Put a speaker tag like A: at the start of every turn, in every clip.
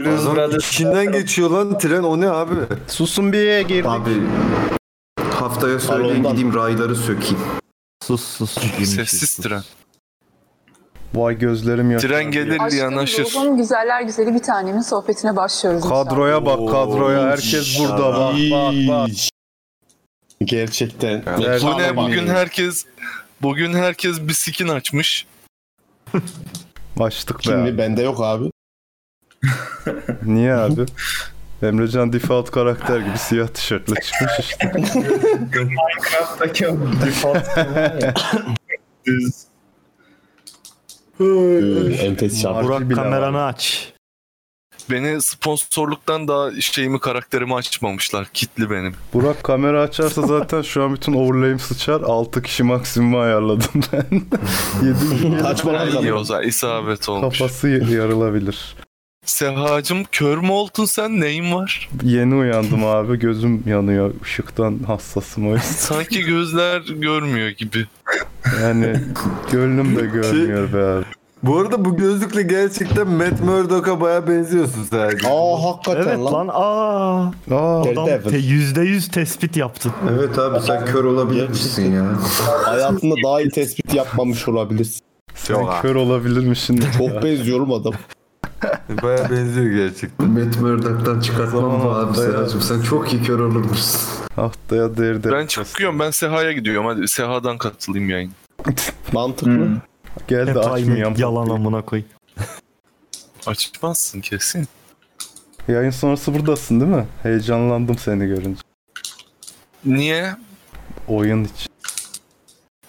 A: Blues
B: Adam
A: Brothers.
B: içinden geçiyor lan tren o ne abi?
C: Susun bir gir.
D: Abi haftaya söyleyin
C: Salondan.
D: gideyim rayları sökeyim.
E: Sus sus.
F: Sessiz tren.
C: Vay gözlerim ya.
F: Tren gelir yanaşır.
G: Aşkın güzeller güzeli bir tanemin sohbetine başlıyoruz.
C: Kadroya bak kadroya herkes burada bak bak bak.
H: Gerçekten.
C: Evet.
F: Bu ne
H: Sağlam
F: bugün
H: abi.
F: herkes bugün herkes bir skin açmış.
C: Başlık be.
H: Şimdi
C: abi.
H: bende yok abi.
C: Niye abi? Emrecan default karakter gibi siyah tişörtle çıkmış işte.
A: Minecraft'taki o default düz.
H: Ee, Enfes şarkı.
C: Burak
E: Burak
C: bile
E: kameranı aç.
F: Beni sponsorluktan daha şeyimi karakterimi açmamışlar. Kitli benim.
C: Burak kamera açarsa zaten şu an bütün overlay'im sıçar. 6 kişi maksimum ayarladım ben. 7
F: İyi
H: Saçmalama.
F: o zaman isabet olmuş.
C: kafası yarılabilir.
F: Sehacım kör mü oldun sen neyin var?
C: Yeni uyandım abi gözüm yanıyor. Işıktan hassasım o yüzden.
F: Sanki gözler görmüyor gibi.
C: Yani gönlüm de görmüyor be abi.
B: Bu arada bu gözlükle gerçekten Matt Murdock'a baya benziyorsun sadece.
H: Aa hakikaten
E: Evet
H: lan.
E: lan aa.
C: Aa,
H: Daredevil.
E: Adam te- yüzde yüz tespit yaptın.
D: Evet abi sen kör olabilirmişsin ya.
H: Hayatında daha iyi tespit yapmamış olabilirsin.
C: sen kör olabilirmişsin.
H: Çok benziyorum adam.
B: Baya benziyor gerçekten.
D: Matt Murdock'tan
C: Zaman
D: çıkartmam mı abi
C: haftaya-
D: Seracım? Sen çok iyi kör olurmuşsun.
C: Haftaya Daredevil.
F: Ben çıkıyorum ben Seha'ya gidiyorum hadi Seha'dan katılayım yayın.
H: Mantıklı.
C: Hmm. Gel de
E: Hep
C: açmayayım.
E: aynı yalan amına koy.
F: Açmazsın kesin.
C: Yayın sonrası buradasın değil mi? Heyecanlandım seni görünce.
F: Niye?
C: Oyun için.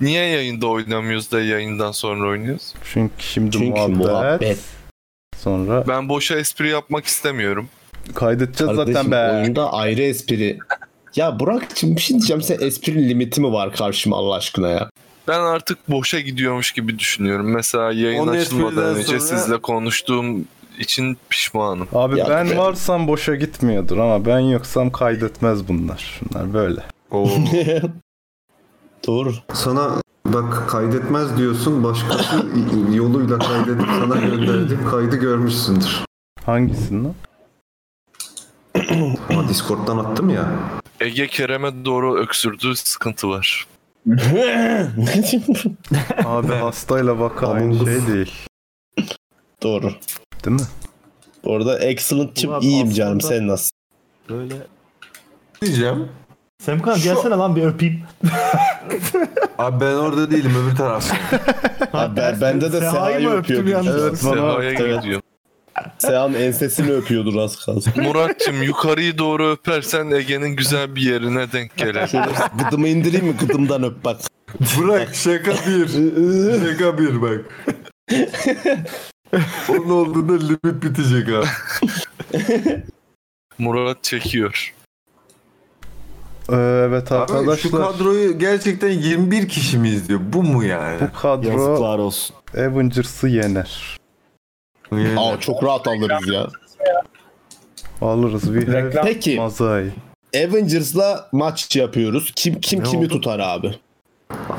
F: Niye yayında oynamıyoruz da yayından sonra oynuyoruz?
C: Çünkü şimdi
H: Çünkü
C: muhabbet.
H: muhabbet.
C: Sonra
F: Ben boşa espri yapmak istemiyorum.
C: kaydedeceğiz zaten
H: Kardeşim
C: be.
H: oyunda ayrı espri. Ya Burak'cığım bir şey diyeceğim. Sen esprinin limiti mi var karşıma Allah aşkına ya?
F: Ben artık boşa gidiyormuş gibi düşünüyorum. Mesela yayın
B: Onun
F: açılmadan
B: espriden
F: önce
B: sonra-
F: sizle konuştuğum için pişmanım.
C: Abi
H: Ya e-
C: ben
H: ben-
C: varsam boşa gitmiyordur ama ben yoksam kaydetmez bunlar. Şunlar böyle.
B: Oo.
H: Doğru.
D: Sana bak kaydetmez diyorsun başkası yoluyla kaydedip sana gönderdim kaydı görmüşsündür.
C: Hangisinden?
D: Ama Discord'dan attım ya.
F: Ege Kerem'e doğru öksürdüğü sıkıntı var.
C: Abi hastayla vaka aynı
D: Among
C: şey
D: Us.
C: değil.
H: Doğru.
C: Değil mi?
H: Bu arada excellent'çım
E: Ulan
H: iyiyim canım
E: aslında-
H: sen nasıl?
E: Böyle.
B: Diyeceğim.
E: Semkan gelsene lan bir öpeyim.
B: Abi ben orada değilim öbür tarafta.
H: Ha, ben- bende de Seha'yı
E: mı öptüm
H: öpüyordum.
E: yalnız?
C: Evet bana
F: Seha'ya
H: Evet.
F: gidiyorum.
H: Seyhan ensesini öpüyordur az kalsın.
F: Murat'cığım yukarıyı doğru öpersen Ege'nin güzel bir yerine denk gelir.
H: Şöyle gıdımı indireyim mi? Gıdımdan öp bak.
B: Bırak şaka bir. şaka bir bak. Onun olduğunda limit bitecek abi.
F: Murat çekiyor.
C: Ee, evet
B: Abi şu
C: arkadaşlar.
B: kadroyu gerçekten 21 kişi mi izliyor? Bu mu yani?
C: Bu kadro
E: Yazıklar olsun.
C: Avengers'ı yener.
H: Aa çok rahat alırız ya.
C: Alırız. We have
A: Reklam.
H: Peki
C: Mazai.
H: Avengers'la maç yapıyoruz. Kim kim
E: Ne
H: kimi
E: oldu?
H: tutar abi?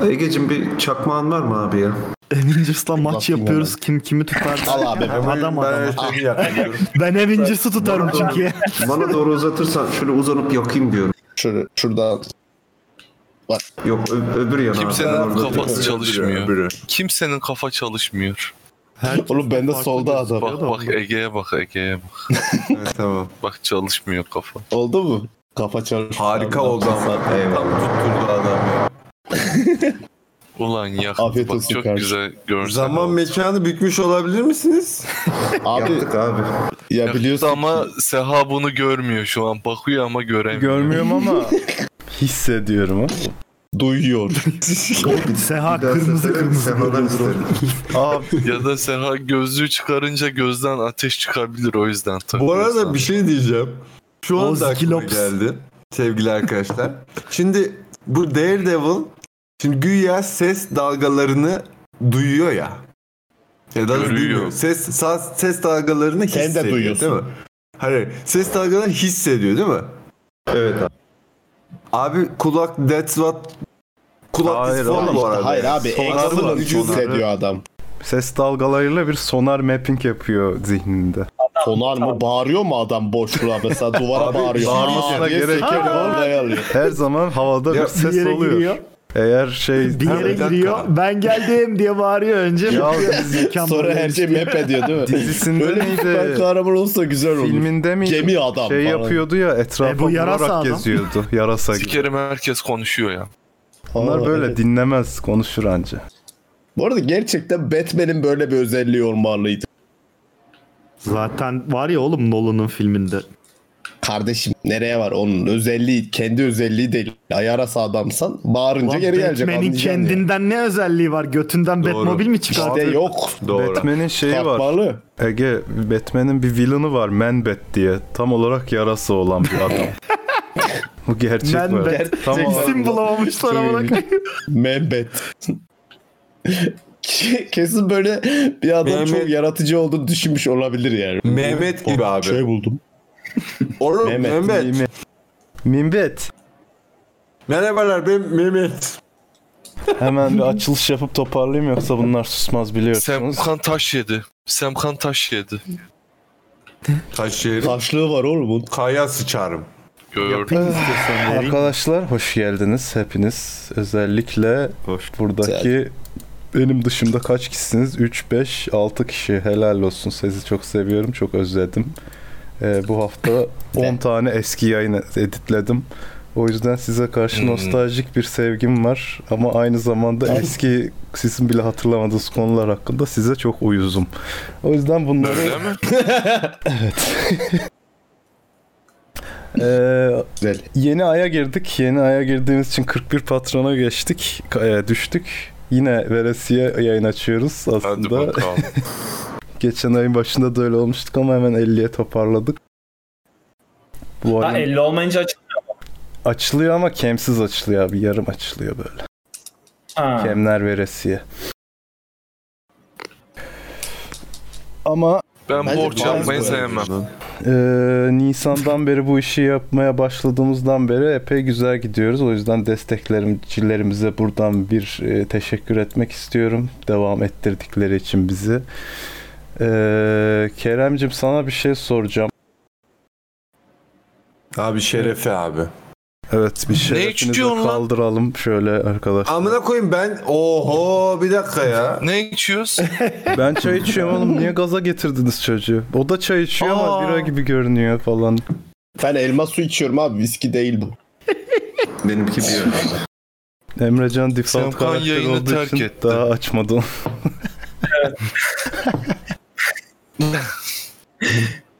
D: Ege'cim bir çakmağın var mı abi ya?
E: Avengers'la maç
H: Lafın
E: yapıyoruz. Kim kimi tutar?
H: Al abi.
E: Adam adam.
B: Ben
E: Ben,
B: şaka yapıyorum.
E: Avengers'ı tutarım çünkü.
D: Bana doğru uzatırsan şöyle uzanıp yakayım diyorum.
H: Şöyle şurada
D: Yok ö- öbür yana. Ben
F: Kimsenin
D: orada
F: kafası
D: duruyorum.
F: çalışmıyor. Kimsenin kafa çalışmıyor.
H: Oğlum bende
E: farklı
H: solda adam.
F: Bak bak Ege'ye bak Ege'ye bak.
B: Evet, tamam.
F: Bak çalışmıyor kafa.
H: oldu mu? Kafa çarptı.
B: Harika oldu ama. Eyvallah. Tutturdu adam ya.
F: Ulan yak.
H: Afiyet
F: Bak
H: olsun
F: çok
H: kardeşim.
F: güzel görsel.
B: Zaman
F: oldu.
B: mekanı bükmüş olabilir misiniz?
H: Abi
D: Yaptık abi.
H: ya biliyorsun
F: ama Seha bunu görmüyor şu an. Bakıyor ama göremiyor.
C: Görmüyorum ama hissediyorum. ha.
H: duyuyor.
E: Seha
D: Bir daha
E: kırmızı
D: sefere
E: kırmızı
D: Sefa'dan
E: görüyordur o.
D: isterim.
C: Abi
F: ya da Seha gözlüğü çıkarınca gözden ateş çıkabilir o yüzden tabii.
B: Bu arada bir şey diyeceğim. Şu
E: O
B: anda aklıma
E: Zikilops.
B: geldi sevgili arkadaşlar. şimdi bu Daredevil şimdi güya ses dalgalarını duyuyor ya. Ya da
F: Görüyor.
B: duyuyor. Ses sa- ses dalgalarını
H: Sen de
B: hissediyor
H: duyuyorsun.
B: değil mi? Hayır, ses dalgalarını hissediyor değil mi?
D: Evet abi.
B: Abi kulak that's what kulak
C: Hayır,
B: is for
C: hayır.
B: bu arada.
H: Hayır abi
B: Sonrası var,
H: excellent
B: sonrası.
H: hissediyor adam.
C: ses dalgalarıyla bir sonar mapping yapıyor zihninde.
H: Sonar mı? Bağırıyor mu adam boşluğa mesela duvara
B: Abi,
H: bağırıyor.
B: bağırmasına
H: Aa diye
C: gerek yok.
H: sekiyor, oraya alıyor.
C: Her zaman
B: Ya,
C: havada bir
B: bir
E: Bir
C: ses
E: yere
C: oluyor.
E: giriyor.
C: Eğer şey
E: Bir yere
B: bir dakika.
E: giriyor. Ben geldim diye bağırıyor önce.
C: Ya,
E: Bakıyor, mekan
H: Sonra
E: böyle
H: her şey
E: işte.
H: map ediyor değil mi?
C: Dizisinde
H: Böyle bir
C: miydi?
H: süper kahraman olsa güzel olur.
C: filminde mi
H: Gemi adam
C: şey
H: falan.
C: yapıyordu ya
E: E,
C: etrafa
E: bu yarasa
C: vurarak
E: adam.
C: geziyordu yarasa gibi.
F: Sikerim herkes konuşuyor ya.
H: Aa,
C: Bunlar böyle
H: evet.
C: dinlemez konuşur anca.
H: Bu arada gerçekten Batman'in böyle bir özelliği olmalıydı.
E: Zaten var ya oğlum Nolan'ın filminde.
H: Kardeşim nereye var onun özelliği kendi özelliği değil. Ayarasa adamsan bağırınca
E: Ulan
H: geri gelecek.
E: Batman'in
H: anlayacaksın yani.
E: kendinden ne özelliği var? Götünden
B: Doğru.
E: Batmobile mi çıkardı?
H: İşte yok.
B: Doğru.
C: Batman'in şeyi var.
H: Takmalı.
C: Ege Batman'in bir villain'ı var Man Bat diye. Tam olarak yarası olan bir adam. Bu gerçek
E: Man
C: böyle.
E: Bat.
C: Tam olarak-
E: İsim bulamamışlar ama.
H: Şey, Mehmet. Ke- Kesin böyle bir adam çok
B: Mehmet.
H: yaratıcı olduğunu düşünmüş olabilir yani.
B: Mehmet gibi abi.
H: Şey buldum.
B: Oğlum
H: Mehmet.
B: Mehmet.
C: Minbet.
B: Merhabalar ben Mehmet.
C: Hemen bir açılış yapıp toparlayayım yoksa bunlar susmaz biliyorsunuz.
F: Semkan taş yedi. Semkan taş yedi.
B: Taş yerim.
H: Taşlığı var oğlum. bunun.
B: Kaya sıçarım.
F: Gördüm.
C: Arkadaşlar hoş geldiniz hepiniz. Özellikle buradaki benim dışımda kaç kişisiniz? 3, 5, 6 kişi. Helal olsun. Sizi çok seviyorum. Çok özledim. Ee, bu hafta 10 tane eski yayını editledim. O yüzden size karşı
F: Hmm.
C: nostaljik bir sevgim var. Ama aynı zamanda eski sizin bile hatırlamadığınız konular hakkında size çok uyuzum. O yüzden bunları
F: Öyle mi?
C: Ee,
H: Güzel.
C: Yeni aya girdik. Yeni aya girdiğimiz için 41 patrona geçtik. Ka- e, düştük. Yine veresiye yayın açıyoruz
F: Hadi
C: aslında.
F: bakalım.
C: Geçen ayın başında da öyle olmuştuk ama hemen 50'ye toparladık. Bu
A: Ha,
C: ayın
A: 50 olmayınca açık.
C: açılıyor ama kemsiz açılıyor abi. Yarım açılıyor böyle.
A: Ha.
C: Kemler veresiye. Ama
F: Ben
H: Bence
F: borç yapmayı
H: bazı-
F: sevmem.
C: Ee, Nisan'dan beri bu işi yapmaya başladığımızdan beri epey güzel gidiyoruz. O yüzden desteklerimcilerimize buradan bir e, teşekkür etmek istiyorum. Devam ettirdikleri için bizi. Ee, Kerem'cim sana bir şey soracağım.
B: Abi şerefe abi.
C: Evet bir şerefinizi
F: içiyorsun lan?
C: kaldıralım şöyle arkadaşlar.
B: Amına koyayım ben. Oho bir dakika ya.
F: Ne içiyoruz?
C: Ben çay içiyorum oğlum niye gaza getirdiniz çocuğu? O da çay içiyor ama
F: Aa.
C: bira gibi görünüyor falan.
H: Ben elma su içiyorum abi. Viski değil bu.
D: Benimki bir önemli.
C: Emrecan default
F: Semkan
C: karakter
F: yayını
C: olduğu
F: terk
C: için
F: etti.
C: daha açmadı onu.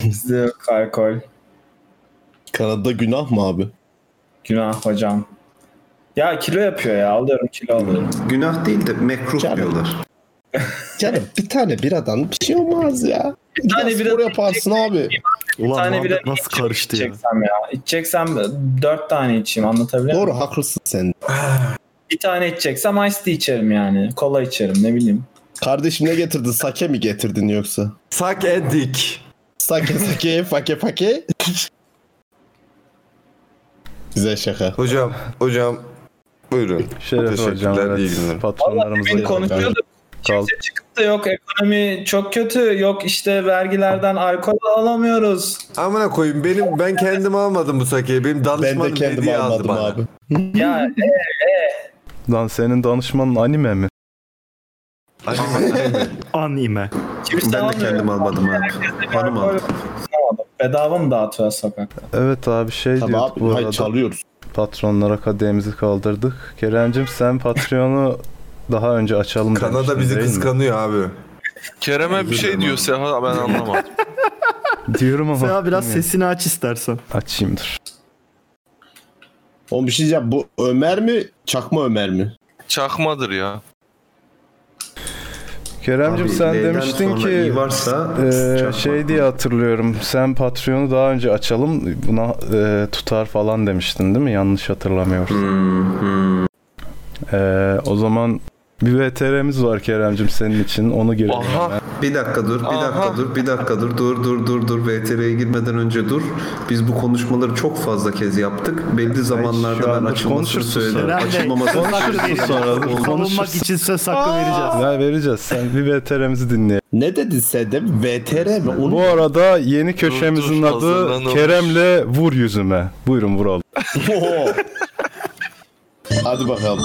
A: Bizde yok alkol.
H: Kanada günah mı abi?
A: Günah hocam. Ya kilo yapıyor ya. Alıyorum kilo alıyorum.
D: Günah değil de mekruh
H: Canım.
D: diyorlar.
H: Canım bir tane biradan bir şey olmaz ya. Bir
A: tane
H: tane şey
A: bira-
H: spor yaparsın abi.
E: Ulan
A: tane
E: muhabbet
A: bile
E: nasıl karıştı ya?
A: İçeceksem ya. İçeceksem 4 tane içeyim anlatabiliyor muyum?
H: Doğru haklısın sen.
A: Bir tane içeceksem iced tea içerim yani. Kola içerim ne bileyim.
H: Kardeşim ne getirdin? Sake mi getirdin yoksa?
B: Sak edik.
H: Sake sake fake fake. Güzel şaka.
B: Hocam hocam buyurun.
C: Şeref hocam
B: Teşekkürler, iyi günler.
C: evet. patronlarımıza
A: Bugün
C: yazık.
A: konuşuyorduk.
C: Kal-
A: Kimse çıkıp da yok ekonomi çok kötü. Yok işte vergilerden alkol alamıyoruz.
B: Amına koyayım benim ben kendim almadım bu sakeyi. Benim
H: Ben
B: danışmanım
H: de kendim
B: hediye aldı
H: almadım
B: bana.
H: abi.
A: Ya
H: şey-
C: Lan senin danışmanın anime mi?
B: Hani-
E: Anime.
A: kimse
D: Ben de
A: almıyor.
D: kendim almadım abi. Hanım aldı.
A: Bedava mı dağıtıyor sokakta?
C: Evet abi şey
H: Tabii
C: diyorduk
H: abi
C: bu
H: hayır,
C: arada.
H: çalıyoruz.
C: Patronlara kademizi kaldırdık. Kerem'cim sen Patreon'u daha önce açalım
B: Kanada
C: demiştin,
B: bizi
C: değil mi?
B: kıskanıyor abi.
F: Kerem'e bir şey diyor Seha ben anlamadım.
C: Diyorum ama.
E: Seha biraz
C: bilmiyorum.
E: sesini aç istersen.
C: Açayım dur.
H: Oğlum bir şey diyeceğim. Bu Ömer mi? Çakma Ömer mi?
F: Çakmadır ya.
C: Kerem'cim
D: Abi,
C: sen
D: L'den
C: demiştin
D: sonra
C: ki
D: i varsa
C: Ee,
D: çarpma.
C: şey diye hatırlıyorum. Sen Patreon'u daha önce açalım. Buna e, tutar falan demiştin değil mi? Yanlış hatırlamıyorum.
D: Hmm, hmm.
C: Ee, o zaman Bir VTR'miz var Kerem'cim senin için. Onu girelim.
F: Aha.
C: hemen.
D: Bir dakika dur, bir dakika
F: Aha.
D: dur, bir dakika dur, dur dur dur dur. VTR'ye girmeden önce dur. Biz bu konuşmaları çok fazla kez yaptık. Belli
C: şu
D: zamanlarda ben
C: anda
D: açılmasını
C: konuşursun
D: söyledim.
C: sonra.
D: Açılmaması
C: Konuşursun sonra.
E: Savunmak
C: Konuşursun.
E: için söz hakkı vereceğiz.
C: Ya vereceğiz. Sen bir VTR'mizi dinle.
H: Ne dedin sen de VTR mi? Onu
C: Bu arada yeni köşemizin
F: dur,
C: adı
F: hazırlanılmış.
C: Kerem'le Vur Yüzüme. Buyurun vuralım.
H: Oo. Hadi bakalım.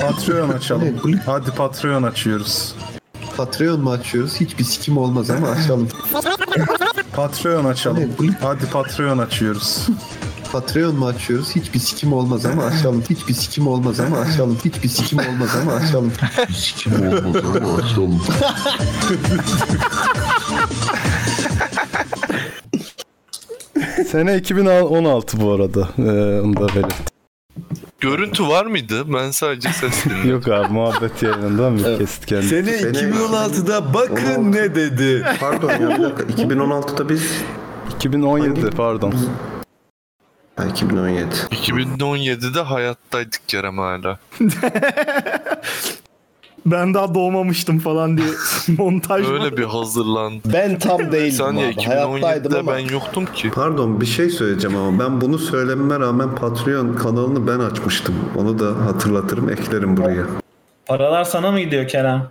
I: Patreon açalım. Hadi Patreon açıyoruz.
D: Patreon mu açıyoruz? Hiçbir sikim olmaz ama açalım.
I: Patreon açalım. Hadi Patreon açıyoruz.
D: Patreon mu açıyoruz? Hiçbir sikim olmaz ama açalım. Hiçbir sikim olmaz ama açalım. Hiçbir sikim olmaz ama açalım.
C: Sene 2016 bu arada. Ee, onu da belirt.
F: Görüntü var mıydı? Ben sadece ses dinledim.
C: Yok abi muhabbet yayınından bir kestik kendini.
B: Sene 2016'da bakın ne dedi.
D: Pardon ya bir dakika. 2016'da biz...
C: 2017
D: Hangi-
C: pardon.
D: Ha, 2017.
F: 2017'de hayattaydık Kerem hala.
E: Ben daha doğmamıştım falan diye montaj mı?
F: Öyle bir hazırlandı.
H: Ben tam
F: Bir
H: değildim
F: saniye
H: abi. Hayattaydım
F: 2017'de
H: ama.
F: ben yoktum ki.
D: Pardon bir şey söyleyeceğim ama ben bunu söylememe rağmen Patreon kanalını ben açmıştım. Onu da hatırlatırım eklerim buraya.
A: Paralar sana mı gidiyor Kerem?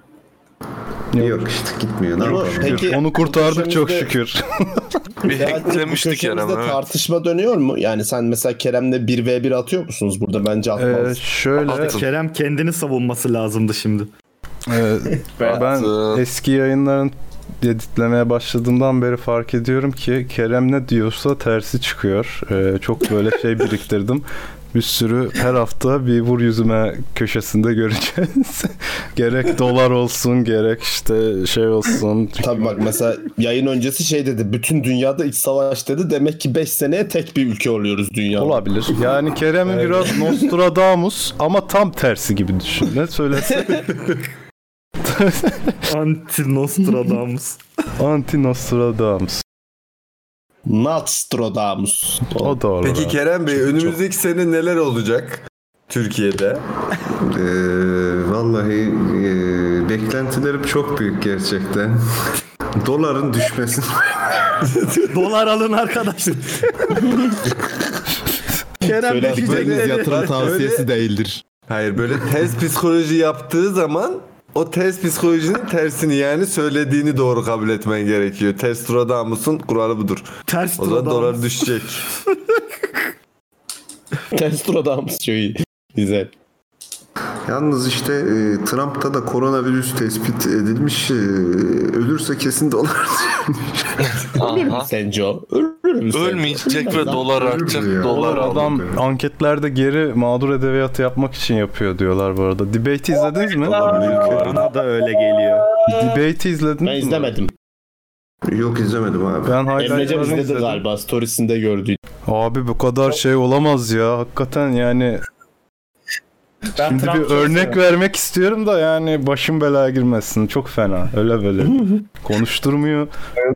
D: Yok, işte gitmiyor. Ne
H: Ama
D: yapalım?
H: peki
C: Onu kurtardık çok
H: köşemizde-
C: şükür.
F: Bir
H: Kerem, bu
F: hacklemişti
H: köşemizde
F: Kerem. evet.
H: tartışma dönüyor mu? Yani sen mesela Kerem'le 1v1 atıyor musunuz burada? Bence
C: Ee,
H: atmaz.
C: şöyle
F: Attım.
E: Kerem kendini savunması lazımdı şimdi.
C: e, ben eski yayınların editlemeye başladığımdan beri fark ediyorum ki Kerem ne diyorsa tersi çıkıyor. Ee, çok böyle şey biriktirdim. Bir sürü her hafta bir vur yüzüme köşesinde göreceğiz. gerek dolar olsun gerek işte şey olsun.
H: Tabii bak mesela yayın öncesi şey dedi. Bütün dünyada iç savaş dedi. Demek ki 5 seneye tek bir ülke oluyoruz dünyada.
C: Olabilir. Yani Kerem'in biraz Nostradamus ama tam tersi gibi düşün. Ne söylese
E: Anti Nostradamus.
C: anti Nostradamus.
H: Nostradamus.
C: O doğru.
B: Peki Kerem Bey önümüzdeki sene neler olacak? Türkiye'de.
D: Ee, vallahi e, beklentilerim çok büyük gerçekten. Doların düşmesi.
E: Dolar alın arkadaşlar. Kerem şey
H: Söyle,
E: bekleyecekleri.
B: Öyle-
H: değildir.
B: Hani Hayır böyle ters psikoloji yaptığı zaman o ters psikolojinin tersini yani söylediğini doğru kabul etmen gerekiyor. Ters duradan mısın? Kuralı budur.
E: Ters
B: O zaman
E: Nostradamus.
B: dolar düşecek.
H: Nostradamus çok iyi. Güzel.
D: Yalnız işte e, Trump'ta da koronavirüs tespit edilmiş. E, ölürse kesin dolar.
F: Aha.
H: Sence o? Ölür mü sence?
F: Ölmeyecek ve dolar artacak.
D: ya.
F: Dolar al.
C: Adam anketlerde geri mağdur edebiyatı yapmak için yapıyor diyorlar bu arada. Debate'i izlediniz mi?
E: Bana da öyle geliyor.
C: Debate'i izlediniz mi?
H: Ben izlemedim.
D: Yok izlemedim abi.
C: Ben
H: Emre'cim
C: highlight'larını
H: izledi
C: izledim.
H: galiba. Storiesinde gördüğüm.
C: Abi bu kadar şey olamaz ya. Hakikaten yani
A: Ben
C: şimdi
A: Trump'ı
C: bir
B: şey
C: örnek vermek istiyorum da yani başım belaya girmesin. Çok fena. Öyle böyle. Konuşturmuyor.
A: seviyorum.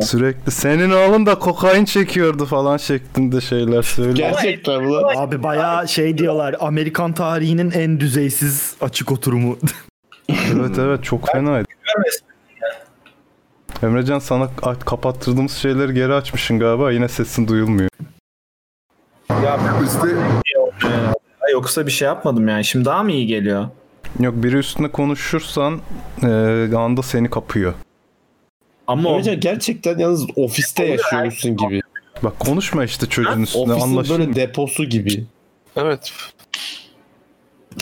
C: Sürekli senin oğlun da kokain çekiyordu falan şeklinde şeyler söylüyor.
H: Gerçekten ulan.
E: Abi bayağı şey diyorlar. Amerikan tarihinin en düzeysiz açık oturumu.
C: Evet evet çok fenaydı. Emrecan sana a- kapattırdığımız şeyleri geri açmışsın galiba. Yine sesin duyulmuyor.
D: İşte
A: Yoksa bir şey yapmadım yani. Şimdi daha mı iyi geliyor?
C: Yok biri üstüne konuşursan eee anda seni kapıyor.
A: Ama o-
H: Emre'cim gerçekten yalnız ofiste yaşıyorsun gibi.
C: Bak konuşma işte çocuğun üstüne
H: Ofisin
C: anlaşılmıyor.
H: böyle deposu gibi.
F: Evet.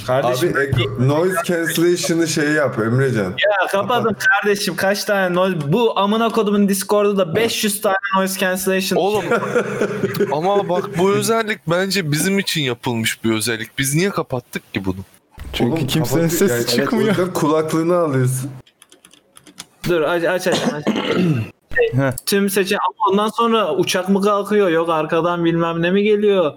J: şey-
B: Abi
A: kardeşim
B: ek- noise cancellation'ı şey yap Emrecan.
A: ya kapadım kardeşim kaç tane noise bu amına kodumun Discord'u da 500 tane noise cancellation
F: Oğlum ama bak bu özellik bence bizim için yapılmış bir özellik. Biz niye kapattık ki bunu?
C: Çünkü
B: Oğlum,
C: kimsenin
B: kapat-
C: sesi
B: yani- O
C: çıkmıyor.
B: yüzden kulaklığını alıyorsun.
A: Dur aç aç aç. aç.
C: Heh.
A: Tüm seçen ama ondan sonra uçak mı kalkıyor yok arkadan bilmem ne mi geliyor.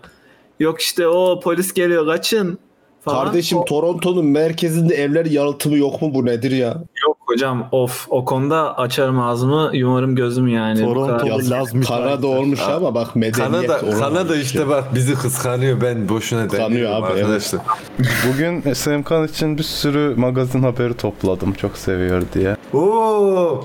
A: Yok işte o polis geliyor kaçın. Falan.
H: Kardeşim Toronto'nun merkezinde evler yalıtımı yok mu bu nedir ya?
A: Yok hocam of o konuda açarım ağzımı yumarım gözüm yani. Bu kadar-
E: Toronto'da Laz müsait.
H: Kanada olmuş ama bak medeniyet
B: Kanada,
H: olamamış
B: Kanada işte
H: ya.
B: bak bizi kıskanıyor ben boşuna
H: Kıskanıyor
B: demiyorum
H: abi, evet.
B: arkadaşlar.
C: Bugün Semkan için bir sürü magazin haberi topladım çok seviyor diye.
B: Oo,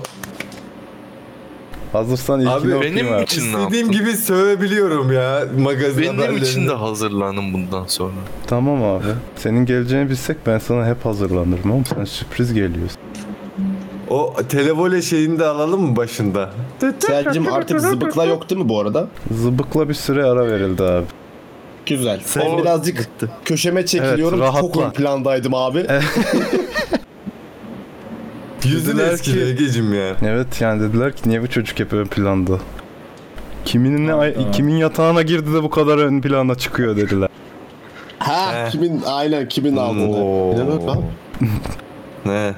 C: Hazırsan ilkini
B: Abi,
C: okuyayım
F: Benim
C: abi.
F: için ne
B: istediğim
F: yaptın?
B: gibi sövebiliyorum ya magazin
F: Benim için
B: haberlerini.
F: de hazırlanın bundan sonra.
C: Tamam abi. Senin geleceğini bilsek ben sana hep hazırlanırım ama sen sürpriz geliyorsun.
B: O televole şeyini de alalım mı başında?
H: Selcim artık zıbıkla yok değil mi bu arada?
C: Zıbıkla bir süre ara verildi abi.
H: Güzel. Ben birazcık köşeme çekiliyorum.
C: Evet,
H: Çok
C: rahatla. Eh.
H: ön plandaydım abi.
B: Yüzünü
C: Dediler
B: eskidi
C: ki-
B: Ege'cim ya.
C: Evet yani dediler ki niye bu çocuk hep ön planda? Kimin ne ay- kimin yatağına girdi de bu kadar ön plana çıkıyor dediler.
H: ha
B: He.
H: kimin aynen
C: Hmm.
H: kimin aldığını.
B: Oo.
H: Bir de bak lan.
B: Ne?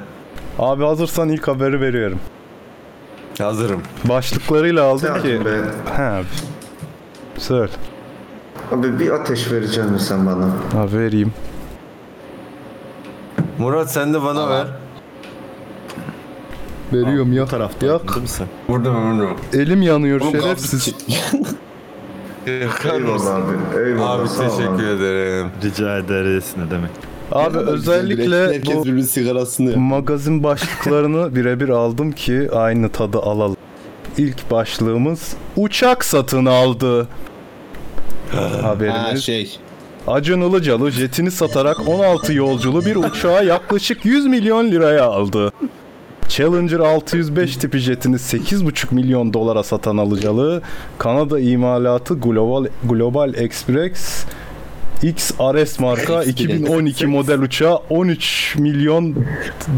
C: Abi hazırsan ilk haberi veriyorum.
B: Hazırım.
C: Başlıklarıyla aldım ki.
D: Hayatım be.
C: He abi. Söyle.
D: Abi bir ateş vereceksin mi sen bana?
C: Abi vereyim.
B: Murat sen de bana ver.
C: Veriyorum ya. Yak.
B: Burada mı burada mı?
C: Elim yanıyor
H: Oğlum,
C: şerefsiz.
H: kalk-
F: Yakar mısın?
D: Eyvallah abi. e, Eyvallah.
B: Abi
D: sağ ol
B: teşekkür ederim.
K: Rica ederiz ne demek.
C: Abi özellikle
H: Herkes
C: bu
H: birbirinin sigarasını.
C: magazin başlıklarını birebir aldım ki aynı tadı alalım. İlk başlığımız uçak satın aldı.
H: Ha
C: Haberimiz.
H: şey.
C: Acun Ilıcalı jetini satarak 16 yolculu bir uçağı yaklaşık 100 milyon liraya aldı. Challenger 605 tipi jetini 8,5 milyon dolara satan Alıcalı, Kanada imalatı Global, Global Express XRS marka 2012 model uçağı 13 milyon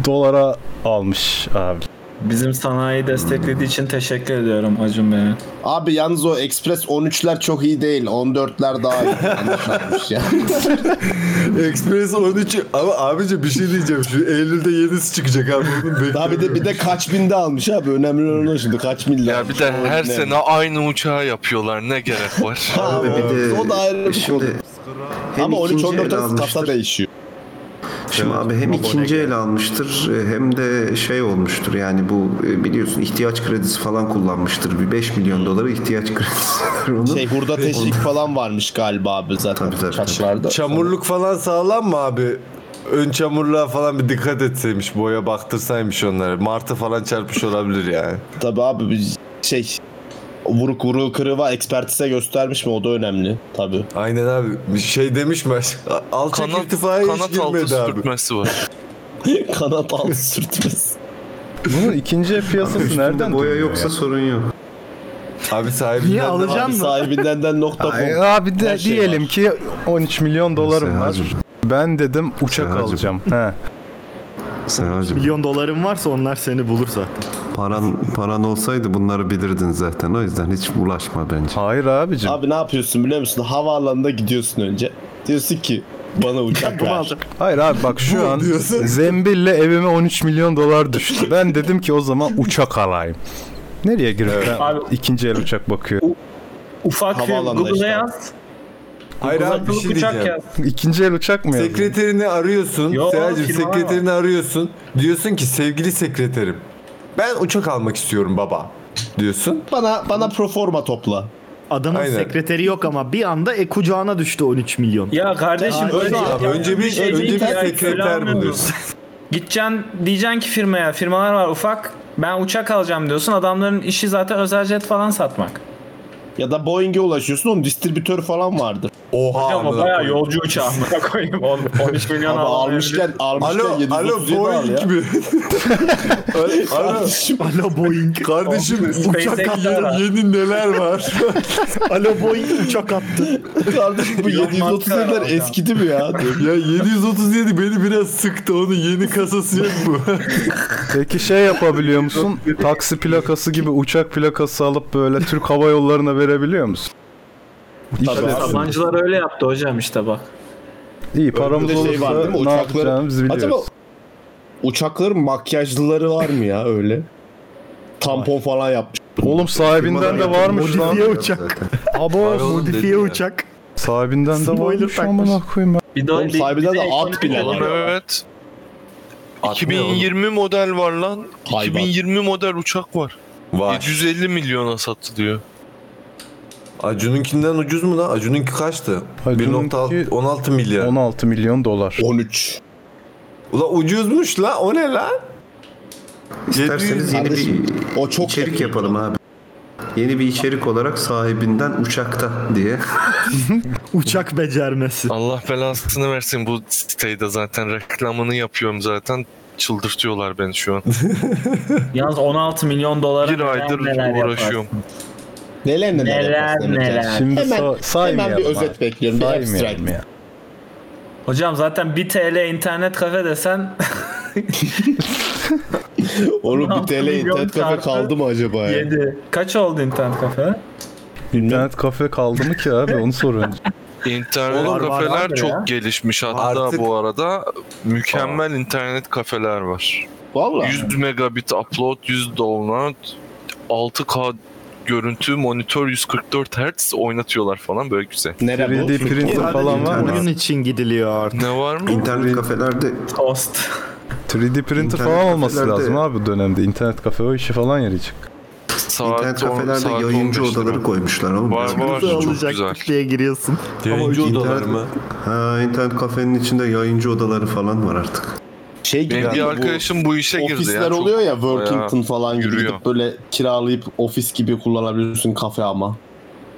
C: dolara almış abi.
A: Bizim sanayi desteklediği için teşekkür ediyorum Acun Bey'e.
H: Abi yalnız o Express 13'ler çok iyi değil. 14'ler daha iyi. Yanlış yapmış ya.
B: Express 13 ama abici bir şey diyeceğim. Şu Eylül'de yenisi çıkacak abi. Bunu
H: Daha bir de bir de kaç binde almış abi. Önemli olan o şimdi kaç milyar.
F: Ya bir de her sene aynı uçağı yapıyorlar. Ne gerek var?
H: Abi
D: bir de-
H: o da ayrı bir şey oldu.
D: Şimdi hem
H: Ama 13
D: ikinci
H: 14
D: el
H: arası kasa
D: almıştır.
H: değişiyor.
D: Şimdi abi hem ikinci el almıştır e, hem de şey olmuştur yani bu e, biliyorsun ihtiyaç kredisi falan kullanmıştır. Bir 5 milyon dolara ihtiyaç kredisi var onun.
H: Şey hurda teşvik falan varmış galiba abi zaten
D: Tabii, tabii,
H: kaçlarda.
B: Çamurluk falan sağlam mı abi? Ön çamurluğa falan bir dikkat etseymiş, boya baktırsaymış onlara. Martı falan çarpmış olabilir yani.
H: Tabii abi biz- şey vuruk vuruğu kırıva ekspertize göstermiş mi o da önemli tabii.
B: Aynen abi. Şey demiş mi? Alçak
F: kanat,
B: irtifaya hiç
F: kanat altı
B: girmedi abi.
F: sürtmesi var.
H: Kanat altı sürtmesi.
C: Bunun ikinci el piyasası nereden
D: Boya
C: dönüyor
D: yoksa
C: ya?
D: sorun yok.
B: Abi sahibinden de
E: alacağım?
B: var.
H: Abi
E: mı?
H: sahibinden de nokta
C: Ay,
H: com.
C: Abi de
H: Her şey
C: diyelim
H: var.
C: ki 13 milyon dolarım var.
D: Sehacım,
C: Ben dedim uçak
D: Sehacım.
C: alacağım. He.
D: Sehacım.
E: Milyon doların varsa onlar seni bulursa.
D: Paran, paran olsaydı bunları bilirdin zaten. O yüzden hiç ulaşma bence.
C: Hayır abicim.
H: Abi ne yapıyorsun biliyor musun? Havaalanına gidiyorsun önce. Diyorsun ki bana uçak
E: Bunu
H: ver.
E: alacağım.
C: Hayır abi bak şu an
B: diyorsun.
C: zembille evime 13 milyon dolar düştü. Ben dedim ki o zaman uçak alayım. Nereye gireyim? Ben
A: Abi-
C: ikinci el uçak bakıyor.
A: Ufak bir
H: Havaalanında
A: Google'a
H: işte.
A: yaz.
B: Hayır abi bir
A: Uzaklık
B: şey
A: uçak
B: diyeceğim.
A: yaz.
C: İkinci el uçak mı yazdın?
B: Sekreterini arıyorsun.
A: Yo,
B: Seyacım
A: firma var.
B: sekreterini arıyorsun. Diyorsun ki sevgili sekreterim. Ben uçak almak istiyorum baba. Diyorsun.
H: Bana bana proforma topla.
E: Adamın
B: Aynen.
E: sekreteri yok ama bir anda e, kucağına düştü 13 milyon.
A: Ya kardeşim
H: Aa,
A: öyle
H: öyle
B: Abi önce bir,
A: şey
B: önce
A: değil
B: bir
A: ya, köle
B: sekreter
A: almıyoruz.
B: buluyorsun.
A: Gideceksin diyeceksin ki firmaya firmalar var ufak ben uçak alacağım diyorsun adamların işi zaten özel jet falan satmak.
H: Ya da Boeing'e ulaşıyorsun onun distribütörü falan vardır.
B: Oha.
A: Ama
B: amına
A: bayağı
B: koyayım.
A: yolcu uçağı amına koyayım oğlum 13 milyon
H: Abi almışken almışken
B: Alo, alo
H: 737 al ya.
B: Boeing mi? Alo, alo,
H: Kardeşim,
E: Alo Boeing.
B: kardeşim uçak
A: SpaceX'ler var.
B: yeni, yeni neler var?
E: Alo Boeing uçak attı.
H: kardeşim bu
A: Elon Musk'a
H: 737'ler
A: herhalde.
H: eskidi mi ya?
B: ya 737 beni biraz sıktı onun yeni kasası yok mu?
C: Peki şey yapabiliyor musun? Taksi plakası gibi uçak plakası alıp böyle Türk Hava Yolları'na verebiliyor musun?
H: Tabii abi.
A: Sabancılar öyle yaptı hocam işte bak.
C: İyi paramız
H: şey
C: olursa
H: var değil mi?
C: ne
H: Uçakları-
C: yapacağımızı biliyoruz.
H: Acaba uçakların makyajlıları var mı ya öyle? Tampon falan yapmış.
C: Oğlum sahibinden de varmış lan.
E: Modifiye uçak.
C: Abo
E: Modifiye uçak.
C: sahibinden de
E: Spoiler
C: varmış
E: takmış.
C: amına koyayım.
A: Bir daha
H: Oğlum sahibinden de at bile
F: Oğlum
H: var.
F: evet. 2020 model var lan.
H: Hayvan.
F: 2020 model uçak var.
B: Var.
F: 750 milyona satılıyor.
B: Acun'unkinden ucuz mu lan? Acun'unki kaçtı?
C: Acun'unki-
B: 1.6 16 milyar.
C: 16 milyon dolar.
H: 13.
B: Ula ucuzmuş la. O ne lan?
D: İsterseniz yeni bir
H: Kardeşim, O çok
D: içerik yapalım abi. Yeni bir içerik olarak sahibinden uçakta diye.
E: Uçak becermesi.
F: Allah belasını versin bu siteyi de zaten reklamını yapıyorum zaten. Çıldırtıyorlar beni şu an.
A: Yalnız 16 milyon dolara
F: Bir aydır uğraşıyorum.
H: Neler neler.
K: Neler,
H: yaparsın Emre Can.
K: neler.
C: Şimdi
H: Hemen,
C: sa- saymayalım.
H: hemen bir
C: abi.
H: özet bekliyorum. Bir abstract.
C: Saymayalım ya.
A: Hocam zaten 1 TL internet kafe desen
H: Onu bir
A: 16
H: TL
A: milyon
H: internet kafe
A: çarpı
H: kaldı mı acaba ya?
A: 7. Kaç oldu internet kafe?
C: İnternet kafe kaldı mı ki abi onu sor önce.
F: İnternet
A: Var, var,
F: kafeler
A: vardır
F: çok
A: ya.
F: gelişmiş hatta
B: Artık-
F: bu arada mükemmel internet kafeler var.
H: Valla.
F: 100 megabit upload, 100 download, 6K görüntü, monitör 144 Hz oynatıyorlar falan böyle güzel.
H: Nere bu?
C: 3D printer falan var mı?
E: Bunun için gidiliyor artık.
F: Ne var mı?
D: İnternet kafelerde
A: Toast.
C: 3D printer
D: İnternet
C: falan olması
D: kafelerde-
C: lazım abi bu dönemde. İnternet kafe o işe falan yarayacak.
F: Saat
D: internet
F: on-
D: kafelerde
F: saat
D: yayıncı
F: 15 lira.
D: odaları koymuşlar oğlum.
F: Var var çok
E: Alacak
F: güzel.
E: kitleye giriyorsun.
B: Yayıncı
D: Ama
B: odalar
D: internet-
B: mı?
D: Ha internet kafenin içinde yayıncı odaları falan var artık.
H: Şey gibi.
F: Benim bir
H: bu
F: arkadaşım bu işe girdi
H: Ofisler
F: ya. Çok-
H: oluyor ya Workington falan gibi
F: yürüyor.
H: gidip böyle kiralayıp ofis gibi kullanabiliyorsun kafe ama.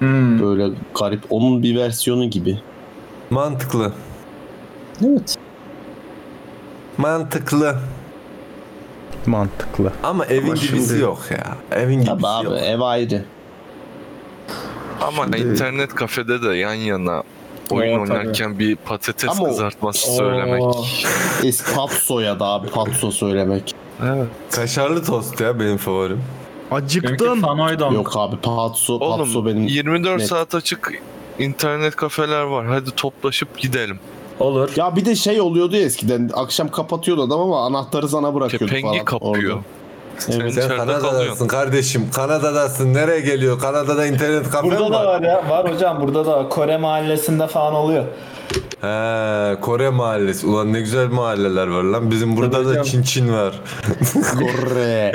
H: Böyle garip. Onun bir versiyonu gibi.
B: Mantıklı.
K: Evet.
B: Mantıklı.
C: Mantıklı.
B: Ama evin
D: Ama
B: gibisi
D: şimdi-
B: yok ya. Evin gibisi
H: Tabii abi
B: yok.
H: ev ayrı.
F: Ama internet kafede de yan yana oyun oynarken bir patates
H: Ama o-
F: kızartması söylemek.
H: Eski patso ya da abi patso söylemek.
F: Evet.
B: Kaşarlı tost ya benim favorim.
E: Acıktın.
A: Benimki Fanoydon.
H: Yok abi patso,
F: Oğlum
H: patso benim
F: 24
H: net.
F: saat açık internet kafeler var. Hadi toplaşıp gidelim.
A: Olur.
H: Ya bir de şey oluyordu ya eskiden akşam kapatıyordu adam ama anahtarı sana bırakıyordu
F: Kepengi
H: falan.
F: kapıyor.
H: orada.
F: Sen
H: Evet.
B: Sen
F: içeride kalıyorsun.
B: Kanada'dasın kardeşim. Kanada'dasın. Nereye geliyor? Kanada'da internet kafe mi
A: Burada da
B: var?
A: var ya. Var hocam burada da var. Kore mahallesinde falan oluyor.
B: He, Kore mahallesi. Ulan ne güzel mahalleler var lan. Bizim burada
A: Tabii
B: da
A: hocam.
B: Çin Çin var.
H: Korre.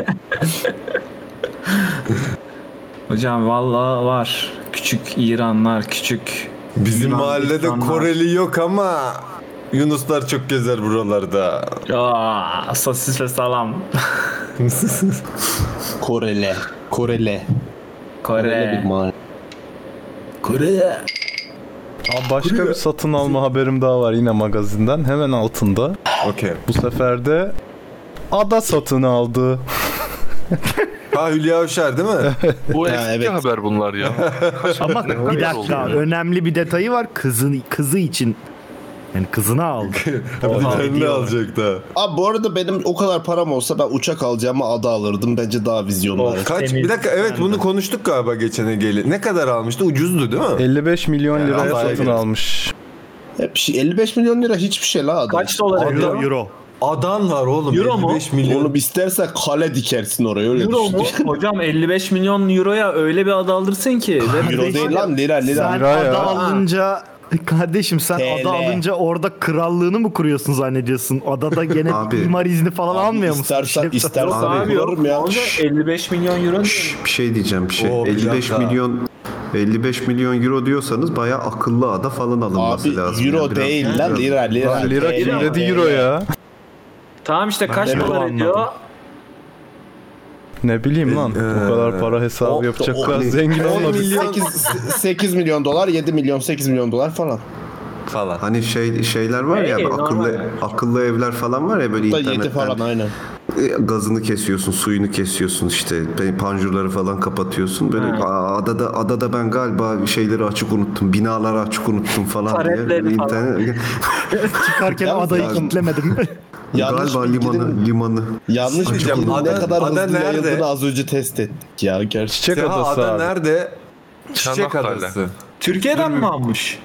A: Hocam vallahi var. Küçük İranlar, küçük
B: Bizim
A: Yunan
B: mahallede
A: insanlar.
B: Koreli yok ama Yunuslar çok gezer buralarda.
A: Aa, sosis ve salam.
H: Korele. Korele.
J: Ee.
H: Korele bir
A: Kore.
H: mahalle.
A: Kore.
C: Abi başka bir satın alma haberim daha var yine magazinden. Hemen altında.
B: Okey.
C: Bu sefer de ada satın aldı.
B: Ha Hülya Avşar değil mi?
F: Bu
H: Ha,
F: eski
H: evet.
F: haber bunlar ya.
E: Ama
F: kadar
E: bir
F: oldu
E: dakika
F: yani?
E: önemli bir detayı var. Kızın kızı için yani kızını aldı.
B: Bir
E: Oha,
B: tane
E: diyorlar.
B: alacak da.
H: Abi bu arada benim o kadar param olsa ben uçak alacağımı ada alırdım. Bence daha vizyonlu. hareket.
B: Kaç? Bir dakika evet bunu konuştuk galiba geçene geli. Ne kadar almıştı? Ucuzdu değil mi?
C: 55 milyon liraya
B: Allah'a
C: satın
B: emanet.
C: almış.
H: Hep şey, 55 milyon lira hiçbir şey la adam.
A: Kaç dolar ediyor?
E: Euro, euro.
B: Adan var oğlum.
A: Euro mu?
B: 55 milyon.
H: Onu istersen kale dikersin oraya öyle
A: Euro
H: düşün.
A: mu? Hocam 55 milyon euroya öyle bir ad alırsın ki.
H: Euro değil lan lira lira.
E: Sen
C: Lira ya.
E: ada alınca kardeşim sen
H: TL.
E: ada alınca orada krallığını mı kuruyorsun zannediyorsun? Adada gene
D: Abi.
E: imar izni falan almıyor musun?
H: İstersen
E: Şey-
H: istersen
D: Abi,
H: kurarım ya.
A: Orada 55 milyon euro diyor.
D: Şş, bir şey diyeceğim bir şey.
B: Oo, bir
D: 55
B: dakika.
D: milyon 55 milyon euro diyorsanız bayağı akıllı ada falan alınması
H: Abi
D: lazım.
H: euro
D: yani. Biraz-
H: değil lan
D: biraz-
H: lira lira.
C: Lan lira
H: TL,
C: kim dedi
H: TL.
C: euro ya?
A: Tamam işte kaç
E: de bu
A: dolar
E: anladım.
A: ediyor?
C: Ne bileyim lan.
B: Ee,
C: Bu kadar para
H: o-
C: hesabı
H: o-
C: yapacaklar. Zengin
B: o-
C: olmadı.
H: 8, 8 milyon dolar, 7 milyon, 8 milyon dolar falan.
B: falan.
D: Hani şey şeyler var ya
A: Hey,
D: akıllı
A: normal.
D: akıllı evler falan var ya böyle
H: Da 7
D: internetten
H: falan aynen.
D: e, gazını kesiyorsun, suyunu kesiyorsun işte pe- panjurları falan kapatıyorsun. Böyle "Aa, adada adada ben galiba şeyleri açık unuttum, binaları açık unuttum falan diye.
A: Taretleri
D: Böyle
A: falan.
D: internet-
E: Çıkarken
H: Yalnız
E: adayı
H: ya-
E: kilitlemedim.
H: Yanlış
D: galiba
H: bilginin,
D: limanı limanı.
H: yanlış
B: Hocam,
H: bilginin
B: ada-
H: ne kadar
B: ada
H: hızlı
B: nerede?
H: yayıldığını az önce test ettik ya. Gerçi
C: Çiçek
B: Seha
C: adası
B: ada
C: abi.
B: nerede? Çiçek
F: Çanakkale.
B: adası.
A: Türkiye'den mi almış?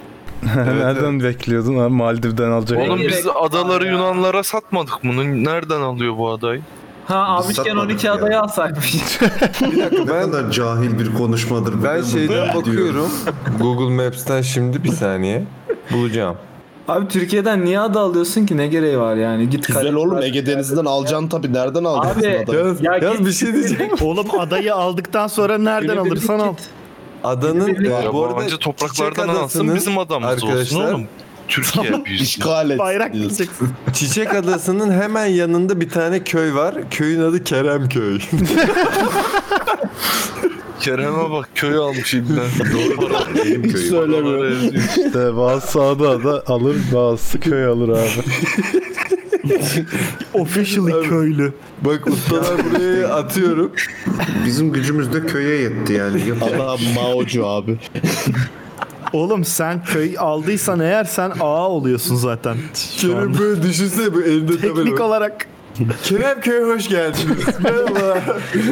C: Nereden bekliyordun abi Maldiv'den alacak.
F: Oğlum
A: Gerek
F: biz
A: var
F: adaları
A: ya.
F: Yunanlara satmadık bunu. Nereden alıyor bu adayı?
A: Ha
D: Biz
A: almışken
D: satmadık
A: 12
D: ya.
A: adayı alsaymış.
D: Ne kadar cahil bir konuşmadır. bu.
B: Ben
D: bu-
B: şeyden
D: diyorum.
B: bakıyorum. Google Maps'ten şimdi bir saniye. Bulacağım.
A: Abi Türkiye'den niye ada alıyorsun ki? Ne gereği var yani? Git
H: Güzel oğlum Ege Denizi'nden alacaksın tabii. Nereden alacaksın
A: Abi,
H: adamı?
A: ya git-
B: şey
E: Oğlum adayı aldıktan sonra nereden
A: Günübirlik
E: alırsan al.
B: Adanın
F: Ya
B: bu arada
F: yabancı topraklardan
B: Çiçek
F: alsın
B: Adası'nın
F: bizim adamımız olsun
B: arkadaşlar-
F: oğlum. Türkiye şey. büyüsün.
H: İşgal et.
E: Bayrak diyeceksin.
B: Çiçek Adası'nın hemen yanında bir tane köy var. Köyün adı Keremköy.
F: Kerem'e bak köy almış ibne. Doğru para.
D: Benim
H: Hiç
D: köyüm.
H: söylemiyorum.
C: İşte bazısı ada da alır bazısı köy alır abi.
E: Officially köylü.
B: Bak ustalar buraya atıyorum.
D: Bizim gücümüz de köye yetti yani. Yapacak
H: Adam Maocu abi.
E: Oğlum sen köy aldıysan eğer sen ağa oluyorsun zaten. Şu an.
B: Kerem böyle düşünsene bu elinde
E: Teknik
B: tabela. var.
E: olarak
B: Kerem Köy'e hoş geldiniz. Merhaba.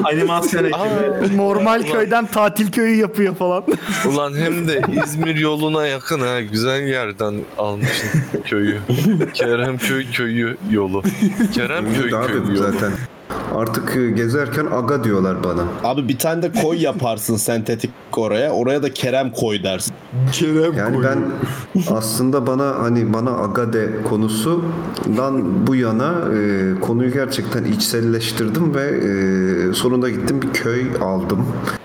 A: Animasyon ekibi.
E: normal köyden tatil köyü yapıyor falan.
F: Ulan hem de İzmir yoluna yakın ha. Güzel yerden almışsın köyü. Keremköy köyü yolu. Keremköy
D: Daha
F: köyü
D: dedim
F: yolu.
D: zaten. Artık e, gezerken aga diyorlar bana.
H: Abi bir tane de koy yaparsın sentetik oraya. Oraya da Kerem koy dersin.
B: Kerem
D: Yani
B: Koyu.
D: ben aslında bana hani bana agade konusundan bu yana e, konuyu gerçekten içselleştirdim ve e, sonunda gittim bir köy aldım. E,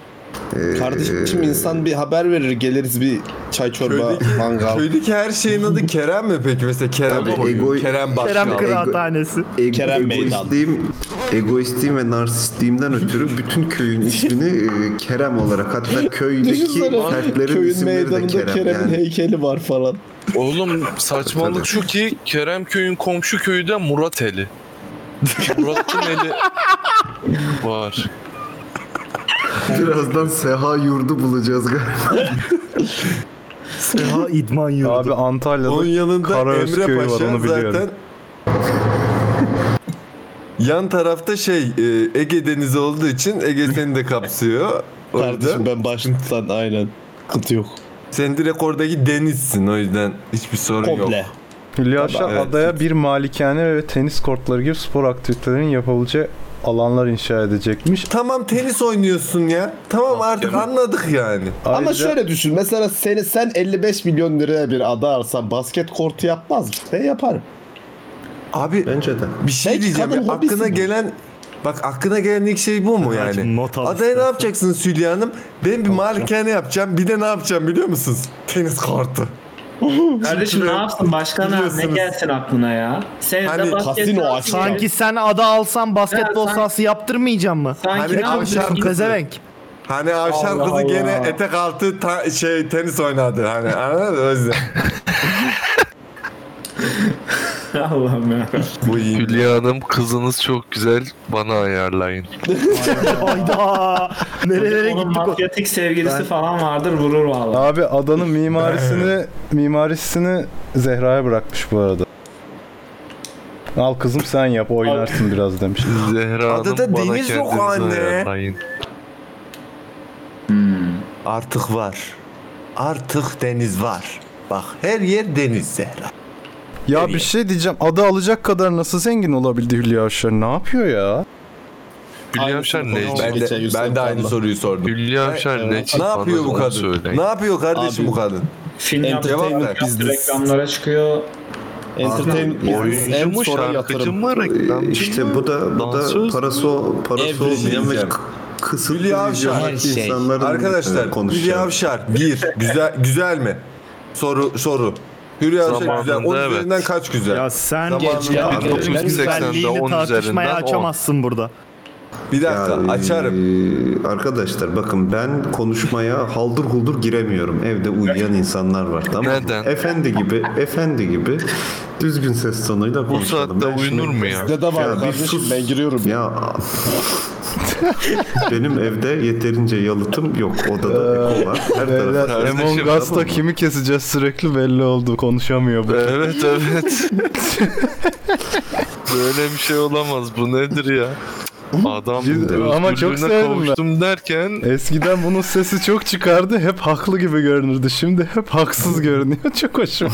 D: Ee.
H: Kardeşim insan bir haber verir geliriz bir çay çorba
B: Köydeki-
H: mangal.
B: Köydeki her şeyin adı Kerem mi peki? Mesela Kerem
D: Tabii,
B: Koyu,
D: ego-
B: Kerem Başkan.
E: Kerem Kıraathanesi.
D: Ego,
H: Kerem Meydan.
D: egoistliğim, egoistliğim ve narsistliğimden ötürü bütün köyün ismini e, Kerem olarak hatta köydeki
H: Düşünsene
D: fertlerin
H: köyün
D: isimleri de
H: meydanında
D: Kerem.
H: Kerem'in
D: yani.
H: heykeli var falan.
F: Oğlum saçmalık
D: Tabii.
F: şu ki Keremköy'ün komşu köyü de Murat Eli. Murat'ın eli var.
D: Birazdan Seha yurdu bulacağız galiba.
E: Seha idman yurdu.
C: Abi
B: Onun
C: Antalya'da
B: yanında
C: Karaöz
B: Emre
C: köyü var,
B: Paşa
C: onu biliyorum.
B: zaten. Yan tarafta şey e, Ege Denizi olduğu için Ege seni de kapsıyor. Orada
H: Kardeşim ben başlıktan aynen. Kıtı yok.
B: sen direkt oradaki denizsin o yüzden hiçbir sorun yok.
H: Komple.
C: Hülya Avşar
B: evet.
C: adaya bir malikane ve tenis kortları gibi spor aktivitelerinin yapılacağı alanlar inşa edecekmiş.
B: Tamam tenis oynuyorsun ya. Tamam artık anladık yani.
H: Ama
C: Ayrıca-
H: şöyle düşün mesela seni sen 55 milyon liraya bir ada alsan basket kortu yapmaz mı? Ne yaparım?
B: Abi
D: Bence de.
B: bir şey
H: Belki
B: diyeceğim.
H: kadın
B: ya,
H: hobisi
B: aklına
H: bu.
B: gelen bak aklına gelen ilk şey bu mu
E: Hacım,
B: yani?
E: not al
B: Adaya ne
E: istersen.
B: yapacaksın Hülya Hanım? Ben bir malikane yapacağım. Bir de ne yapacağım biliyor musunuz? Tenis kortu.
J: Kardeşim ne yapsın başkan abi ne
B: Biliyorsunuz.
J: gelsin aklına ya. Sen
B: Hani
J: de basket
H: kasino
J: sahası
H: açsın.
J: yap.
H: Sanki-
E: Sanki sen ada alsan basketbol
J: Ya, sanki-
E: sahası yaptırmayacak mı?
B: Hani
J: Sanki ne
B: akşam-
J: yapıyorsun?
E: Sen pezevenk.
B: Hani avşar
J: Allah
B: kızı gene
J: Allah.
B: etek altı ta- şey tenis oynadı hani anladın mı? O yüzden.
J: Allah'ım ya.
B: Bu iyi.
F: Hülya Hanım kızınız çok güzel bana ayarlayın.
E: Hayda. Nerelere
J: Onun
E: gittik o?
J: mafyatik sevgilisi falan vardır vurur valla.
C: Abi adanın mimarisini mimarisini Zehra'ya bırakmış bu arada. Al kızım sen yap oynarsın biraz demiş.
F: Zehra Hanım
B: Adada
F: bana
B: deniz yok
F: kendinizi
B: anne.
F: ayarlayın.
B: Artık var. Artık deniz var. Bak her yer deniz Zehra.
C: Ya bir şey diyeceğim. Ada alacak kadar nasıl zengin olabildi Hülya Avşar? Ne yapıyor ya?
F: Hülya
H: Aynı
F: Avşar
H: sınıfa
F: ne?
H: olmuş.
B: Ben
H: Geçen
B: de,
H: Yusuf
B: ben de aynı
H: abla.
B: soruyu sordum.
F: Hülya Avşar ne?
B: Ne yapıyor bu
F: Bana onu
B: kadın?
F: söyleyin.
B: Ne yapıyor kardeşim
H: Abi.
B: bu kadın?
J: Film yaptı,
B: Cevap ver.
J: yaptı reklamlara çıkıyor.
H: Entertainment business en
F: Oyuncu mu
H: sonra
F: şarkıcı
H: yatırım.
F: mı reklamcı
D: Ee, işte bu da bu
F: dansöz mü?
D: da parası parası
H: Evli
D: olmayan ve
B: diyeceğim.
D: kı- kısıtlı
B: Hülya
D: vizyon
B: Avşar. şey.
D: insanların insanların
B: Arkadaşlar
D: e, konuşacağı.
B: Hülya Avşar bir güzel güzel mi? Soru soru. Hülya Avşar güzel.
F: Zamanında
B: Onun
F: evet.
B: üzerinden kaç güzel?
E: Ya sen
B: Zamanında
E: ya,
B: abi,
E: güzelliğini
F: 1980'de 10
E: tartışmaya
F: üzerinden 10.
E: açamazsın burada.
B: bir dakika
D: Ya, e,
B: açarım.
D: Arkadaşlar bakın ben konuşmaya haldır huldur giremiyorum. Evde uyuyan insanlar var tamam mı?
F: Neden?
D: Efendi gibi, efendi gibi düzgün ses tonuyla
F: Bu
D: konuşalım.
F: saatte
D: Ben şimdi-
F: uyunur mu ya?
H: Ne de var
D: Ya bir
H: kardeşim
D: sus.
H: ben giriyorum.
D: Ya benim evde yeterince yalıtım yok. Odada eko var. Her tarafı.
C: Beyler
F: kardeşim,
C: Among Us'ta
F: tamam.
C: kimi keseceğiz sürekli belli oldu. Konuşamıyor bu.
F: Evet evet. Böyle bir şey olamaz. Bu nedir ya? Adam
C: Biz- ama çok
F: özgürlüğüne
C: sevdim ben.
F: kavuştum derken
C: Eskiden bunun sesi çok çıkardı. Hep haklı gibi görünürdü. Şimdi hep haksız görünüyor. Çok hoşuma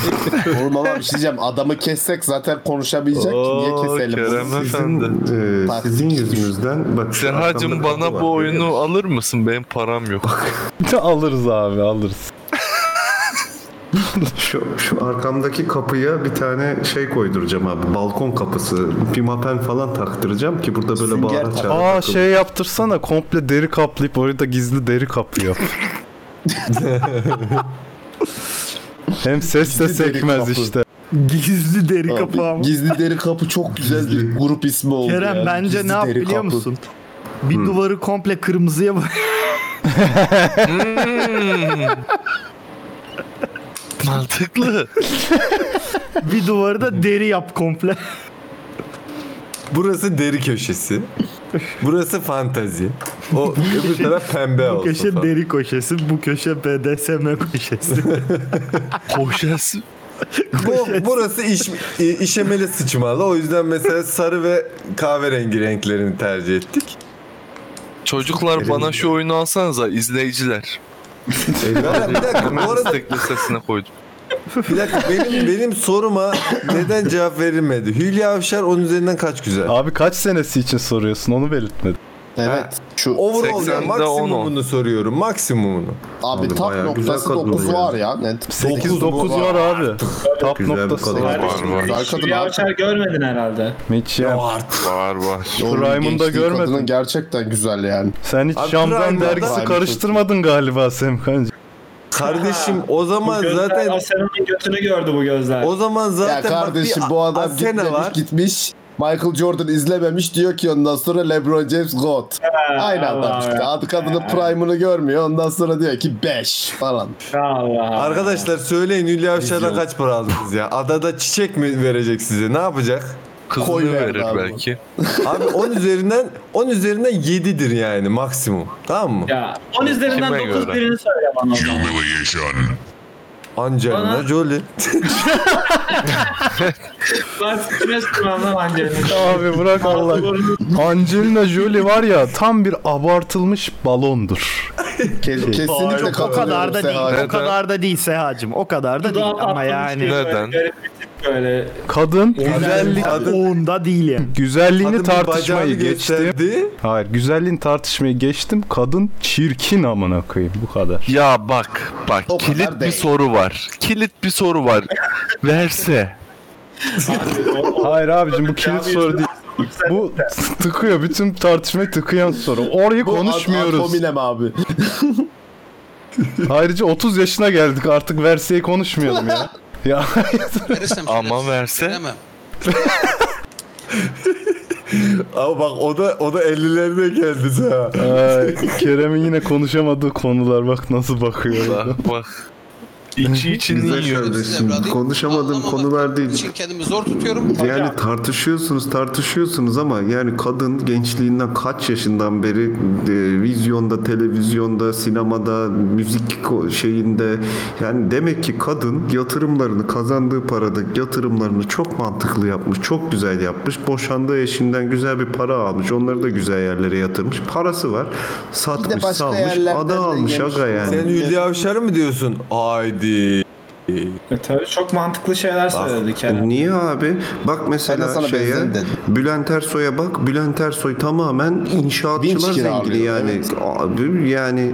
H: Oğlum ama bir şey diyeceğim. Adamı kessek zaten konuşamayacak ki. Niye
F: Oo,
H: keselim?
F: Kerem Efendi.
D: Sizin, e,
H: Bak.
D: sizin yüzünüzden bak. şu
F: Sehacım
D: arkamda
F: bana
D: kapı var,
F: bu
D: görüyor
F: oyunu
D: musun?
F: alır mısın? Benim param yok.
C: alırız abi alırız.
D: Şu, şu arkamdaki kapıya bir tane şey koyduracağım abi. Balkon kapısı. Pimapen falan taktıracağım ki burada böyle bağıra çağıra
C: Aa
D: takılın.
C: şey yaptırsana komple deri kaplayıp orada gizli deri kapı yap. Hem ses de
H: Gizli deri
C: sekmez
H: kapı.
C: işte.
E: Gizli deri
H: Abi,
E: kapı ama.
H: Gizli deri kapı çok güzel bir grup ismi oldu.
E: Kerem
H: yani.
E: bence
H: Gizli
E: ne yap
H: deri
E: biliyor
H: kapı.
E: musun? Bir
H: Hmm.
E: duvarı komple kırmızıya boy.
F: Mantıklı.
E: bir duvarı da deri yap komple.
B: Burası deri köşesi. Burası fantazi. O öbür taraf pembe
E: bu
B: olsun.
E: köşe
B: falan.
E: deri köşesi, bu köşe BDSM köşesi.
F: Koşası.
B: Bu, burası iş, i- işemeli sıçmalı. O yüzden mesela sarı ve kahverengi renklerini tercih ettik.
F: Çocuklar bana şu oyunu alsanıza izleyiciler.
H: E,
B: Eyvallah, bir dakika, bu arada-
F: Destek listesine koydum.
B: Bir dakika benim, benim soruma neden cevap verilmedi? Hülya Avşar onun üzerinden kaç güzel?
C: Abi kaç senesi için soruyorsun onu belirtmedin.
B: Evet. Şu Overall yani
C: 80'de
B: maksimumunu soruyorum. Maksimumunu.
H: Abi
B: Vallahi
H: tap
B: bayağı güzel
H: noktası
B: kadın
H: 9
B: oluyor.
H: var ya.
B: Dokuz mu?
C: abi. Tap
B: Güzel bir
C: noktası
B: kadın.
C: var.
H: Güzel kadın
J: Hülya
H: abi.
J: Avşar görmedin herhalde.
C: Hiç şey ya.
F: Var var.
C: Prime'ını da
H: Gençliği Kadının
C: görmedin.
H: gerçekten güzel yani.
C: Sen hiç
H: Abi
C: Şamdan
H: Prime'da-
C: dergisi
H: Prime
C: karıştırmadın galiba Semkancı.
B: Kardeşim o zaman
J: Bu gözler
B: zaten
J: Asena'nın götünü gördü bu gözler.
B: o zaman zaten
H: ya
B: bak
H: kardeşim
B: bir
H: bu adam
B: Asena
H: gitmemiş
B: var.
H: gitmiş. Michael Jordan izlememiş diyor ki ondan sonra LeBron James God. Aynı adam
J: Allah
H: işte.
J: ya.
H: Adı kadının prime'ını görmüyor. Ondan sonra diyor ki 5 falan.
B: Arkadaşlar söyleyin Hülya Avşar'dan kaç para aldınız ya? Adada çiçek mi verecek size? Ne yapacak?
F: Kızını
B: Koy ver
F: verir
B: abi.
F: belki.
B: Abi 10 üzerinden 10 üzerinden 7'dir yani maksimum. Tamam mı?
J: Ya 10 üzerinden
B: Kime
J: 9
B: göre?
J: birini söyle bana. o zaman.
B: Angelina
J: Bana-
B: Jolie.
J: Ben kime sormam lan Angelina?
C: Abi bırak Allah. Angelina Jolie var ya tam bir abartılmış balondur.
E: Hayır,
H: Kesinlikle
E: o kadar da değil. O
C: Neden?
E: kadar da değil Sehacım. O kadar da değil ama yani.
J: Böyle
C: Kadın
E: Güzellik
C: güzellik
E: onda değil yani.
C: güzelliğini
E: Kadın bir
C: tartışmayı
E: bacağını
C: geçtim. Hayır, güzelliğini tartışmayı geçtim. Kadın çirkin amına koyayım bu kadar.
F: Ya bak bak kilit bir soru var. Kilit bir soru var. Verse.
C: Hayır abicim bu kilit soru değil. Bu tıkıyor bütün tartışmayı tıkayan soru. Orayı konuşmuyoruz.
H: Kominem abi.
C: Ayrıca 30 yaşına geldik artık verseyi konuşmayalım ya. Ya
F: Ama verse.
B: Ama bak o da o da 50'lerine geldi ha.
C: Ay, Kerem'in yine konuşamadığı konular bak nasıl bakıyor.
F: Bak bak. İçi içini
D: Güzel
F: yiyor.
D: kardeşim. Konuşamadığım konular değil.
L: Kendimi zor tutuyorum.
D: Yani tartışıyorsunuz tartışıyorsunuz ama yani kadın gençliğinden kaç yaşından beri e, vizyonda, televizyonda, sinemada, müzik ko- şeyinde yani demek ki kadın yatırımlarını kazandığı parada yatırımlarını çok mantıklı yapmış, çok güzel yapmış. Boşandığı eşinden güzel bir para almış. Onları da güzel yerlere yatırmış. Parası var. Satmış,
H: başka
D: salmış.
H: yerlerden de
D: Ada almış
H: yemiş.
D: aga yani.
B: Sen Hülya Avşar'ı mı diyorsun? Haydi.
J: E, tabii çok mantıklı şeyler söyledi Kerem.
D: Niye abi? Bak
H: de
D: mesela
H: sana
D: şeye,
H: benzerim dedim.
D: Bülent Ersoy'a bak. Bülent Ersoy tamamen
H: Vinç
D: inşaatçılar zengini
H: kiralıyor,
D: yani. Abi yani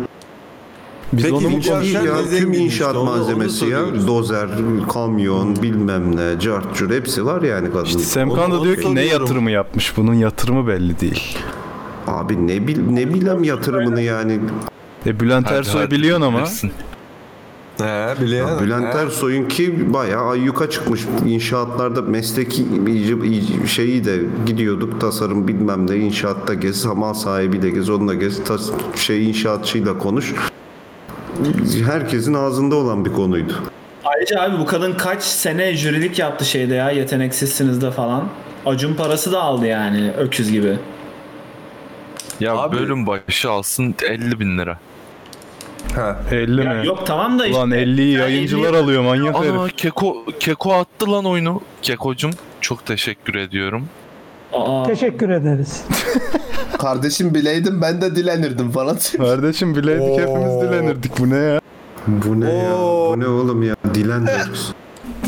C: Biz
D: Peki
C: onu mu
D: Hülya
C: konuşuyoruz?
D: Avşar
C: Biz
D: ya, tüm
C: zenginiz
D: inşaat
C: işte, onu- onu
D: malzemesi ya. Dozer, kamyon, bilmem ne, cart curt hepsi var yani kadın.
C: Semkan da diyor ki ne yatırımı yapmış bunun yatırımı belli değil.
D: Abi ne bil ne bilem yatırımını yani.
C: E Bülent
D: Hadi,
C: Ersoy'u
D: hadi,
C: biliyorsun ama.
D: bilirsin.
B: He biliyorum.
D: Bülent Ersoy'unki bayağı ayyuka çıkmış. İnşaatlarda mesleki iyice- iyice- şeyi de gidiyorduk. Tasarım bilmem ne inşaatta gez, hamal sahibi de gez, onunla gez, tas, şey inşaatçıyla konuş. Herkesin ağzında olan bir konuydu.
J: Ayrıca abi bu kadın kaç sene jürilik yaptı şeyde ya yeteneksizsiniz de falan. Acun parası da aldı yani öküz gibi.
F: Ya bölüm başı alsın 50 bin lira.
B: Ha.
C: 50 mi?
J: Yok tamam da işte.
C: Ulan 50'yi yayıncılar alıyor manyak
F: Ana
C: herif.
F: Keko, Keko attı lan oyunu. Kekocum çok teşekkür ediyorum.
K: Teşekkür ederiz.
H: Kardeşim bileydim ben de dilenirdim falan.
C: Kardeşim bileydik hepimiz dilenirdik bu ne ya?
D: Bu ne ya? Bu ne oğlum ya? Dilen diyoruz.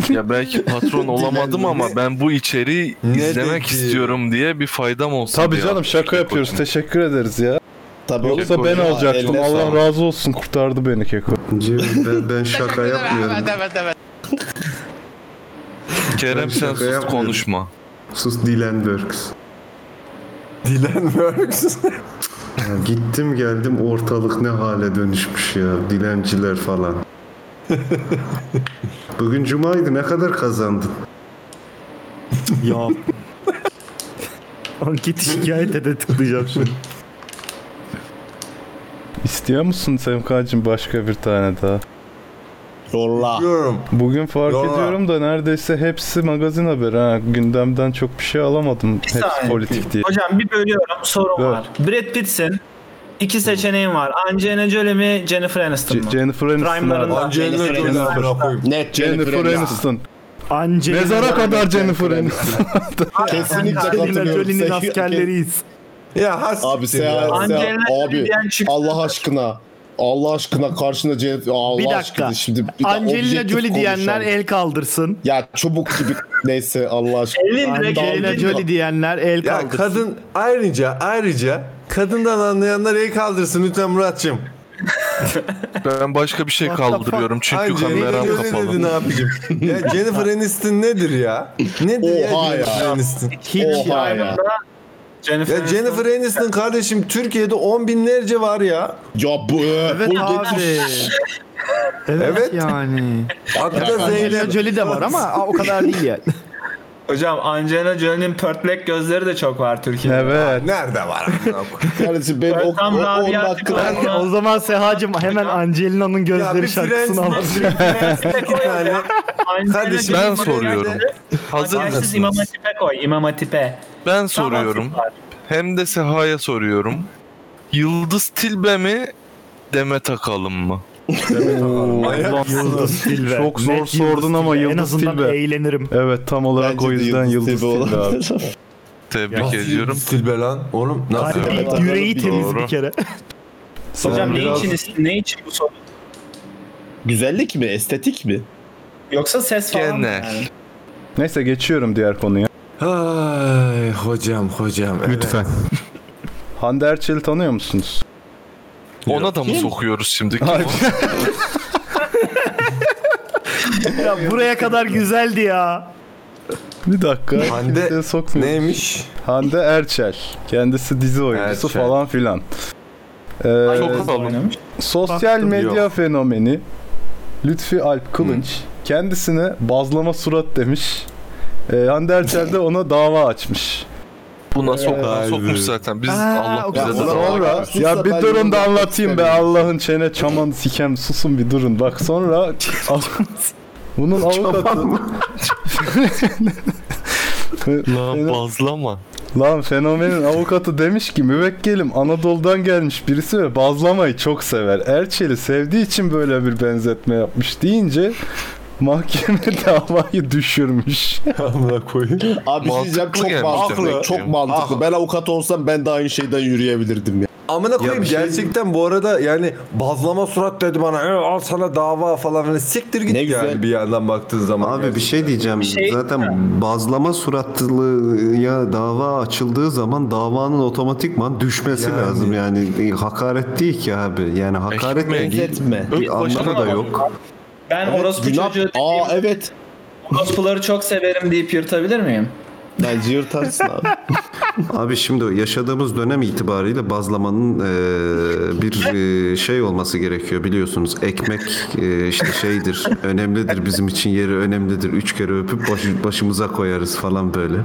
F: Ya belki patron olamadım ama ben bu içeriği
C: Ne
F: izlemek
C: dedi?
F: istiyorum diye bir faydam olsun
C: Tabii
F: diye
C: canım
F: attı
C: şaka yapıyoruz
F: Kekocum.
C: teşekkür ederiz ya.
H: Tabii
C: Yoksa ben
F: Kekocuğum.
C: alacaktım
F: Eline
C: Allah
F: sağlık.
C: razı olsun kurtardı beni Keko.
D: Ben, ben şaka yapmıyorum.
L: evet evet.
F: Kerem
D: Ben
F: sen
D: şaka
F: sus
D: yapmıyorum.
F: konuşma.
D: Sus Dylan Works.
B: Dylan Works.
D: gittim geldim ortalık ne hale dönüşmüş ya. Dilenciler falan. Bugün cumaydı ne kadar kazandın?
E: ya. Lan Git şikayet ede tıklayacağım şimdi.
C: İstiyor musun Semkacığım başka bir tane daha?
H: Yolla.
C: Bugün fark
H: Yolla.
C: ediyorum da neredeyse hepsi magazin haberi ha. Gündemden çok bir şey alamadım. Hepsi
J: saniye.
C: politik diye.
J: Hocam bir bölüyorum sorun
C: Evet.
J: var. Brad Pitt'sin. İki seçeneğin var. Angelina Jolie mi Jennifer Aniston mu?
C: C- Jennifer Aniston.
J: Prime'larında.
C: abi.
H: Net
C: Jennifer,
H: Jennifer
C: Aniston.
E: Angelina
C: Mezara kadar
E: Jolie.
C: Jennifer Aniston.
H: Kesinlikle
E: Angelina
H: katılıyorum.
E: Jolie'nin
H: Sen-
E: askerleriyiz.
B: Ya
H: Abi sen, sen abi Allah aşkına Allah aşkına karşında Jennifer Allah
E: Bir dakika.
H: aşkına şimdi bir de
E: Angelina
H: objektif
E: Jolie diyenler
H: konuşalım.
E: el kaldırsın.
H: Ya çubuk gibi neyse Allah aşkına.
E: Angelina Jolie diyenler el
B: Ya
E: kaldırsın.
B: kadın ayrıca ayrıca kadından anlayanlar el kaldırsın lütfen Muratçım.
F: Ben başka bir şey kaldırıyorum çünkü kameram kapalı.
B: Ne yapayım? ya Jennifer Aniston nedir ya? Nedir
F: Oha
B: ya Jennifer
F: ya.
B: Aniston?
F: Hiç Oha ya. ya.
B: Jennifer, ya Jennifer Aniston kardeşim Türkiye'de on binlerce var ya.
H: Ya bu
E: Evet
B: bu
E: abi.
B: getir-
E: Evet,
B: Evet.
E: yani.
B: Hakikaten
E: Angelina
B: Zeynep.
E: Jolie de var ama aa, o kadar değil yani.
J: Hocam Angelina Jolie'nin pörtlek gözleri de çok var Türkiye'de.
C: Evet.
B: Nerede var?
H: Kardeşim benim o,
J: tam
H: o, o
J: Rabia
H: dakika.
J: Tükrü'nün
E: o zaman Sehacım hemen Angelina'nın gözleri şarkısını alalım.
B: Kardeşim
F: ben soruyorum. Hazır
J: Siz İmam
F: mısınız?
J: Hatip'e koy. İmam Hatip'e.
F: Ben soruyorum. Hem de Seha'ya soruyorum. Yıldız Tilbe mi? Demet Akalın mı?
E: Yıldız Tilbe.
C: Çok zor
E: Net Yıldız
C: sordun ama
E: Tilbe. En
C: Yıldız
E: azından
C: Tilbe.
E: eğlenirim.
C: Evet tam olarak o yüzden Yıldız Tilbe abi.
F: Tebrik ediyorum.
B: Silbe lan oğlum. Nasıl?
E: Kalbi,
B: Evet.
E: yüreği temiz
F: Doğru.
E: bir kere.
J: Hocam
B: Sen
J: ne
B: biraz-
J: için, ne için bu soru?
H: Güzellik mi? Estetik mi?
J: Yoksa ses falan mı?
C: Genel.
J: yani?
C: Neyse geçiyorum diğer konuya.
B: Ay hocam hocam. evet.
C: Lütfen. Hande Erçel'i tanıyor musunuz?
F: Ona da mı sokuyoruz şimdi? Kim
C: Hayır.
F: o?
E: Ya buraya kadar güzeldi ya.
C: Bir dakika.
B: Hande
C: kimseye sokmuyoruz.
B: Neymiş?
C: Hande Erçel. Kendisi dizi oyuncusu
B: Erçel.
C: falan filan. Ee,
F: Çok alınmış.
C: sosyal
B: Baktım,
C: medya
B: yok.
C: fenomeni Lütfi Alp Kılınç kendisine bazlama surat demiş. Ee, Hande Erçel de ona dava açmış.
F: Buna
B: Vay
F: sokmuş,
B: be.
F: sokmuş zaten. Biz
E: Aa,
F: Allah
E: o
F: bize de
H: kadar.
F: dava
H: Sonra-
F: görsün.
C: ya
H: Sussa
C: bir
H: ben
C: durun
H: yorumlamak
C: da anlatayım be
H: istemiyorum.
C: Allah'ın çene çaman sikem susun bir durun. Bak sonra bunun avukatı
F: Lan bazlama.
C: Lan fenomenin avukatı demiş ki müvekkilim Anadolu'dan gelmiş birisi ve bazlamayı çok sever. Erçel'i sevdiği için böyle bir benzetme yapmış deyince mahkeme davayı düşürmüş.
B: Amına koyayım.
H: Abi bir şey diyeceğim çok mantıklı.
F: Mantıklı gelmiş demek ki.
H: Çok
C: Ah.
H: mantıklı. Ben avukat olsam ben de aynı şeyden yürüyebilirdim ya.
B: Amına koyayım
D: bir şey-
B: gerçekten bu arada yani bazlama surat dedi bana "E, al sana dava falan filan siktir git
H: Ne
B: yani
H: güzel.
B: bir yandan baktığın zaman.
D: Abi bir şey diyeceğim.
J: şey-
D: Zaten bazlama suratlılığa dava açıldığı zaman davanın otomatikman düşmesi
B: Yani.
D: lazım. Yani e, hakaret değil ki abi. Yani hakaret
F: Ekmek.
D: de değil.
H: Benzetme.
D: Bir anlamı da yok.
J: Ben orospu
H: Günah.
J: çocuğu
H: Aa evet.
J: orospuları çok severim deyip yırtabilir miyim?
H: Bence yırtarsın abi.
D: Abi şimdi yaşadığımız dönem itibariyle bazlamanın e, bir e, şey olması gerekiyor biliyorsunuz. Ekmek e, işte şeydir, önemlidir bizim için yeri önemlidir. Üç kere öpüp başı- başımıza koyarız falan böyle.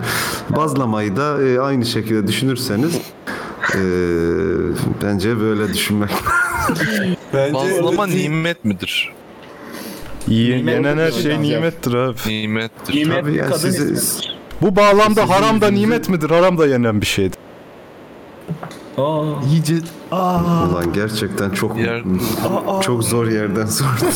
D: Bazlamayı da e, aynı şekilde düşünürseniz e, bence böyle düşünmek.
B: Bence
F: Bazlama
B: Lütfi-
F: nimet midir?
C: Yenen her şey nimettir abi.
F: Nimettir.
J: Nimet
D: Abi yani
J: kadın
D: sizi,
J: ismi.
C: Bu bağlamda haram da nimet midir? Haram da yenen bir şeydir.
J: Aa.
D: ulan gerçekten çok
F: Yer-
D: çok zor yerden sordun.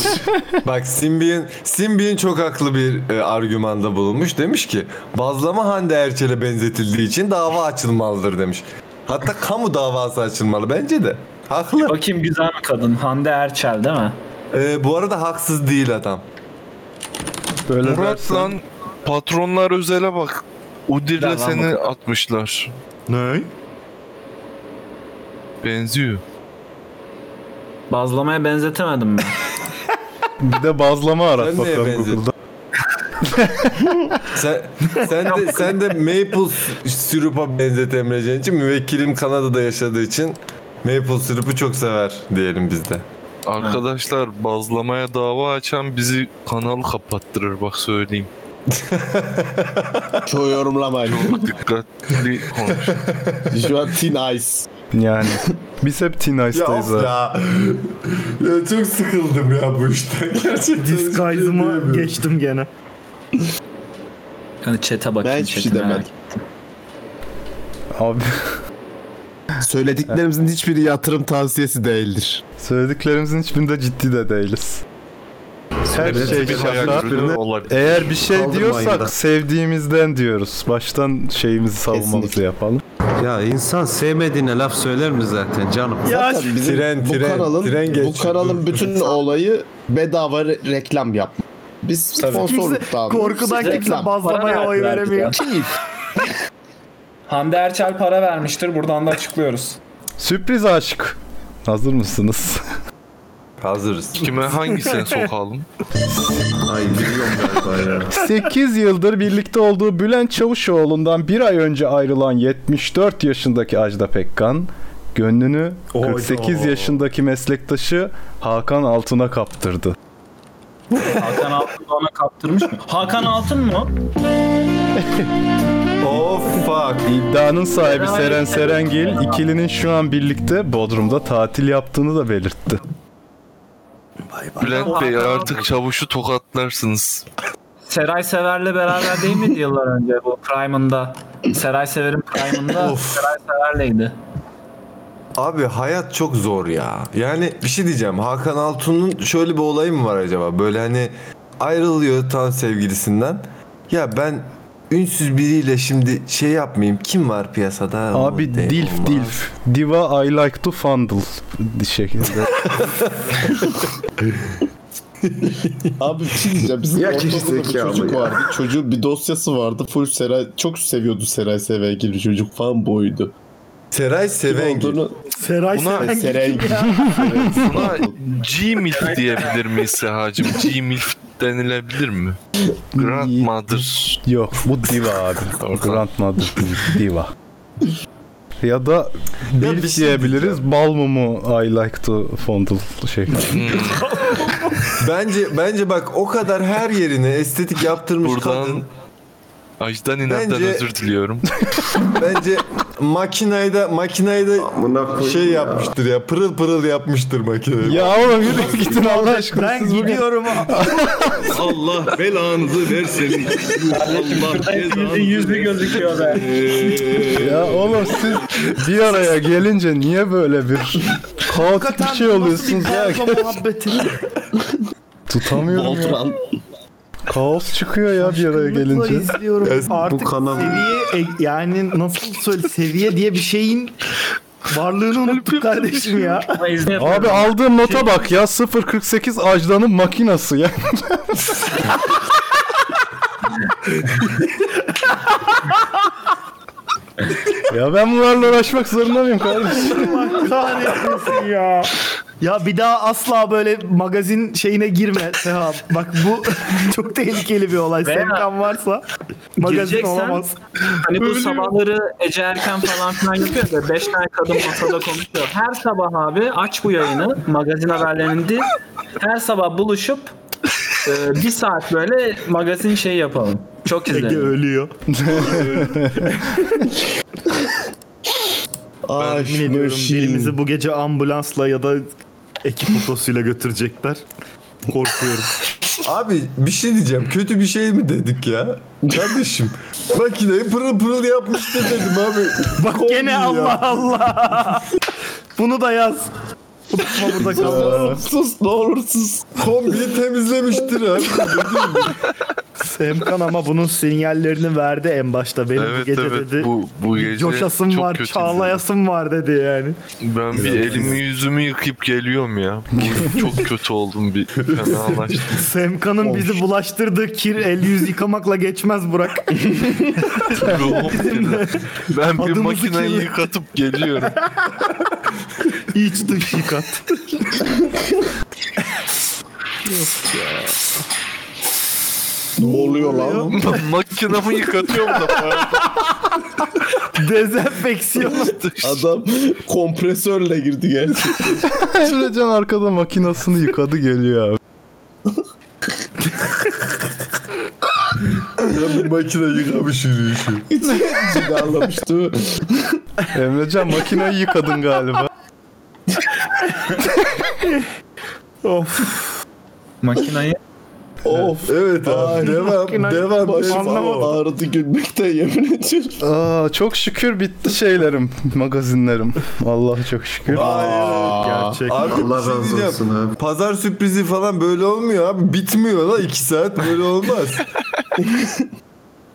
B: Bak Simbi'nin Simbi'nin çok haklı bir e, argümanda bulunmuş. Demiş ki bazlama Hande Erçel'e benzetildiği için dava açılmalıdır demiş. Hatta kamu davası açılmalı bence de. Haklı.
J: Bakayım güzel bir kadın. Hande Erçel değil mi?
B: E, bu arada haksız değil adam.
C: Böyle
F: Murat
C: dersen-
F: lan patronlar özele bak. Udir'le
J: Lan lan
F: seni atmışlar.
I: Ne?
F: Benziyor.
J: Bazlamaya benzetemedim ben.
C: Bir de bazlama arat
B: Sen neye
C: bakalım
B: benziyorsun?
C: Google'da.
B: sen, sen de sen de maple s- sirup'a benzet Emrecan için müvekkilim Kanada'da yaşadığı için maple sirupu çok sever diyelim biz de.
F: Arkadaşlar bazlamaya dava açan bizi kanal kapattırır bak söyleyeyim.
H: Çoğu yorumlamayın.
F: Çok dikkatli konuş.
H: Şu an Teen Ice.
C: Yani biz hep Teen Ice'dayız
B: Ya of
C: abi.
B: ya. Ya çok sıkıldım ya bu işten. Gerçekten.
E: Disguise'ıma geçtim gene.
J: Hani chat'e bakayım.
H: Ben hiçbir şey
J: chat'e merak
H: demedim.
J: ettim.
C: Abi.
H: Söylediklerimizin hiçbiri yatırım tavsiyesi değildir.
C: Söylediklerimizin hiçbirinde ciddi de değiliz. Her şey
F: bir hayal
C: şaka.
F: ürünü olabilir.
C: Eğer bir şey
F: Kaldırmayın da.
C: diyorsak sevdiğimizden diyoruz. Baştan şeyimizi savunmamızı
D: Kesinlikle.
C: yapalım.
D: Ya insan sevmediğine laf söyler mi zaten canım?
H: Ya bizim bu kanalın, bu kanalın bütün olayı bedava re- reklam yapma. Biz sponsorluk
E: Kimse-
H: da almıyoruz.
E: korkudan
H: Biz
E: kimse
H: reklam.
E: bazlamaya
H: Para
E: oy
H: verdiler
E: veremiyor.
H: bize.
J: Hande Erçel para vermiştir. Buradan da açıklıyoruz.
C: Sürpriz aşk. Hazır mısınız?
B: Hazırız.
F: Kime hangisine sokalım?
D: Ay biliyorum galiba ya.
C: 8 yıldır birlikte olduğu Bülent Çavuşoğlu'ndan bir ay önce ayrılan 74 yaşındaki Ajda Pekkan gönlünü 48 yaşındaki meslektaşı Hakan Altun'a kaptırdı.
J: Hakan Altın da ona kaptırmış mı? Hakan Altın mı?
B: Of Oh fuck.
C: İddianın sahibi Seren Serengil ikilinin şu an birlikte Bodrum'da tatil yaptığını da belirtti.
F: Bülent Bey artık çavuşu tokatlarsınız.
J: Seray Sever'le beraber değil miydi yıllar önce bu Prime'ında? Seray Sever'in Prime'ında Seray Sever'leydi.
B: Abi hayat çok zor ya. Yani bir şey diyeceğim. Hakan Altun'un şöyle bir olayı mı var acaba? Böyle hani ayrılıyor tam sevgilisinden. Ya ben ünsüz biriyle şimdi şey yapmayayım. Kim var piyasada?
C: Abi
B: O değil,
C: dilf
B: olmaz.
C: dilf. Diva I like to fondle şeklinde.
H: Abi bir şey diyeceğim. Bizim
D: Ya
H: ortaokulda bir
D: gerizekalı
H: çocuk
D: ya.
H: vardı. Çocuğun bir dosyası vardı. Full Seray çok seviyordu Seray Sevengil çocuk fan boydu.
B: Seray
H: Sevengil.
E: Seray
H: Buna Serengil.
F: Buna G-MILF diyebilir miyiz Seha'cığım? G-MILF denilebilir mi? Grandmother.
C: Yok bu diva abi. Grandmother değil, diva. Ya şey da dilf diyebiliriz. Bal mı mu I like to fondle şey. şeklinde.
B: Bence bence bak o kadar her yerine estetik yaptırmış kadın.
F: Ajdan inattan
B: Bence-
F: özür diliyorum.
B: Bence makinayı da makinayı da şey yapmıştır ya. Pırıl pırıl yapmıştır makineyi.
C: ya oğlum yürü gidin Allah aşkına.
E: Ben gidiyorum.
L: Allah belanızı versin. Allah
J: yüzü gözüküyor be.
C: ya oğlum siz bir araya gelince niye böyle bir kaotik bir şey oluyorsunuz ya?
E: muhabbeti.
C: Tutamıyorum ya. Kaos çıkıyor ya bir araya gelince.
E: izliyorum. Artık
C: bu kanal-
E: seviye e, yani nasıl söyle seviye diye bir şeyin varlığını unuttuk kardeşim ya.
J: şey
C: Abi aldığım nota bak ya 048 Ajda'nın makinası ya. ya ben bunlarla uğraşmak zorunda mıyım kardeşim?
E: Allah kahretmesin ya. Ya bir daha asla böyle magazin şeyine girme Seha. Bak bu çok tehlikeli bir olay.
J: Veya-
E: Sevkan varsa magazin
J: Gireceksen,
E: olamaz.
J: Hani bu
E: Ölüyorum.
J: sabahları Ece Erken falan filan yapıyor da 5 tane kadın masada konuşuyor. Her sabah abi aç bu yayını magazin haberlerini değil. Her sabah buluşup e, bir saat böyle magazin şey yapalım. Çok
E: Ege
J: izledim.
E: ölüyor.
H: Ay,
E: Yemin ediyorum
H: Machine.
E: birimizi bu gece ambulansla ya da ekip otosuyla götürecekler. Korkuyorum.
B: Abi bir şey diyeceğim. Kötü bir şey mi dedik ya? Kardeşim makineyi pırıl pırıl yapmıştır dedim abi.
E: Bak gene
B: ya.
E: Allah Allah. Bunu da yaz. Unutma burada kalmasın.
H: sus ne olur sus.
B: Kombiyi temizlemiştir abi.
E: Semkan ama bunun sinyallerini verdi en başta. Benim bu
F: Evet,
E: gece
F: evet,
E: dedi.
F: bu- bu gece
E: coşasım
F: çok
E: var,
F: kötü
E: çağlayasım var dedi yani.
F: Ben bir elimi yüzümü yıkayıp geliyorum ya. Bu çok kötü oldum bir fenalaştım.
E: Semkan'ın bizi bulaştırdığı kir el yüz yıkamakla geçmez Burak.
F: Ruhum kirli. Ben bir
E: Adımızı
F: makineyi
E: kirli.
F: yıkatıp geliyorum.
E: İç dış yıkat.
H: Oluyor lan.
F: Makinamı yıkatıyorum da.
E: Dezenfeksiyon.
H: Adam kompresörle girdi gerçekten.
C: Emrecan arkada makinasını yıkadı geliyor abi.
H: Ya bu makine yıkamış yürüyüşü. Cidarlamış değil mi?
C: Emrecan makinayı yıkadın galiba.
E: of.
A: Makinayı
H: Of. Evet abi. Devam. Devam. Başım
C: Anlamadım.
H: ağrıdı gülmekten yemin ediyorum.
C: Aa, çok şükür bitti şeylerim, magazinlerim. Vallahi çok şükür.
E: Ah,
B: Abi Allah razı olsun abi. Pazar sürprizi falan böyle olmuyor abi. Bitmiyor lan 2 saat böyle olmaz.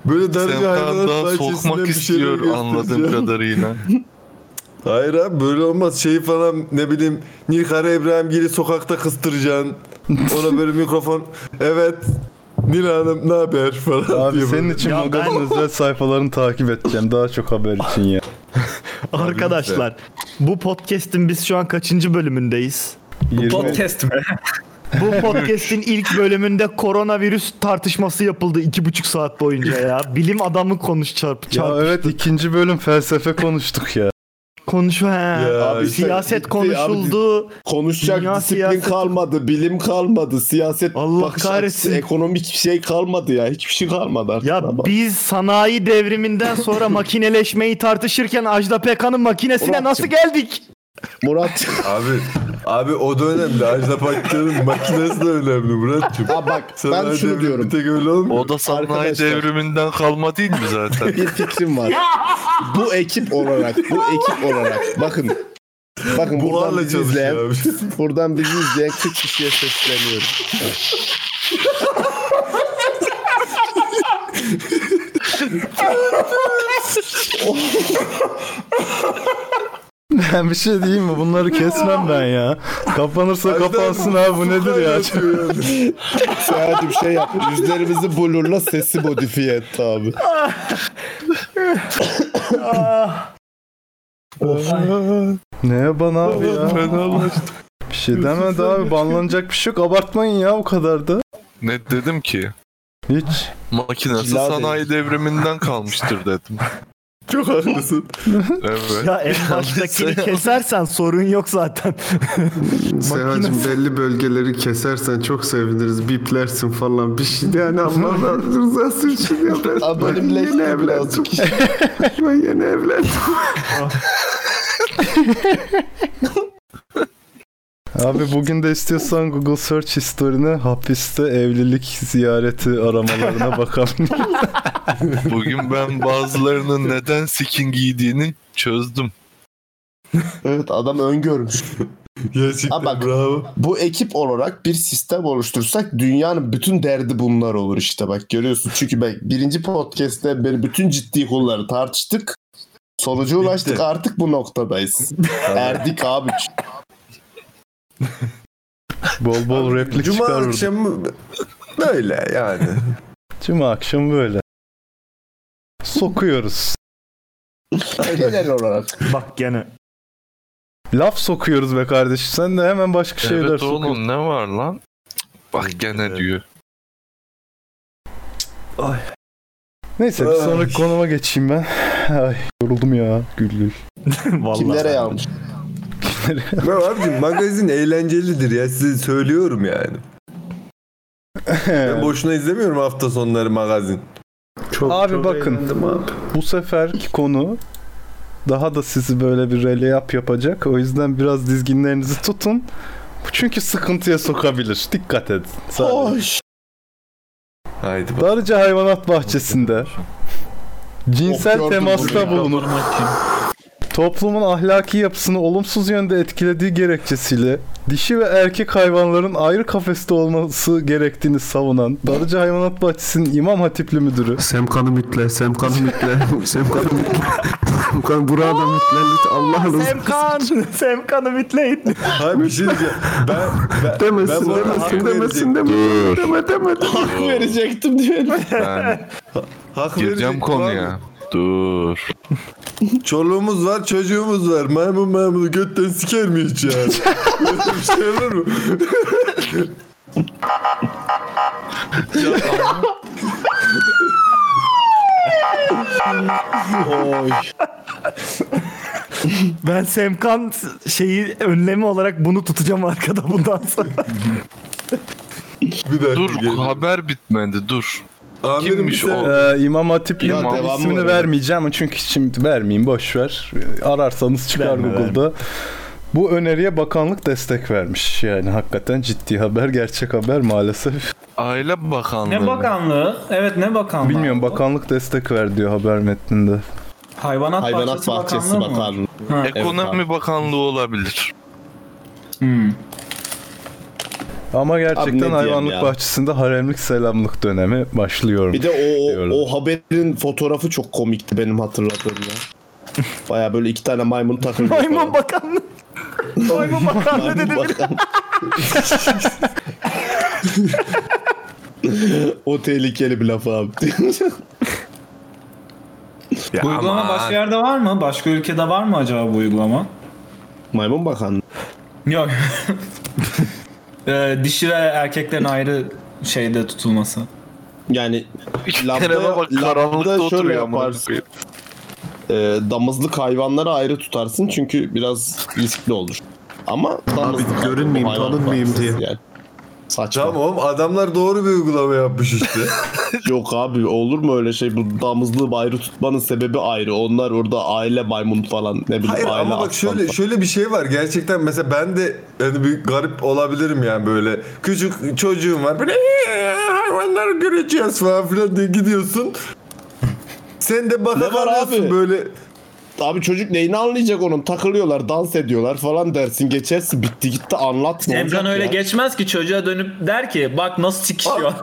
B: böyle
F: Sen
B: dergi
F: daha, daha
B: hayvanat bahçesinden
F: sokmak
B: bir şeyler
F: istiyor anladığım
B: göstereceğim.
F: kadarıyla.
B: Hayır abi böyle olmaz. Şey falan ne bileyim Nilkara İbrahimgil'i sokakta kıstıracaksın. Ona böyle mikrofon. Evet. Nil Hanım ne haber falan.
C: Abi
B: diye
C: senin
B: böyle.
C: için magazin özel sayfalarını takip edeceğim. Daha çok haber için ya.
E: Arkadaşlar bu podcast'in biz şu an kaçıncı bölümündeyiz?
C: Yirmi-
A: podcast mi?
E: Bu podcast'in ilk bölümünde koronavirüs tartışması yapıldı iki buçuk saat boyunca ya. Bilim adamı konuş çarp,
C: Ya
E: çarp
C: evet ikinci bölüm felsefe konuştuk ya.
E: konuşu he. abi
H: işte
E: siyaset
H: bitti
E: konuşuldu.
H: Abi, konuşacak
E: Dünya
H: disiplin
E: siyaseti-
H: kalmadı, bilim kalmadı, siyaset Allah
E: kahretsin.
H: ekonomik şey kalmadı ya. Hiçbir şey kalmadı artık.
E: Ya
H: ama.
E: biz sanayi devriminden sonra makineleşmeyi tartışırken Ajda Pekkan'ın makinesine nasıl geldik?
H: Murat
B: Abi abi o da önemli. Ajda Pekkan'ın makinesi de önemli Murat'cığım.
H: Ha bak
B: Sanayi
H: ben şunu
B: devrimi
H: diyorum.
B: Bir tek öyle olmuyor.
F: O da sanayi
H: Arkadaşlar.
F: devriminden kalma değil mi zaten?
H: bir fikrim var. bu ekip olarak, bu ekip olarak bakın. Bakın buradan
B: Buharla
H: bizi izleyen,
B: çalışıyor
H: buradan bizi izleyen 40 kişiye sesleniyorum.
C: Ben bir şey diyeyim mi? Bunları kesmem ben ya. Kapanırsa kapansın abi bu nedir ya?
H: Sadece bir şey yap. Yüzlerimizi blurla sesi modifiye et abi.
C: ne bana abi ya?
F: Fenalaştım.
C: Bir şey demedi abi. Banlanacak bir şey yok. Abartmayın ya o kadar da.
F: Ne dedim ki?
C: Hiç.
F: Makinesi
C: Cila
F: sanayi devriminden kalmıştır dedim.
H: Çok haklısın.
F: Evet.
E: Ya en baştakini kesersen sorun yok zaten.
D: Sehacım belli bölgeleri kesersen çok seviniriz. Biplersin falan bir şey. Yani Allah razı rızası için ya. Ben, ben yeni evlendim. ben yeni evlendim.
C: Abi bugün de istiyorsan Google Search History'ne hapiste evlilik ziyareti aramalarına bakalım.
F: Bugün ben bazılarının neden skin giydiğini çözdüm.
H: Evet adam öngörmüş.
B: Gerçekten
H: Ha bak, Bu ekip olarak bir sistem oluştursak dünyanın bütün derdi bunlar olur işte bak görüyorsun. Çünkü bak birinci podcast'te beri bütün ciddi konuları tartıştık. Sonuca ulaştık artık bu noktadayız. Erdik abi.
C: bol bol replik
B: Cuma
C: çıkar burada.
B: akşamı böyle yani.
C: Cuma akşamı böyle. Sokuyoruz.
H: Genel olarak.
E: Bak gene.
C: Laf sokuyoruz be kardeşim. Sen de hemen başka
H: şey
C: şeyler
F: evet
C: sokuyorsun.
F: oğlum ne var lan? Bak gene diyor.
C: Neyse bir
F: Ay.
C: sonraki konuma geçeyim ben. Ay yoruldum ya gül gül.
E: Vallahi.
H: Kimlere yanmış?
B: Ya abicim magazin eğlencelidir ya size söylüyorum yani. Ben boşuna izlemiyorum hafta sonları magazin.
C: abi bakın bu seferki konu daha da sizi böyle bir rally up yapacak. O yüzden biraz dizginlerinizi tutun. Bu Çünkü sıkıntıya sokabilir. Dikkat edin. Sadece.
B: Haydi bak.
C: Darıca hayvanat bahçesinde cinsel
H: gördüm
C: temasta
H: burayı.
C: bulunur. Toplumun ahlaki yapısını olumsuz yönde etkilediği gerekçesiyle dişi ve erkek hayvanların ayrı kafeste olması gerektiğini savunan Darıca Hayvanat Bahçesi'nin İmam Hatipli Müdürü
D: Semkan'ı mütle, Semkan'ı mütle, Semkan'ı mütle. Semkan burada mütle, lütfen Allah razı
E: Semkan, Semkan'ı bitleyin.
B: Hayır bir şey diyeceğim. Ben, ben, ben
D: Demesin,
B: bu arada hak
D: demesin, demesin,
B: verecektim.
D: demesin, deme, deme.
H: Hak verecektim diyelim.
F: Ben
B: Hak
F: gireceğim
B: verecektim
F: konuya.
B: abi.
F: Dur.
B: Çoluğumuz var, çocuğumuz var. Maymun maymunu götten siker mi hiç ya? Böyle bir şey olur mu?
E: Oy. ben Semkan şeyi önlemi olarak bunu tutacağım arkada bundan sonra.
F: dur haber bitmedi dur. Kimmiş o?
C: Ee, İmam Hatip
F: İmam.
C: İmam
F: Devamı
C: ismini
F: var.
C: vermeyeceğim çünkü şimdi vermeyeyim boş ver. Ararsanız çıkar
F: Verme,
C: Google'da. Bu öneriye bakanlık destek vermiş. Yani hakikaten ciddi haber, gerçek haber maalesef.
F: Aile Bakanlığı.
C: Ne
A: bakanlığı? Evet ne bakanlığı?
C: Bilmiyorum bakanlık destek ver diyor haber metninde.
A: Hayvanat,
F: Hayvanat Bahçesi
A: Bakanlığı mı?
F: Bakanlığı.
A: Ha.
F: Ekonomi Bakanlığı olabilir.
C: Ama
H: Abi ne
C: gerçekten
H: diyeyim
C: hayvanlık
H: ya?
C: bahçesinde haremlik selamlık dönemi başlıyor.
H: Bir de o, o, o haberin fotoğrafı çok komikti benim hatırladığım ya. Baya böyle iki tane maymun takıldı.
E: Maymun bakanlığı. Maymun bakanlığı dedi.
H: o tehlikeli bir laf abi.
A: Bu uygulama başka yerde var mı? Başka ülkede var mı acaba bu uygulama?
H: Maymun bakanlığı.
A: Yok. Ee, dişi ve erkeklerin ayrı şeyde tutulması.
H: Yani
A: Kerem'e bak, karanlıkta
H: şöyle
A: oturuyor amına
H: yaparsın. Ee, damızlık hayvanları ayrı tutarsın çünkü biraz riskli olur. Ama damızlık görünmeyeyim, tanınmayayım diye. Yani. Saçma. Tamam
B: oğlum adamlar doğru bir uygulama yapmış işte.
H: Yok abi olur mu öyle şey? Bu damızlığı ayrı tutmanın sebebi ayrı. Onlar orada aile maymun falan ne bileyim
B: Hayır
H: aile
B: ama bak
H: aslan
B: şöyle
H: falan.
B: şöyle bir şey var. Gerçekten mesela ben de hani bir garip olabilirim yani böyle. Küçük çocuğum var. Böyle "Ee, hayvanları göreceğiz falan filan diye gidiyorsun. Sen de baka
H: Ne var
B: kalıyorsun
H: abi?
B: böyle.
H: Abi çocuk neyini anlayacak onun? Takılıyorlar, dans ediyorlar falan dersin. Geçersin bitti gitti anlat. ne
A: Semkan
H: olacak
A: öyle
H: ya?
A: geçmez ki çocuğa dönüp der ki bak nasıl sikişiyor.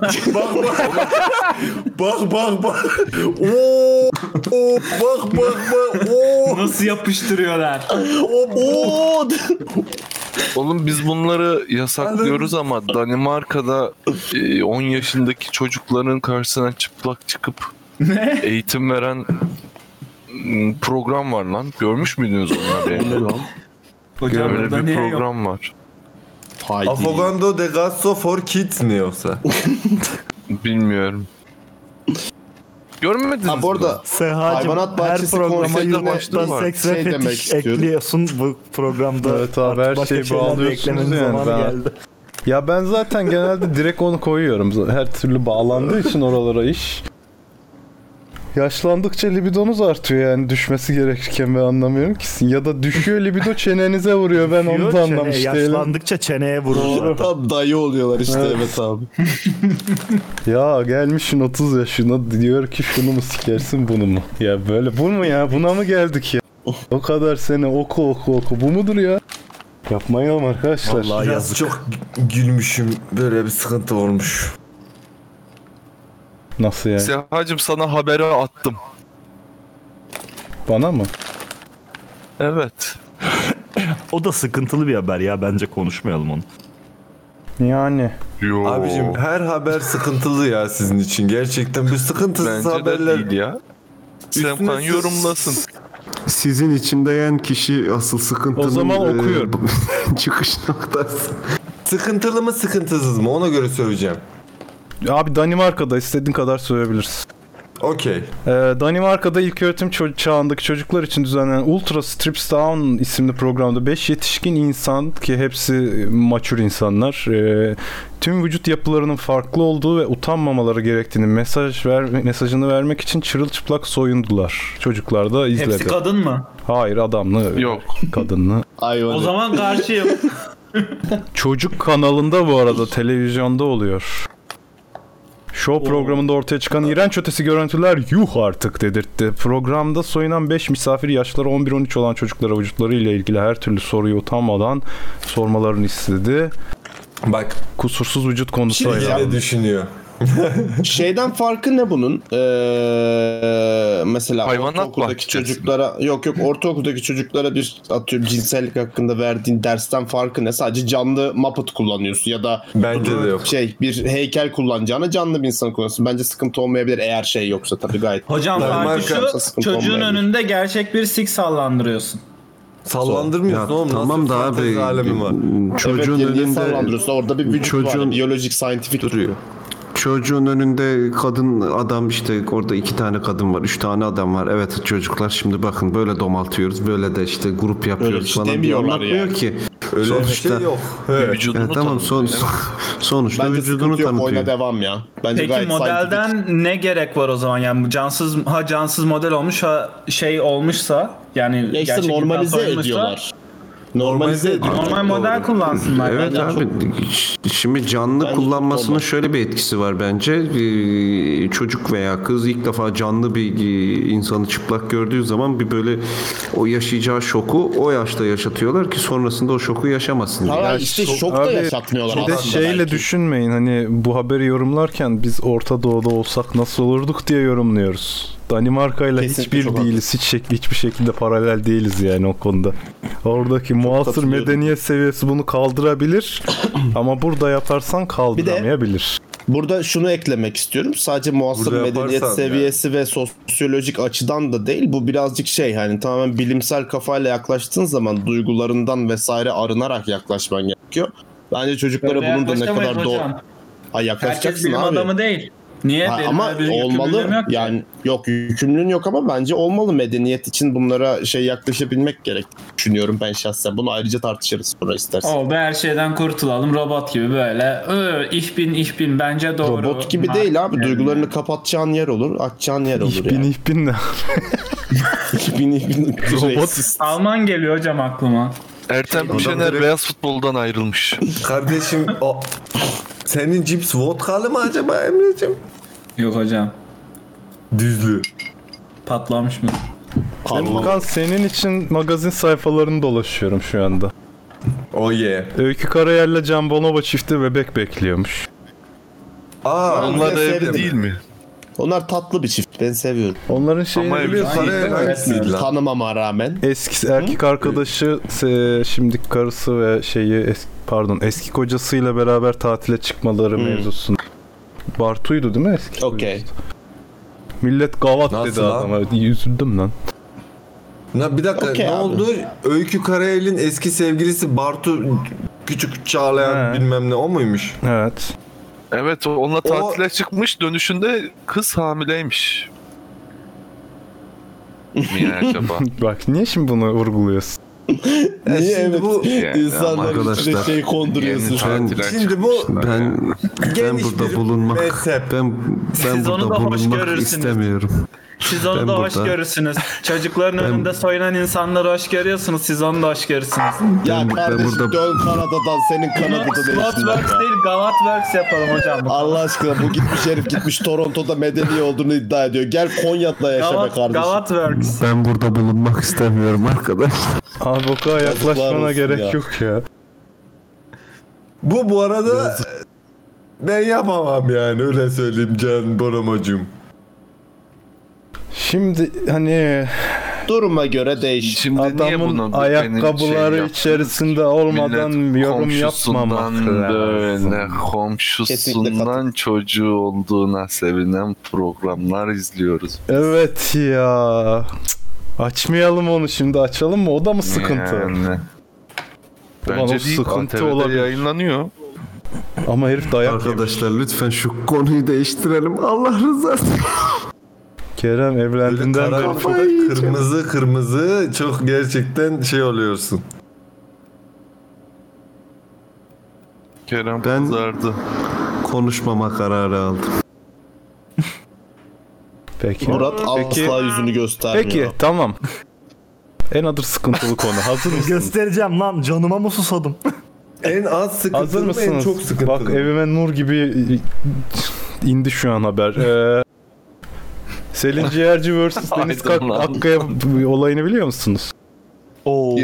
B: bak bak bak. Oo, oo, Oh, bak bak bak. oh. Oo.
A: Nasıl yapıştırıyorlar?
B: Oo.
F: Oğlum biz bunları yasaklıyoruz ama Danimarka'da e, 10 yaşındaki çocukların karşısına çıplak çıkıp eğitim veren m, program var lan. Görmüş müydünüz onları?
B: Hocam
F: Böyle
B: burada
F: bir
B: niye yok?
F: program var.
B: Afogando de Gasso for Kids mi yoksa?
F: Bilmiyorum. Görmediniz
H: Ha, bu arada
E: Sehacım
H: hayvanat
E: her
H: bahçesi
E: programa
H: konseptine
E: yumurta, seks ve
H: şey demek
E: fetiş
H: istiyorum.
E: ekliyorsun bu programda.
C: Evet abi her
E: Başka
C: şeyi
E: şeyler de eklemenin
C: bağlıyorsunuz yani.
E: zamanı
C: Ben...
E: geldi.
C: Ya ben zaten genelde direkt onu koyuyorum. Her türlü bağlandığı için oralara iş. Yaşlandıkça libidonuz artıyor yani düşmesi gerekirken ben anlamıyorum ki. Ya da düşüyor libido çenenize vuruyor ben onu da
E: Çene,
C: anlamış değilim.
E: yaşlandıkça çeneye vurur.
C: Doğru.
H: Tam dayı oluyorlar işte
C: Evet.
H: evet, abi.
C: Ya gelmişsin 30 yaşına diyor ki şunu mu sikersin bunu mu? Ya böyle bu mu ya buna mı geldik ya? O kadar sene oku oku oku bu mudur ya? Yapmayalım arkadaşlar.
B: Biraz çok gülmüşüm. Böyle bir sıkıntı olmuş.
C: Nasıl yani?
F: Sehacım sana haberi attım.
C: Bana mı?
F: Evet.
M: o da sıkıntılı bir haber ya bence konuşmayalım onu.
C: Yani.
F: Yo.
B: Abicim her haber sıkıntılı ya sizin için. Gerçekten bu sıkıntısız
F: Bence de
B: haberler.
F: değil ya. Semkan yorumlasın.
D: Sizin için değen kişi asıl sıkıntının
B: O zaman
D: e,
B: okuyorum.
D: çıkış noktası.
B: Sıkıntılı mı sıkıntısız mı ona göre söyleyeceğim.
C: Abi Danimarka'da istediğin kadar söyleyebilirsin.
B: Okey.
C: Ee, Danimarka'da ilköğretim ço- çağındaki çocuklar için düzenlenen Ultra Strips Down isimli programda 5 yetişkin insan ki hepsi e, maçur insanlar ee, tüm vücut yapılarının farklı olduğu ve utanmamaları gerektiğini mesaj ver mesajını vermek için çırılçıplak soyundular. Çocuklar da izledi.
A: Hepsi kadın mı?
C: Hayır adamlı.
F: Yok.
C: Kadınlı.
A: O zaman karşıyım.
C: Çocuk kanalında bu arada televizyonda oluyor. Show programında ortaya çıkan iğrenç ötesi görüntüler yuh artık dedirtti. Programda soyunan 5 misafir yaşları 11-13 olan çocuklara vücutları ile ilgili her türlü soruyu utanmadan sormalarını istedi.
B: Bak
C: kusursuz vücut konusu
H: Şimdi
C: ayıran.
H: ya-
B: düşünüyor.
H: Şeyden farkı ne bunun? Ee, mesela
F: Hayvanat
H: ortaokuldaki
F: bahçesi mi?
H: çocuklara yok yok ortaokuldaki çocuklara bir atıyorum cinsellik hakkında verdiğin dersten farkı ne? Sadece canlı Muppet kullanıyorsun ya da
B: Bence de yok.
H: şey bir heykel kullanacağına canlı bir insan kullanıyorsun. Bence sıkıntı olmayabilir eğer şey yoksa tabii gayet.
A: Hocam farkı şu çocuğun önünde gerçek bir sik sallandırıyorsun.
B: Sallandırmıyorsun
A: Ya
B: oğlum.
A: tamam
B: Nasıl
A: da
B: bir fantezi
A: abi,
B: alemi var.
D: Çocuğun
H: evet, yani niye
D: önünde
H: sallandırıyorsun? orada bir vücut
D: çocuğun-
H: var, biyolojik scientific
D: duruyor. Çocuğun önünde kadın adam işte orada iki tane kadın var, üç tane adam var. Evet çocuklar şimdi bakın böyle domaltıyoruz, böyle de işte grup yapıyoruz
H: şey
D: falan diye
H: demiyorlar
D: anlatmıyor
H: yani.
D: ki.
H: Öyle bir şey yok. Evet.
D: Vücudunu
H: Vücudunu
D: tamam son,
H: tanıtıyor.
D: sonuçta
H: Bence
D: vücudunu
H: sıkıntı yok,
D: tanıtıyor.
H: oyuna devam ya. Bence
J: Peki
H: gayet
J: modelden ne gerek var o zaman? Yani bu cansız ha cansız model olmuş ha şey olmuşsa yani
H: Ya işte
J: gerçek
H: normalize
J: insan soyulmuşsa-
H: ediyorlar. Normalize ediyorlar.
J: Normal model kullansınlar.
D: Evet
J: bence.
D: abi şimdi canlı kullanmasının şöyle bir etkisi var bence. Ee, Çocuk veya kız ilk defa canlı bir e, insanı çıplak gördüğü zaman bir böyle o yaşayacağı şoku o yaşta yaşatıyorlar ki sonrasında o şoku yaşamasın. diye.
C: Abi, Bir de şeyle düşünmeyin hani bu haberi yorumlarken biz Orta Doğu'da olsak nasıl olurduk diye yorumluyoruz. Danimarka ile
H: Kesinlikle
C: hiçbir
H: çok
C: değiliz. Hiç şek- hiçbir şekilde paralel değiliz yani o konuda. Oradaki muasır
H: katılıyorum.
C: medeniyet seviyesi bunu kaldırabilir ama burada yaparsan kaldıramayabilir.
H: Burada şunu eklemek istiyorum. Sadece muasır
C: Burada
H: medeniyet
C: yaparsan
H: seviyesi ve sosyolojik açıdan da değil. Bu birazcık şey hani tamamen bilimsel kafayla yaklaştığın zaman duygularından vesaire arınarak yaklaşman gerekiyor. Bence çocuklara
J: Öyle
H: bunun da ne
J: yaklaşamayız
H: kadar doğru...
J: hocam.
H: Ay
J: Herkes
H: yaklaşacaksın
J: bilim
H: abi.
J: adamı değil. Niye?
H: Ha,
J: Benim
H: ama
J: öyle bir
H: olmalı.
J: yükümlülüğüm yok.
H: Yani yok yükümlülüğün yok ama bence olmalı medeniyet için bunlara şey yaklaşabilmek gerek düşünüyorum ben şahsen. Bunu ayrıca tartışırız sonra istersen.
J: Oldu her şeyden kurtulalım robot gibi böyle. Ö, ich bin ich bin bence doğru.
H: Robot gibi
J: Ma-
H: değil abi. Duygularını kapatacağın yer olur, açacağın yer olur
C: İhbin
H: yani.
C: ihbin ne?
H: İhbin ihbin.
J: Robot Alman geliyor hocam aklıma.
F: Ertem
J: Adam
F: Şener
J: direkt-
F: beyaz futboldan ayrılmış.
B: Kardeşim o senin cips vodkalı mı acaba Emre'cim?
J: Yok hocam.
B: Düzlü.
J: Patlamış mı?
C: Furkan senin için magazin sayfalarını dolaşıyorum şu anda.
B: Oh yeah.
C: Öykü Karayel'le Can Bonomo çifti bebek bekliyormuş.
B: Aa,
H: onlar evli
F: değil mi?
H: Onlar tatlı bir çift. Ben seviyorum.
C: Onların şeyini
H: Ama evli
C: biliyorsun.
H: değil,
C: değil mi?
H: evet. Tanımama rağmen.
C: Eski erkek arkadaşı se- şimdi karısı ve şeyi es- pardon eski kocasıyla beraber tatile çıkmaları mevzusunda. Bartu'ydu değil mi eski?
H: Okey.
C: Millet gavat dedi
B: lan?
C: adama. Üzüldüm lan.
B: Na, bir dakika
C: Okey
B: ne
C: abi.
B: oldu? Öykü Karayel'in eski sevgilisi Bartu Küçük Çağlayan bilmem ne o muymuş?
C: Evet.
F: Evet o- onunla tatile çıkmış dönüşünde kız hamileymiş. Niye acaba?
C: Bak niye şimdi bunu vurguluyorsun?
B: Ya
H: Niye
B: E, şimdi
H: evet
B: bu-
F: Yani
H: insanlar
F: ama
H: içine şey konduruyorsun.
D: Ben,
B: Şimdi bu
D: ben, ben
B: Geniş
D: burada
B: bir
D: bulunmak
B: mezhep.
D: ben ben
J: Siz onu da
D: burada
J: hoş
D: bulunmak
J: görürsünüz.
D: istemiyorum.
J: Siz onu
D: Ben
J: da hoş
D: burada-
J: görürsünüz. Çocukların önünde soyunan insanları hoş görüyorsunuz. Siz onu da hoş görürsünüz.
H: Ya kardeşim dön Kanada'dan senin Kanada'da ne işin var
J: Slotworks
H: ya?
J: değil Galatworks yapalım hocam.
H: Allah aşkına bu gitmiş herif gitmiş Toronto'da medeni olduğunu iddia ediyor. Gel Konya'da yaşa be
J: Galat,
H: kardeşim.
J: Galatworks.
D: Ben burada bulunmak istemiyorum arkadaşlar.
C: Abi o kadar yaklaşmana
H: olsun
C: gerek
H: ya.
C: yok ya.
B: Bu bu arada e, ben yapamam yani öyle söyleyeyim Can Bonomacığım.
C: Şimdi hani
H: Duruma göre değiş.
C: adamın
F: şey
C: ayakkabıları içerisinde olmadan yorum yapmamak lazım.
F: böyle komşusundan çocuğu olduğuna sevinen programlar izliyoruz.
C: Evet ya. Cık. Açmayalım onu şimdi açalım mı? O da mı sıkıntı?
F: Yani.
C: Ulan
F: Bence
C: o
F: değil,
C: sıkıntı
F: ATV'de
C: olabilir.
F: yayınlanıyor.
C: Ama herif dayak
D: Arkadaşlar lütfen şu konuyu değiştirelim. Allah rızası.
C: Kerem evlendiğinden
B: Karar-
C: beri çok...
B: kırmızı kırmızı çok gerçekten şey oluyorsun.
F: Kerem
D: Ben
F: kızardı.
D: konuşmama kararı aldım.
C: Peki.
H: Murat
C: Peki.
H: asla yüzünü göstermiyor.
C: Peki tamam. En adır sıkıntılı konu. Hazır mısınız?
E: Göstereceğim lan canıma mı susadım?
B: En az
C: Hazır
B: sıkıntılı mı en
C: mısınız?
B: çok sıkıntılı.
C: Bak evime nur gibi indi şu an haber. Ee, Selin Ciğerci vs Deniz Kak-
B: Aydınlandı.
C: Akkaya olayını biliyor musunuz?
E: Oo.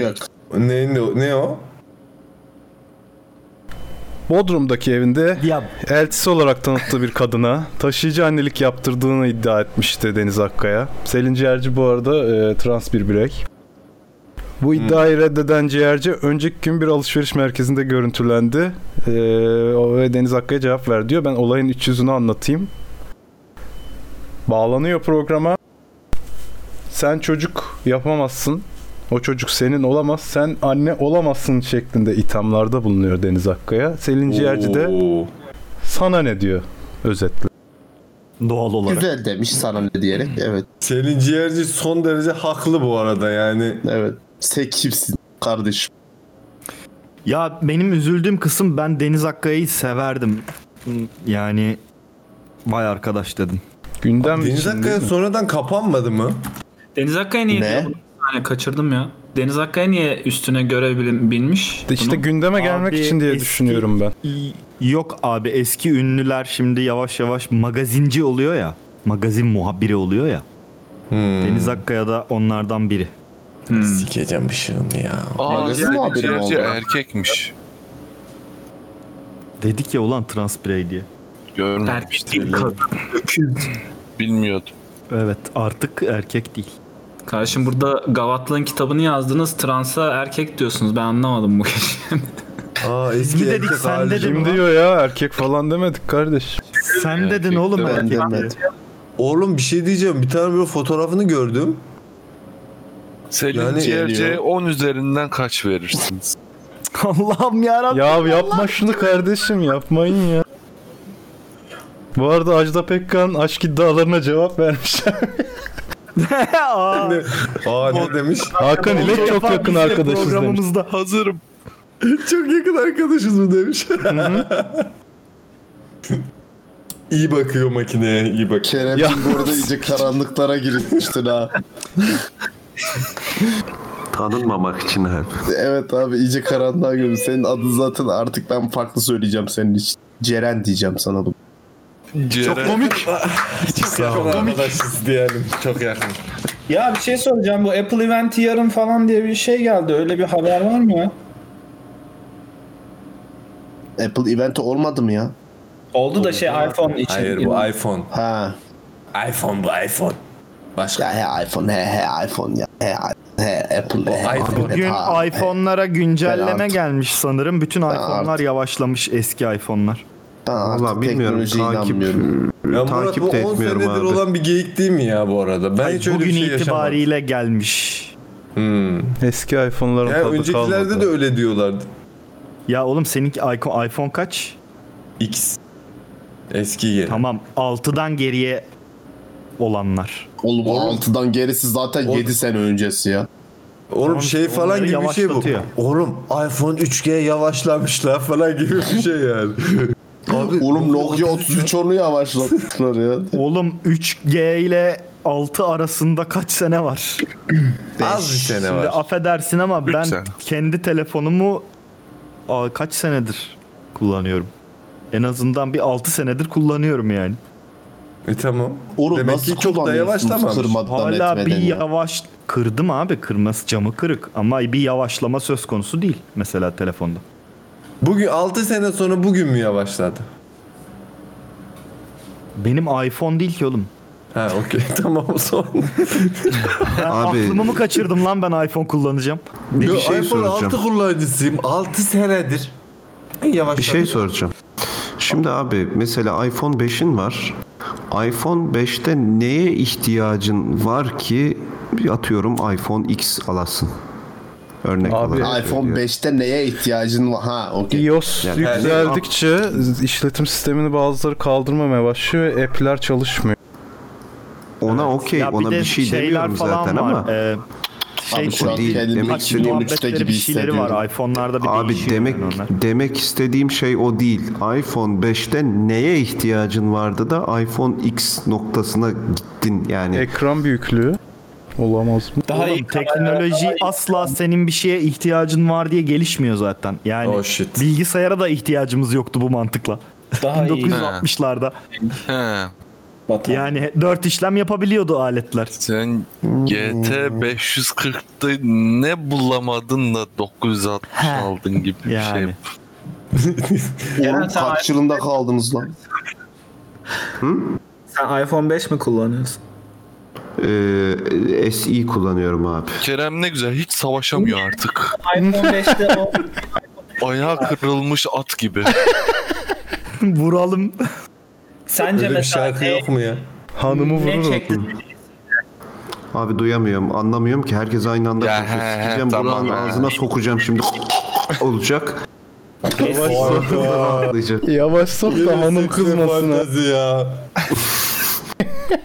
B: Ne, ne, ne o?
C: Bodrum'daki evinde eltisi olarak tanıttığı bir kadına taşıyıcı annelik yaptırdığını iddia etmişti Deniz Akkaya. Selin Ciğerci bu arada e, trans bir birey. Bu iddiayı reddeden ciğerci önceki gün bir alışveriş merkezinde görüntülendi. Ee, o- ve Deniz Akkaya cevap ver diyor. Ben olayın iç yüzünü anlatayım. Bağlanıyor programa. Sen çocuk yapamazsın. O çocuk senin olamaz. Sen anne olamazsın şeklinde ithamlarda bulunuyor Deniz Akkaya. Selin Ciğerci de sana ne diyor Özetle.
M: Doğal olarak.
H: Güzel demiş sana ne diyerek evet.
B: Selin Ciğerci son derece haklı bu arada yani.
H: Evet. Sen kimsin kardeşim?
E: Ya benim üzüldüğüm kısım ben Deniz Akkaya'yı severdim. Yani vay arkadaş dedim.
C: Gündem
B: Deniz Akkaya sonradan kapanmadı mı?
H: Hmm.
J: Deniz Akkaya niye?
B: Ne?
J: diyor bunu? Bir saniye kaçırdım ya. Deniz Akkaya niye üstüne görev bilin- binmiş?
C: İşte
J: Bunu-
C: gündeme gelmek
E: Abi
C: için diye
E: eski-
C: düşünüyorum ben.
E: Yok abi eski ünlüler şimdi yavaş yavaş magazinci oluyor ya. Magazin muhabiri oluyor ya. Deniz Akkaya da onlardan biri.
B: Sikeceğim bir şeyim ya.
F: Aa,
E: Magazin
F: Selin
E: muhabiri mi
F: Ciğerci
E: oldu?
F: erkekmiş.
E: Dedik ya ulan trans birey diye.
F: Görmemiştim. Bilmiyordum.
E: Evet artık erkek değil.
J: Kardeşim burada Gavatlığın kitabını yazdınız. Transa erkek diyorsunuz. Ben anlamadım bu gece.
B: Aa
E: eski dedik, erkek sen hali. dedin
C: Kim
E: lan?
C: diyor ya erkek falan demedik kardeş.
E: Sen dedin oğlum erkek.
B: demedim. Oğlum bir şey diyeceğim. Bir tane böyle fotoğrafını gördüm.
F: Selin
B: Yani-
F: Ciğerci'ye
B: Geliyor.
F: 10 üzerinden kaç verirsiniz?
E: Allah'ım yarabbim.
C: Ya yapma şunu kardeşim yapmayın ya. Bu arada Ajda Pekkan aşk iddialarına cevap vermiş.
E: Aa,
B: Aa ne demiş?
C: Hakan ile
E: Onu
C: çok
E: yapan
C: yakın
E: biz de
C: arkadaşız demiş.
E: Programımızda
F: hazırım.
B: Çok yakın arkadaşız mı demiş. iyi bakıyor makineye, iyi bak.
H: Kerem'cim bu arada iyice karanlıklara girmiştin ha.
D: Tanınmamak için her.
H: Evet abi iyice karanlığa girdim. Senin adın zaten artık ben farklı söyleyeceğim senin için. Ceren diyeceğim sana bu.
F: Ciğer-
E: komik.
B: Çok yakın arkadaşız diyelim. Çok yakın.
J: ya bir şey soracağım. Bu Apple Event yarın falan diye bir şey geldi. Öyle bir haber var mı ya?
H: Apple eventi olmadı mı ya?
J: Oldu da şey iPhone için.
B: Hayır bu iPhone.
H: Ha.
B: iPhone bu iPhone. Başka.
H: Ya he iPhone he he iPhone ya. He iPhone, he Apple he. Apple,
E: Bugün
B: e,
H: ha, he.
E: iPhone'lara güncelleme
H: Ben artık-
E: gelmiş sanırım. Bütün iPhone'lar yavaşlamış eski iPhone'lar.
H: Ben artık
D: Vallahi bilmiyorum
H: teknolojiye
D: takip
H: inanmıyorum.
B: Ya Murat
D: takip
B: bu
D: de
B: 10
D: etmiyorum
B: senedir
D: abi.
B: olan bir geyik değil mi ya bu arada? Ben hiç öyle bir
E: Bugün
B: şey yaşamadım.
E: itibariyle gelmiş.
B: Hmm.
C: Eski iPhone'ların
B: Ya
C: tadı
B: öncekilerde
C: kalmadı.
B: de öyle diyorlardı.
E: Ya oğlum seninki iPhone, iPhone kaç?
B: X. Eski yeni.
E: Tamam 6'dan geriye olanlar.
H: Oğlum o 6'dan gerisi zaten
B: Oğlum.
H: 7 sene öncesi ya.
B: Oğlum şey falan
E: onları
B: gibi bir şey bu.
E: yavaşlatıyor.
B: Oğlum iPhone 3G yavaşlamışlar falan gibi bir şey yani. Abi,
H: Oğlum Nokia 33 onu yavaşlattılar ya.
E: Oğlum 3G ile 6 arasında kaç sene var?
B: az bir sene
E: Şimdi
B: var.
E: affedersin ama ben
F: sene.
E: kendi telefonumu aa, kaç senedir kullanıyorum. En azından bir 6 senedir kullanıyorum yani.
B: E tamam.
H: Oğlum
B: Demek
H: nasıl
B: ki çok da
H: kullanıyorsunuz
B: yavaşlamamış.
H: kırmadan
E: Hala bir
H: etmeden ya?
E: yavaş kırdım abi kırması camı kırık ama bir yavaşlama söz konusu değil mesela telefonda.
B: Bugün 6 sene sonra bugün mü yavaşladı?
E: Benim iPhone değil ki oğlum.
B: Ha okey tamam o zaman.
E: Ben
D: Abi-
E: aklımı mı kaçırdım lan ben iPhone kullanacağım.
B: Yo,
D: şey
B: iPhone 6
D: soracağım.
B: kullanıcısıyım. 6 senedir. Yavaş.
D: Bir şey soracağım. Şimdi abi mesela iPhone 5'in var. iPhone 5'te neye ihtiyacın var ki bir atıyorum iPhone X alasın? Örnek olarak
H: iPhone
D: söylüyorum.
H: 5'te neye ihtiyacın var? Ha okey.
C: iOS
D: Yani-
C: yükseldikçe işletim sistemini bazıları kaldırmamaya başlıyor ve app'ler çalışmıyor.
D: Ona okey
E: Ya
D: ona bir,
E: de
D: şey
E: şeyler
D: demiyorum
E: falan
D: zaten
E: var.
D: ama.
E: Ee, şey
H: Abi şu an
D: değil,
H: kendimi
D: demek
E: Taksi
D: istediğim
H: 2013'te
E: muhabbetleri
H: gibi
E: bir şeyleri var.
H: hissediyorum.
E: iPhone'larda bir şey
D: Abi
E: değişiyor
D: demek
E: yani onlar.
D: demek istediğim şey o değil. iPhone 5'te neye ihtiyacın vardı da iPhone X noktasına gittin yani.
C: Ekran büyüklüğü olamaz mı?
E: Oğlum, teknoloji asla senin bir şeye ihtiyacın var diye gelişmiyor zaten. Yani
B: Oh shit.
E: bilgisayara da ihtiyacımız yoktu bu mantıkla.
J: Daha iyi.
E: 1960'larda.
F: He.
E: Yani 4 işlem yapabiliyordu aletler.
F: Sen GT 540'ta ne bulamadın da 960 aldın gibi bir
E: Yani.
F: şey.
H: Oğlum kaç yılında kaldınız lan?
J: Sen iPhone 5 mi kullanıyorsun?
D: Ee, SE kullanıyorum abi.
F: Kerem ne güzel hiç savaşamıyor artık.
J: iPhone 5'te o
F: Ayağı kırılmış at gibi.
E: Vuralım.
J: sence
B: Öyle bir
J: mesela
B: şarkı yok mu ya?
C: Hanımı
J: ne
C: vurur.
J: çekti?
D: Abi duyamıyorum, anlamıyorum ki herkes aynı anda
F: Ya
D: konuşuyor.
F: he he,
D: Sikeceğim
F: tamam
D: kulağın
F: ya.
D: ağzına sokacağım şimdi olacak.
C: Yavaş sok da hanım kızmasın. ha.
B: ya.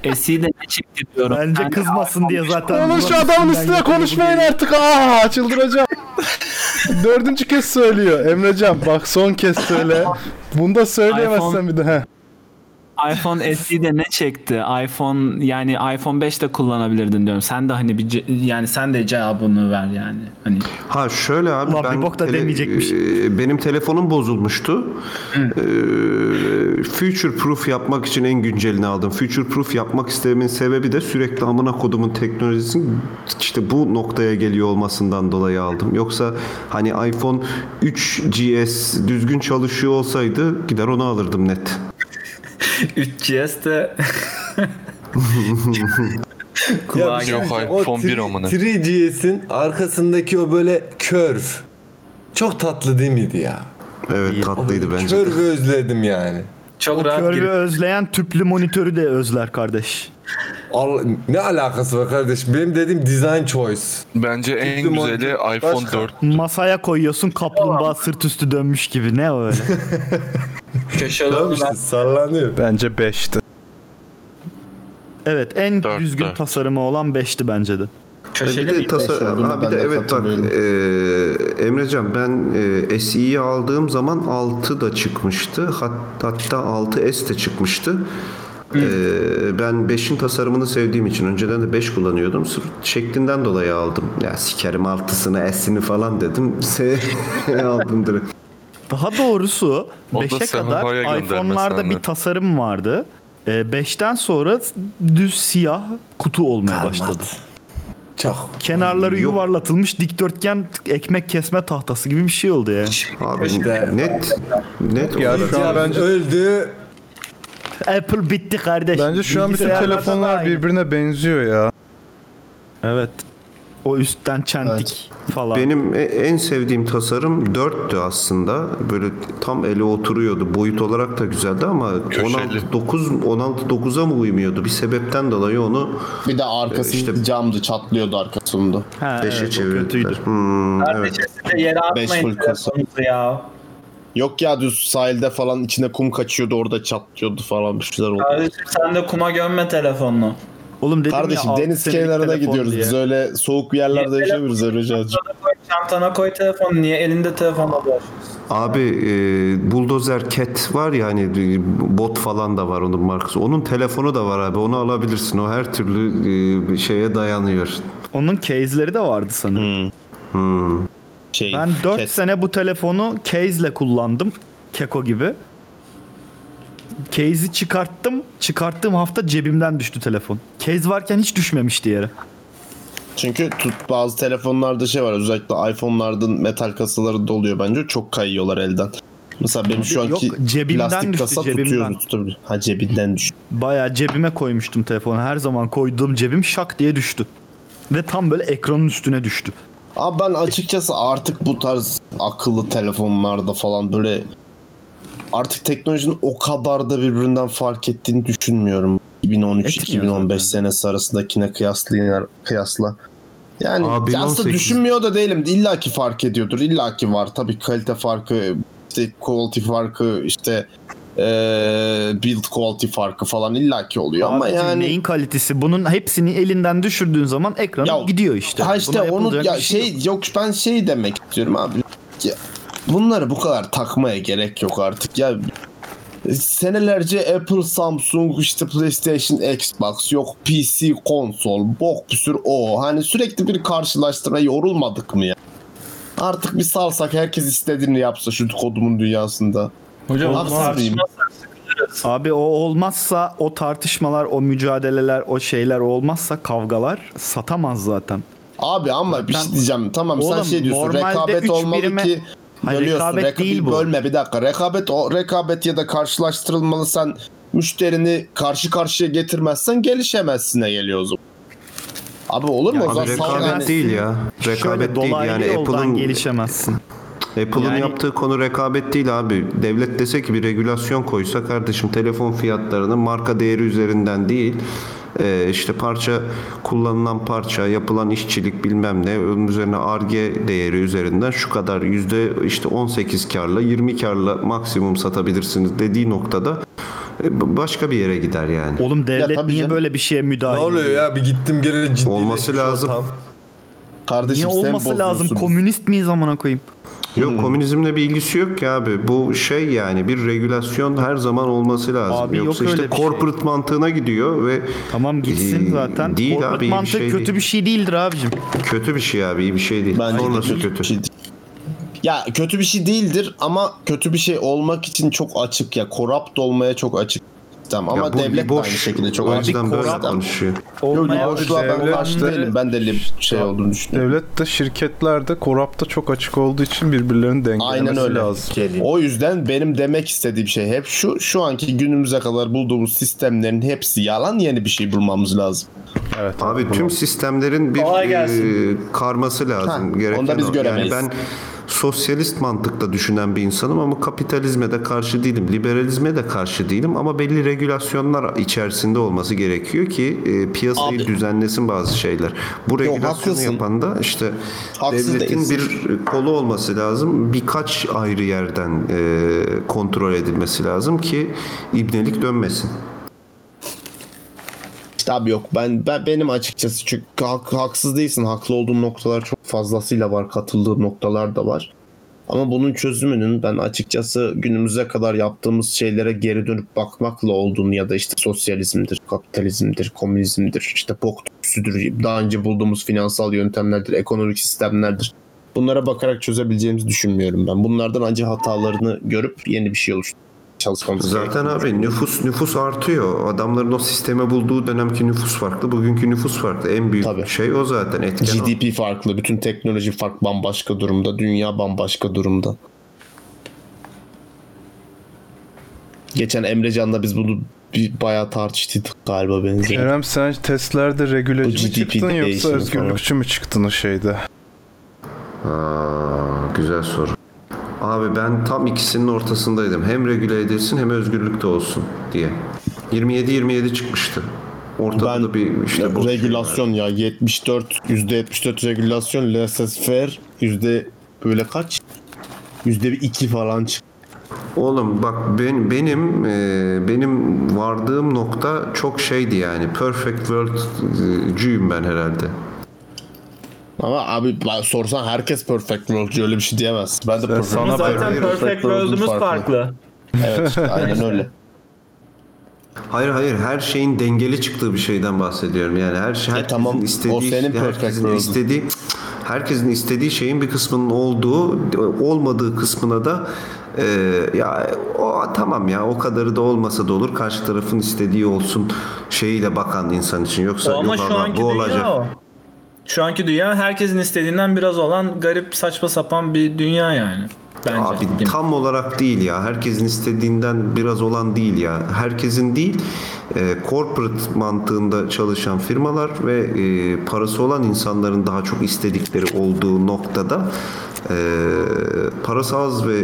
J: Esi'yi de ne çektiriyorum.
E: Bence kızmasın diye zaten.
C: Oğlum şu adamın üstüne konuşmayın artık. Aa çıldıracağım. Dördüncü kez söylüyor Emrecan. Bak son kez söyle. Bunu da söyleyemezsen
J: iPhone-
C: bir de. Heh.
J: iPhone SE de ne çekti? iPhone yani iPhone 5 de kullanabilirdin diyorum. Sen de hani bir ce- yani sen de cevabını ver yani. Hani
D: Ha şöyle abi
J: Ulan bir bok da demeyecekmiş.
D: e, benim telefonum bozulmuştu. E, future proof yapmak için en güncelini aldım. Future proof yapmak istememin sebebi de sürekli amına kodumun teknolojisinin işte bu noktaya geliyor olmasından dolayı aldım. Yoksa hani iPhone 3GS düzgün çalışıyor olsaydı gider onu alırdım net.
J: 3GS de
B: Ya bir şey diyeceğim, o 3- 3GS'in arkasındaki o böyle curve. Çok tatlı değil miydi ya?
D: Evet tatlıydı bence.
B: Curve'ü özledim yani.
J: Çok
E: Körü özleyen tüplü monitörü de özler kardeş.
B: Al- ne alakası var kardeşim? Benim dediğim design choice.
F: Bence en güzeli iPhone 4.
E: Masaya koyuyorsun kaplumbağa sırt üstü dönmüş gibi ne öyle.
J: köşe
B: sallanıyor.
C: Bence 5'ti.
E: Evet en düzgün tasarımı olan 5'ti bence de.
D: bir de, tasa- ha, bir de evet bak e, Emrecan ben e, SE'yi aldığım zaman 6 da çıkmıştı. Hat, hatta 6S de çıkmıştı. E, ben 5'in tasarımını sevdiğim için önceden de 5 kullanıyordum. Sırf şeklinden dolayı aldım. Ya sikerim 6'sını S'ini falan dedim. Se aldım direkt.
E: Daha doğrusu
D: O da
E: 5'e
D: Semiha'ya
E: kadar
D: göndermesi
E: iPhone'larda bir
D: anladım.
E: tasarım vardı. 5'ten sonra düz siyah kutu olmaya başladı.
B: Çok.
E: Kenarları yuvarlatılmış dikdörtgen ekmek kesme tahtası gibi bir şey oldu ya.
D: Abi net net
C: Ya şu an bence
B: öldü.
E: Apple bitti kardeş.
C: Bence şu an bütün
E: Bilgisayarlarda da
C: telefonlar
E: aynı.
C: birbirine benziyor ya.
E: Evet. O üstten çentik falan.
D: Benim e- en sevdiğim tasarım 4'tü aslında. Böyle tam ele oturuyordu. Boyut olarak da güzeldi ama 16 9 16 9'a mı uymuyordu? Bir sebepten dolayı onu
H: Bir de arkası camdı çatlıyordu arkasında.
E: Ha,
D: Beşe
H: evet, o
D: çevirdiler. Hmm, evet.
J: de yere atmayın
H: Beş full kasa.
J: ya.
H: Yok ya düz sahilde falan içine kum kaçıyordu orada çatlıyordu falan bir şeyler oldu.
J: Kardeşim sen de kuma gömme telefonunu.
E: Oğlum
H: Kardeşim deniz kenarına gidiyoruz biz öyle soğuk bir yerlerde yaşamıyoruz öyle Hoca'cığım.
J: Çantana koy telefonu. Niye elinde telefonla dolaşıyorsun?
D: Abi e, Bulldozer Cat var ya hani e, bot falan da var onun markası. Onun telefonu da var abi. Onu alabilirsin. O her türlü e, şeye dayanıyor.
E: Onun case'leri de vardı
H: Hmm.
E: sanırım. ben 4 sene bu telefonu case'le kullandım. Keko gibi. Case'i çıkarttım. Çıkarttığım hafta cebimden düştü telefon. Case varken hiç düşmemişti yere.
H: Çünkü tut- bazı telefonlarda şey var özellikle iPhone'ların metal kasaları doluyor bence çok kayıyorlar elden. Mesela benim şu
E: Yok,
H: anki
E: cebimden
H: plastik
E: düştü,
H: kasa
E: cebimden.
H: tutuyordu tutabiliyor. Ha cebinden düştü.
E: Bayağı cebime koymuştum telefonu. Her zaman koyduğum cebim şak diye düştü. Ve tam böyle ekranın üstüne düştü.
H: Abi ben açıkçası artık bu tarz akıllı telefonlarda falan böyle artık teknolojinin o kadar da birbirinden fark ettiğini düşünmüyorum. 2013-2015 senesi arasındakine kıyaslayın kıyasla. Yani
D: Abi,
H: ya aslında
D: 18.
H: düşünmüyor da değilim. İlla ki fark ediyordur. İlla ki var. Tabii kalite farkı, işte quality farkı, işte eee, build quality farkı falan illa ki oluyor. Ama
E: Abicim
H: yani
E: neyin kalitesi? Bunun hepsini elinden düşürdüğün zaman ekranı gidiyor işte.
H: Ha işte
E: Buna
H: onu
E: yapılacak
H: ya
E: bir
H: şey yok. ben şey demek istiyorum abi. Ya, bunları bu kadar takmaya gerek yok artık ya. Senelerce Apple, Samsung, işte PlayStation, Xbox, yok PC, konsol, bok bir sürü o. Hani sürekli bir karşılaştırma yorulmadık mı ya? Artık bir salsak herkes istediğini yapsa şu kodumun dünyasında. Haksız mıyım?
E: Abi o olmazsa o tartışmalar, o mücadeleler, o şeyler olmazsa kavgalar satamaz zaten.
H: Abi ama bir şey diyeceğim. Tamam sen
E: Oğlum,
H: şey diyorsun.
E: normalde üç
H: Rekabet olmalı
E: birime-
H: ki
E: Hayır,
H: bölüyorsun.
E: rekabet
H: Reka-
E: değil bu.
H: Bölme bir dakika. Rekabet o rekabet ya da karşılaştırılmalı sen müşterini karşı karşıya getirmezsen gelişemezsine geliyor o zaman. Abi olur mu? o
D: Abi
H: zaman
D: rekabet
H: salgın-
D: değil ya. Rekabet değil yani Apple'ın
E: gelişemezsin.
D: Apple'ın
H: Yani-
D: yaptığı konu rekabet değil abi. Devlet dese ki bir regülasyon koysa kardeşim telefon fiyatlarını marka değeri üzerinden değil e, işte parça kullanılan parça, yapılan işçilik bilmem ne, onun üzerine arge değeri üzerinden şu kadar yüzde işte 18 karla 20 karla maksimum satabilirsiniz dediği noktada e, başka bir yere gider yani.
E: Oğlum
D: Ya
E: devlet
D: tabii
E: niye
D: canım.
E: böyle bir şeye müdahale
D: Ne oluyor
E: ediyor?
B: ya bir gittim gene ciddi. şey
D: Olması lazım. Kardeşim
E: Niye olması lazım? Komünist miyiz amına koyayım?
D: Yok
E: Hmm.
D: komünizmle bir ilgisi yok ki abi. Bu şey yani bir regülasyon her zaman olması lazım.
E: Abi yok
D: Yoksa
E: öyle
D: işte
E: bir şey.
D: corporate mantığına gidiyor ve
E: Tamam gitsin zaten.
D: Ee, Değil
E: Corporate
D: abi iyi
E: mantık
D: bir şey
E: kötü
D: değil.
E: bir şey değildir abicim.
D: Kötü bir şey abi iyi bir şey değil.
H: Bence de
D: Sonrası
H: kötü bir şey.
D: kötü.
H: Ya kötü bir şey değildir ama kötü bir şey olmak için çok açık ya. Korapt olmaya çok açık. Tamam ama
D: bu
H: devlet
D: boş.
H: de aynı şekilde
D: O
H: çok açık.
D: yüzden böyle
H: Corrupt-
D: konuşuyor.
H: Yok
C: Olmaya-
E: şey.
H: boşluğa ben
C: Devlet-
H: karşı değilim. Ben de öyle bir şey olduğunu düşünüyorum.
C: Devlet de şirketlerde korapta çok açık olduğu için birbirlerini dengelemesi
H: Aynen öyle.
C: lazım.
H: O yüzden benim demek istediğim şey hep şu. Şu anki günümüze kadar bulduğumuz sistemlerin hepsi yalan. Yeni bir şey bulmamız lazım.
C: Evet.
D: Abi tüm sistemlerin bir
H: Kolay gelsin.
D: e, karması lazım.
H: Ha,
D: Gereken
H: onu da biz
D: o.
H: göremeyiz.
D: Yani ben sosyalist mantıkta düşünen bir insanım ama kapitalizme de karşı değilim. Liberalizme de karşı değilim ama belli regülasyonlar içerisinde olması gerekiyor ki e, piyasayı düzenlesin bazı şeyler. Bu regülasyonu
H: haklısın.
D: yapan da işte
H: Haksız
D: devletin
H: değilsin.
D: bir kolu olması lazım. Birkaç ayrı yerden e, kontrol edilmesi lazım ki ibnelik dönmesin.
H: İşte abi yok ben, ben benim açıkçası çünkü hak- haksız değilsin. Haklı olduğum noktalar çok fazlasıyla var. Katıldığım noktalar da var. Ama bunun çözümünün ben açıkçası günümüze kadar yaptığımız şeylere geri dönüp bakmakla olduğunu ya da işte sosyalizmdir, kapitalizmdir, komünizmdir, işte boktüsüdür, daha önce bulduğumuz finansal yöntemlerdir, ekonomik sistemlerdir. Bunlara bakarak çözebileceğimizi düşünmüyorum ben. Bunlardan ancak hatalarını görüp yeni bir şey oluşturmaya çalışmamız
D: Zaten abi nüfus nüfus artıyor. Adamların o sisteme bulduğu dönemki nüfus farklı, bugünkü nüfus farklı. En büyük şey o zaten etken. o.
H: GDP farklı, bütün teknoloji farklı, bambaşka durumda, dünya bambaşka durumda. Geçen Emre Can'la biz bunu bir bayağı tartıştık galiba benzer.
C: Kerem sen testlerde
H: Bu
C: regüleci mi
H: GDP
C: çıktın yoksa
H: değişimi
C: özgürlükçü mü çıktın o şeyde?
D: Aa, güzel soru. Abi ben tam ikisinin ortasındaydım. Hem regüle edilsin hem özgürlükte olsun diye. 27 27 çıkmıştı. Ortada da bir işte
H: Ya,
D: boş şey
H: regülasyon ya 74 %74 regülasyon laissez-faire yüzde böyle kaç? Yüzde bir iki falan çıktı.
D: Oğlum bak ben, benim e, benim vardığım nokta çok şeydi yani. Perfect World'cüyüm ben herhalde.
H: Ama abi ben sorsan herkes perfect world öyle bir şey diyemez. Ben de perfect
D: sana
H: World'cuyum.
D: Zaten perfect
H: World'um
D: world'umuz
H: Evet işte, aynen öyle.
D: Hayır hayır her şeyin dengeli çıktığı bir şeyden bahsediyorum. Yani her şey herkesin istediği
H: E,
D: şey,
H: o senin perfect
D: herkesin
H: world'un.
D: istediği herkesin istediği şeyin bir kısmının olduğu olmadığı kısmına da e, ya o tamam ya o kadarı da olmasa da olur. Karşı tarafın istediği olsun şeyiyle bakan insan için yoksa
J: O ama
D: yok
J: şu
D: abi,
J: anki
D: bu
J: dünya
D: olacak.
J: o. Şu anki dünya herkesin istediğinden biraz olan garip saçma sapan bir dünya yani. Bence.
D: Abi tam olarak değil ya. Herkesin istediğinden biraz olan değil ya. Herkesin değil, e, corporate mantığında çalışan firmalar ve e, parası olan insanların daha çok istedikleri olduğu noktada e, parası az ve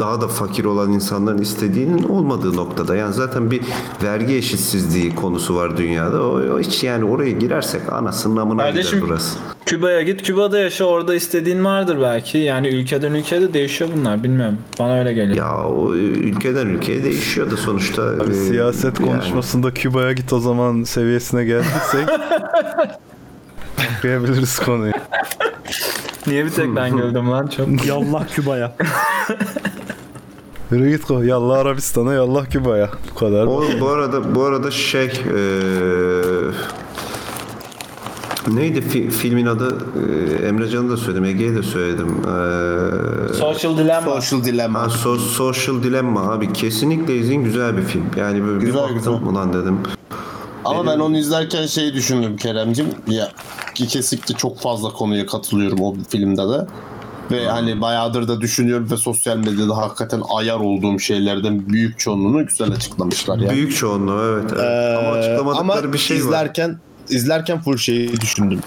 D: daha da fakir olan insanların istediğinin olmadığı noktada. Yani zaten bir vergi eşitsizliği konusu var dünyada. O, o hiç yani oraya girersek anasının amına gider
J: Kardeşim
D: burası.
J: Küba'ya git Küba'da yaşa orada istediğin vardır belki. Yani ülkeden ülkede değişiyor bunlar bilmiyorum. Bana öyle geliyor.
D: Ya o e, ülkeden ülkeye değişiyor da sonuçta. e,
C: Siyaset
D: yani.
C: konuşmasında Küba'ya git o zaman seviyesine geldiysek Kıyabiliriz konuyu.
J: Niye bir tek ben güldüm lan çok.
E: Yallah Küba'ya.
C: Yürü git ko- Yallah Arabistan'a, yallah Küba'ya. Bu kadar.
D: O, bu arada bu arada şey eee neydi fi- filmin adı Eee, Emrecan'a da söyledim Ege'ye de söyledim Eee,
J: Social Dilemma
H: Social Dilemma
D: ha, so- Social Dilemma abi kesinlikle izin güzel bir film yani böyle bir baktım ulan dedim
H: Ama ben onu izlerken şeyi düşündüm Keremcim. Ya ki kesinlikle çok fazla konuya katılıyorum o filmde de. Ve hani bayağıdır da düşünüyorum ve sosyal medyada hakikaten ayar olduğum şeylerden büyük çoğunluğunu güzel açıklamışlar yani.
D: büyük çoğunluğu evet, evet. ama
H: Ee,
D: açıklamadıkları
H: ama
D: bir şey var
H: izlerken, izlerken full şeyi düşündüm.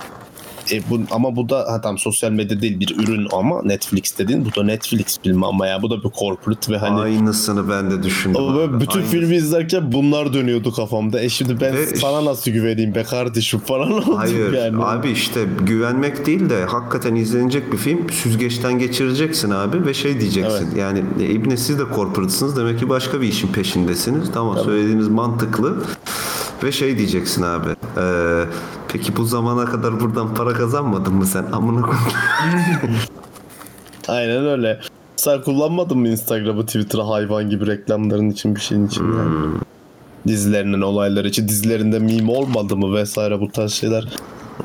H: E, bu, ama bu da ha, tamam, sosyal medya değil bir ürün ama Netflix dediğin bu da Netflix filmi ama ya bu da bir corporate ve hani
D: Aynısını ben de düşündüm.
H: Ama böyle bütün
D: Aynı-
H: filmi izlerken bunlar dönüyordu kafamda. E şimdi ben
D: Ve-
H: sana nasıl güveneyim be kardeşim falan oldum
D: Hayır
H: yani.
D: abi işte güvenmek değil de hakikaten izlenecek bir film süzgeçten geçireceksin abi ve şey diyeceksin yani e, İbni siz de corporate'sınız demek ki başka bir işin peşindesiniz tamam söylediğiniz mantıklı ve şey diyeceksin abi e, peki bu zamana kadar buradan para kazanmadın mı sen amına koyayım.
H: Aynen öyle. Sen kullanmadın mı Instagram'ı, Twitter'ı hayvan gibi reklamların için bir şeyin için yani?
D: Hmm.
H: Dizilerinin olayları için dizilerinde meme olmadı mı vesaire bu tarz şeyler.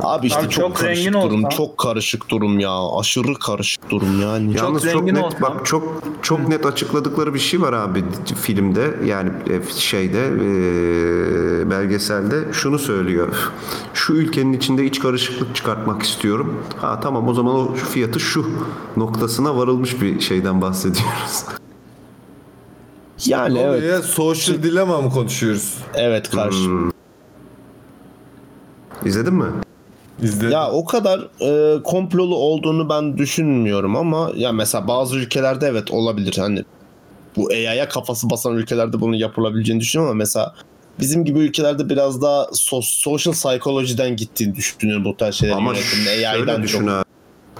H: Abi işte
J: Abi
H: çok,
J: çok
H: karışık
J: zengin
H: durum,
J: olsan-
H: çok karışık durum ya. Aşırı karışık durum yani.
D: Yalnız çok, net bak çok çok net açıkladıkları bir şey var abi filmde yani e, şeyde e, belgeselde şunu söylüyor. Şu ülkenin içinde iç karışıklık çıkartmak istiyorum. Ha tamam o zaman o fiyatı şu noktasına varılmış bir şeyden bahsediyoruz.
H: Yani
B: evet. social dilemma mı konuşuyoruz?
H: Evet karşı.
D: Hmm. İzledin mi?
B: İzledim.
H: Ya o kadar e, komplolu olduğunu ben düşünmüyorum ama ya mesela bazı ülkelerde evet olabilir hani bu AI'ya kafası basan ülkelerde bunun yapılabileceğini düşünüyorum ama mesela bizim gibi ülkelerde biraz daha so- social psychology'den gittiğini düşünüyorum bu tarz şeylerin
D: Ama
H: yönetimde
D: şöyle
H: AI'dan
D: düşün
H: çok.
D: abi.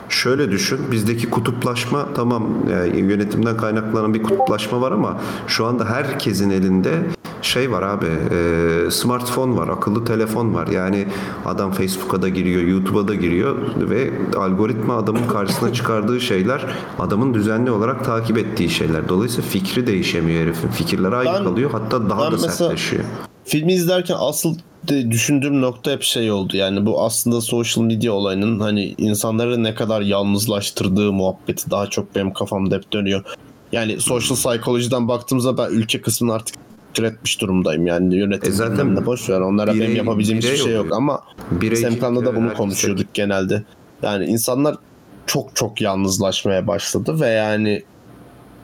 D: Şöyle düşün. Bizdeki kutuplaşma tamam yani yönetimden kaynaklanan bir kutuplaşma var ama şu anda herkesin elinde şey var abi e, smartphone var, akıllı telefon var. Yani adam Facebook'a da giriyor, YouTube'a da giriyor ve algoritma adamın karşısına çıkardığı şeyler adamın düzenli olarak takip ettiği şeyler. Dolayısıyla fikri değişemiyor herifin. Fikirler ayrı kalıyor hatta daha
H: ben
D: da
H: mesela-
D: sertleşiyor.
H: Filmi izlerken asıl de düşündüğüm nokta hep şey oldu yani bu aslında social media olayının hani insanları ne kadar yalnızlaştırdığı muhabbeti daha çok benim kafamda hep dönüyor. Yani
D: Hmm.
H: social psychology'den baktığımızda ben ülke kısmını artık türetmiş durumdayım yani yönetim zaten de boş ver onlara
D: E birey-
H: benim yapabileceğim hiçbir
D: birey
H: şey yok
D: oluyor.
H: ama
D: Birey
H: Semkan'la da
D: kimlikleri
H: bunu
D: herkes
H: konuşuyorduk genelde. Yani insanlar çok çok yalnızlaşmaya başladı ve yani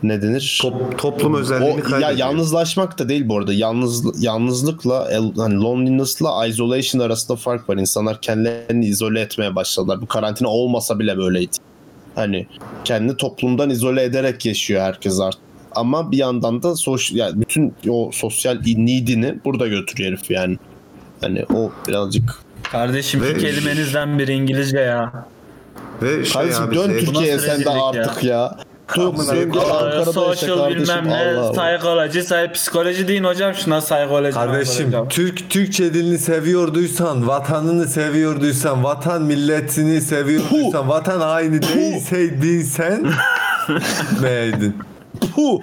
H: ne denir?
D: toplum özelliğini
H: o, ya
D: kaybediyor.
H: yalnızlaşmak da değil bu arada. Yalnız yalnızlıkla el- hani loneliness'la isolation arasında fark var. İnsanlar kendilerini izole etmeye başladılar. Bu karantina olmasa bile böyleydi. Hani kendini toplumdan izole ederek yaşıyor herkes artık. Ama bir yandan da sosyal yani bütün o sosyal need'ini burada götürüyor herif yani. Hani o birazcık
J: Kardeşim
H: Ve-
J: bir kelimenizden biri İngilizce ya.
D: Ve şey
H: Kardeşim
D: abi,
H: dön
D: şey-
H: Türkiye'ye
J: Bu
H: sen de
J: nasıl
H: artık ya. Dön,
J: Amına
H: dön gel
J: koyayım.
H: Ankara'da yaşa
J: Social
H: kardeşim.
J: bilmem ne,
H: Allah Allah.
J: psikoloji, say- psikoloji deyin hocam şuna psikoloji.
B: Kardeşim Türk Türkçe dilini seviyorduysan, vatanını seviyorduysan, vatan milletini seviyorduysan, vatan haini değilseydin sen meydin.
H: Puh.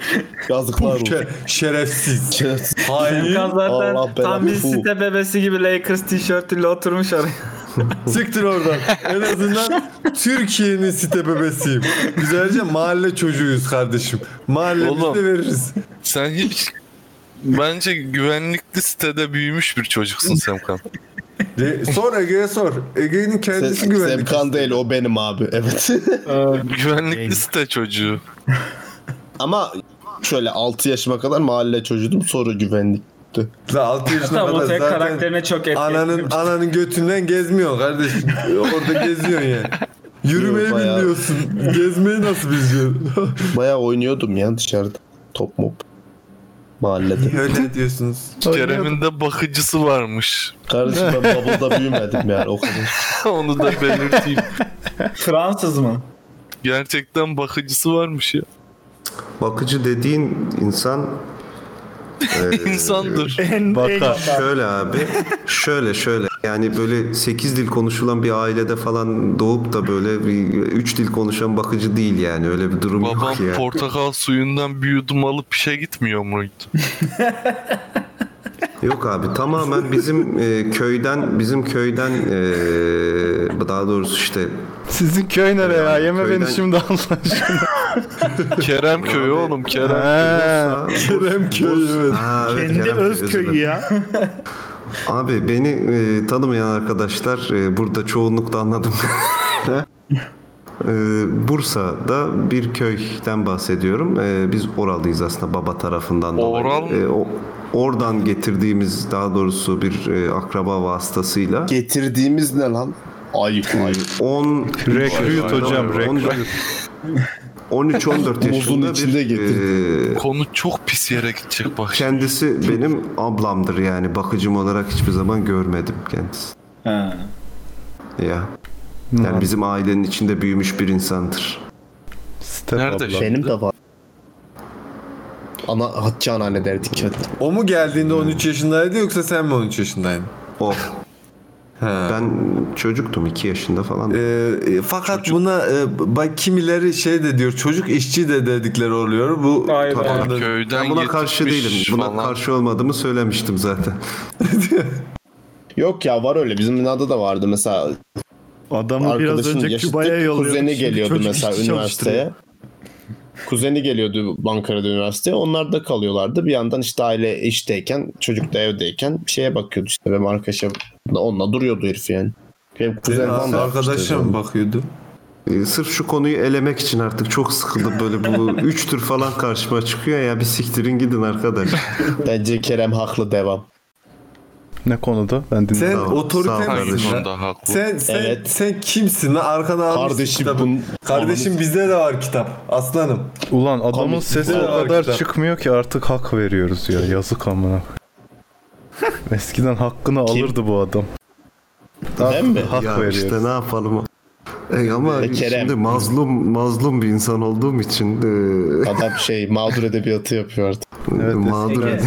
H: Yazıklar olsun.
B: şerefsiz. Hain.
J: Serkan zaten tam bir
B: Puh.
J: site bebesi gibi Lakers tişörtüyle oturmuş oraya.
B: Siktir oradan. En azından Türkiye'nin site bebesiyim. Güzelce mahalle çocuğuyuz kardeşim. Mahallemizde
F: Oğlum.
B: veririz.
F: Sen hiç bence güvenlikli sitede büyümüş bir çocuksun Semkan.
B: De- sor Ege'ye sor. Ege'nin kendisi
F: Sem-
B: güvenlik.
H: Semkan değil o benim abi. Evet.
F: güvenlikli site çocuğu.
H: Ama şöyle 6 yaşıma kadar mahalle çocuğuydum sonra güvenlikti.
B: La 6 yaşına kadar zaten ananın, ananın götünden gezmiyor kardeşim. Orada geziyorsun yani. Yürümeyi
H: Yok, bayağı-
B: bilmiyorsun. Gezmeyi nasıl biliyorsun?
H: Bayağı oynuyordum ya dışarıda. Top mop. Mahallede.
B: Öyle diyorsunuz.
F: Kerem'in de bakıcısı varmış.
H: Kardeşim ben Bubble'da büyümedim yani o kadar.
F: Onu da belirteyim.
J: Fransız mı?
F: Gerçekten bakıcısı varmış ya.
D: Bakıcı dediğin insan e,
F: İnsandır.
D: Şöyle abi. Şöyle şöyle. Yani böyle 8 dil konuşulan bir ailede falan doğup da böyle bir 3 dil konuşan bakıcı değil yani. Öyle bir durum
F: Babam
D: yok ya.
F: portakal suyundan bir yudum alıp işe gitmiyor muydu?
D: Yok abi tamamen bizim e, köyden bizim köyden e, daha doğrusu işte
C: Sizin köy nereye ya? Yeme
D: Köyden-
C: beni şimdi Allah aşkına.
F: Kerem köyü oğlum Kerem.
C: Ha, Kerem köyü. evet.
D: Ha, evet,
E: Kendi
D: Kerem
E: öz
D: Bey, özür
E: köyü
D: dilerim.
E: ya.
D: Abi beni e, tanımayan arkadaşlar e, burada çoğunlukla anladım. E, Bursa'da bir köyden bahsediyorum. E, biz oralıyız aslında baba tarafından dolayı.
F: Oral?
D: E, o, oradan getirdiğimiz daha doğrusu bir e, akraba vasıtasıyla.
H: Getirdiğimiz ne lan? Ayıp ayıp.
D: 10
C: Recruit hocam, recruit.
D: 13-14 yaşında e,
H: içinde
D: bir...
F: Konu çok pis yere gidecek bak.
D: Kendisi benim ablamdır yani bakıcım olarak hiçbir zaman görmedim kendisi.
N: Ha.
D: Ya. Yani bizim ailenin içinde büyümüş bir insandır.
H: Nerede? Benim de var. Ana Hatice anneanne derdik.
B: O mu geldiğinde 13 yaşındaydı yoksa sen mi 13 yaşındaydın?
D: O. Ben çocuktum 2 yaşında falan.
B: E, Ee, fakat buna e, bak kimileri şey de diyor çocuk işçi de dedikleri oluyor. Bu
D: Tamam.
B: tamamdır.
D: ben buna karşı değilim. Buna karşı olmadığımı söylemiştim zaten.
H: Yok ya var öyle. Bizim binada da vardı mesela.
E: Adamı biraz
H: Arkadaşın
E: önce
H: yaşıtlık
E: Küba'ya yolluyormuş.
H: Kuzeni geliyordu
E: Çocuk
H: mesela
E: işçi
H: üniversiteye.
E: çalıştırıyor.
H: Kuzeni geliyordu Ankara'da üniversiteye. Onlar da kalıyorlardı. Bir yandan işte aile işteyken, çocuk da evdeyken şeye bakıyordu işte. Benim arkadaşım onunla duruyordu herif yani. Benim kuzenim falan da yapmıştı o zaman.
B: bakıyordu.
D: E, Sırf şu konuyu elemek için artık çok sıkıldım böyle bu üç tür falan karşıma çıkıyor ya bir siktirin gidin arkadaş.
H: Bence Kerem haklı devam.
C: Ne konuda? Ben dinledim.
B: Sen otorite misin? lan? Sen, sen, sen kimsin lan? Arkana almışsın
C: Kardeşim
B: kitabı.
C: bun-
B: Kardeşim bizde de var kitap. Aslanım.
C: Ulan adamın
B: Komik
C: sesi
B: bir
C: o
B: var
C: kadar
B: kitap.
C: çıkmıyor ki artık hak veriyoruz ya. Yazık amına. Eskiden hakkını alırdı bu adam.
D: Değil mi?
C: Hak
D: ya
C: veriyoruz.
D: işte ne yapalım. E ama
H: E, Kerem.
D: şimdi mazlum mazlum bir insan olduğum için e,
H: Adam şey mağdur edebiyatı yapıyor artık.
D: Evet, mağdur
N: Peki.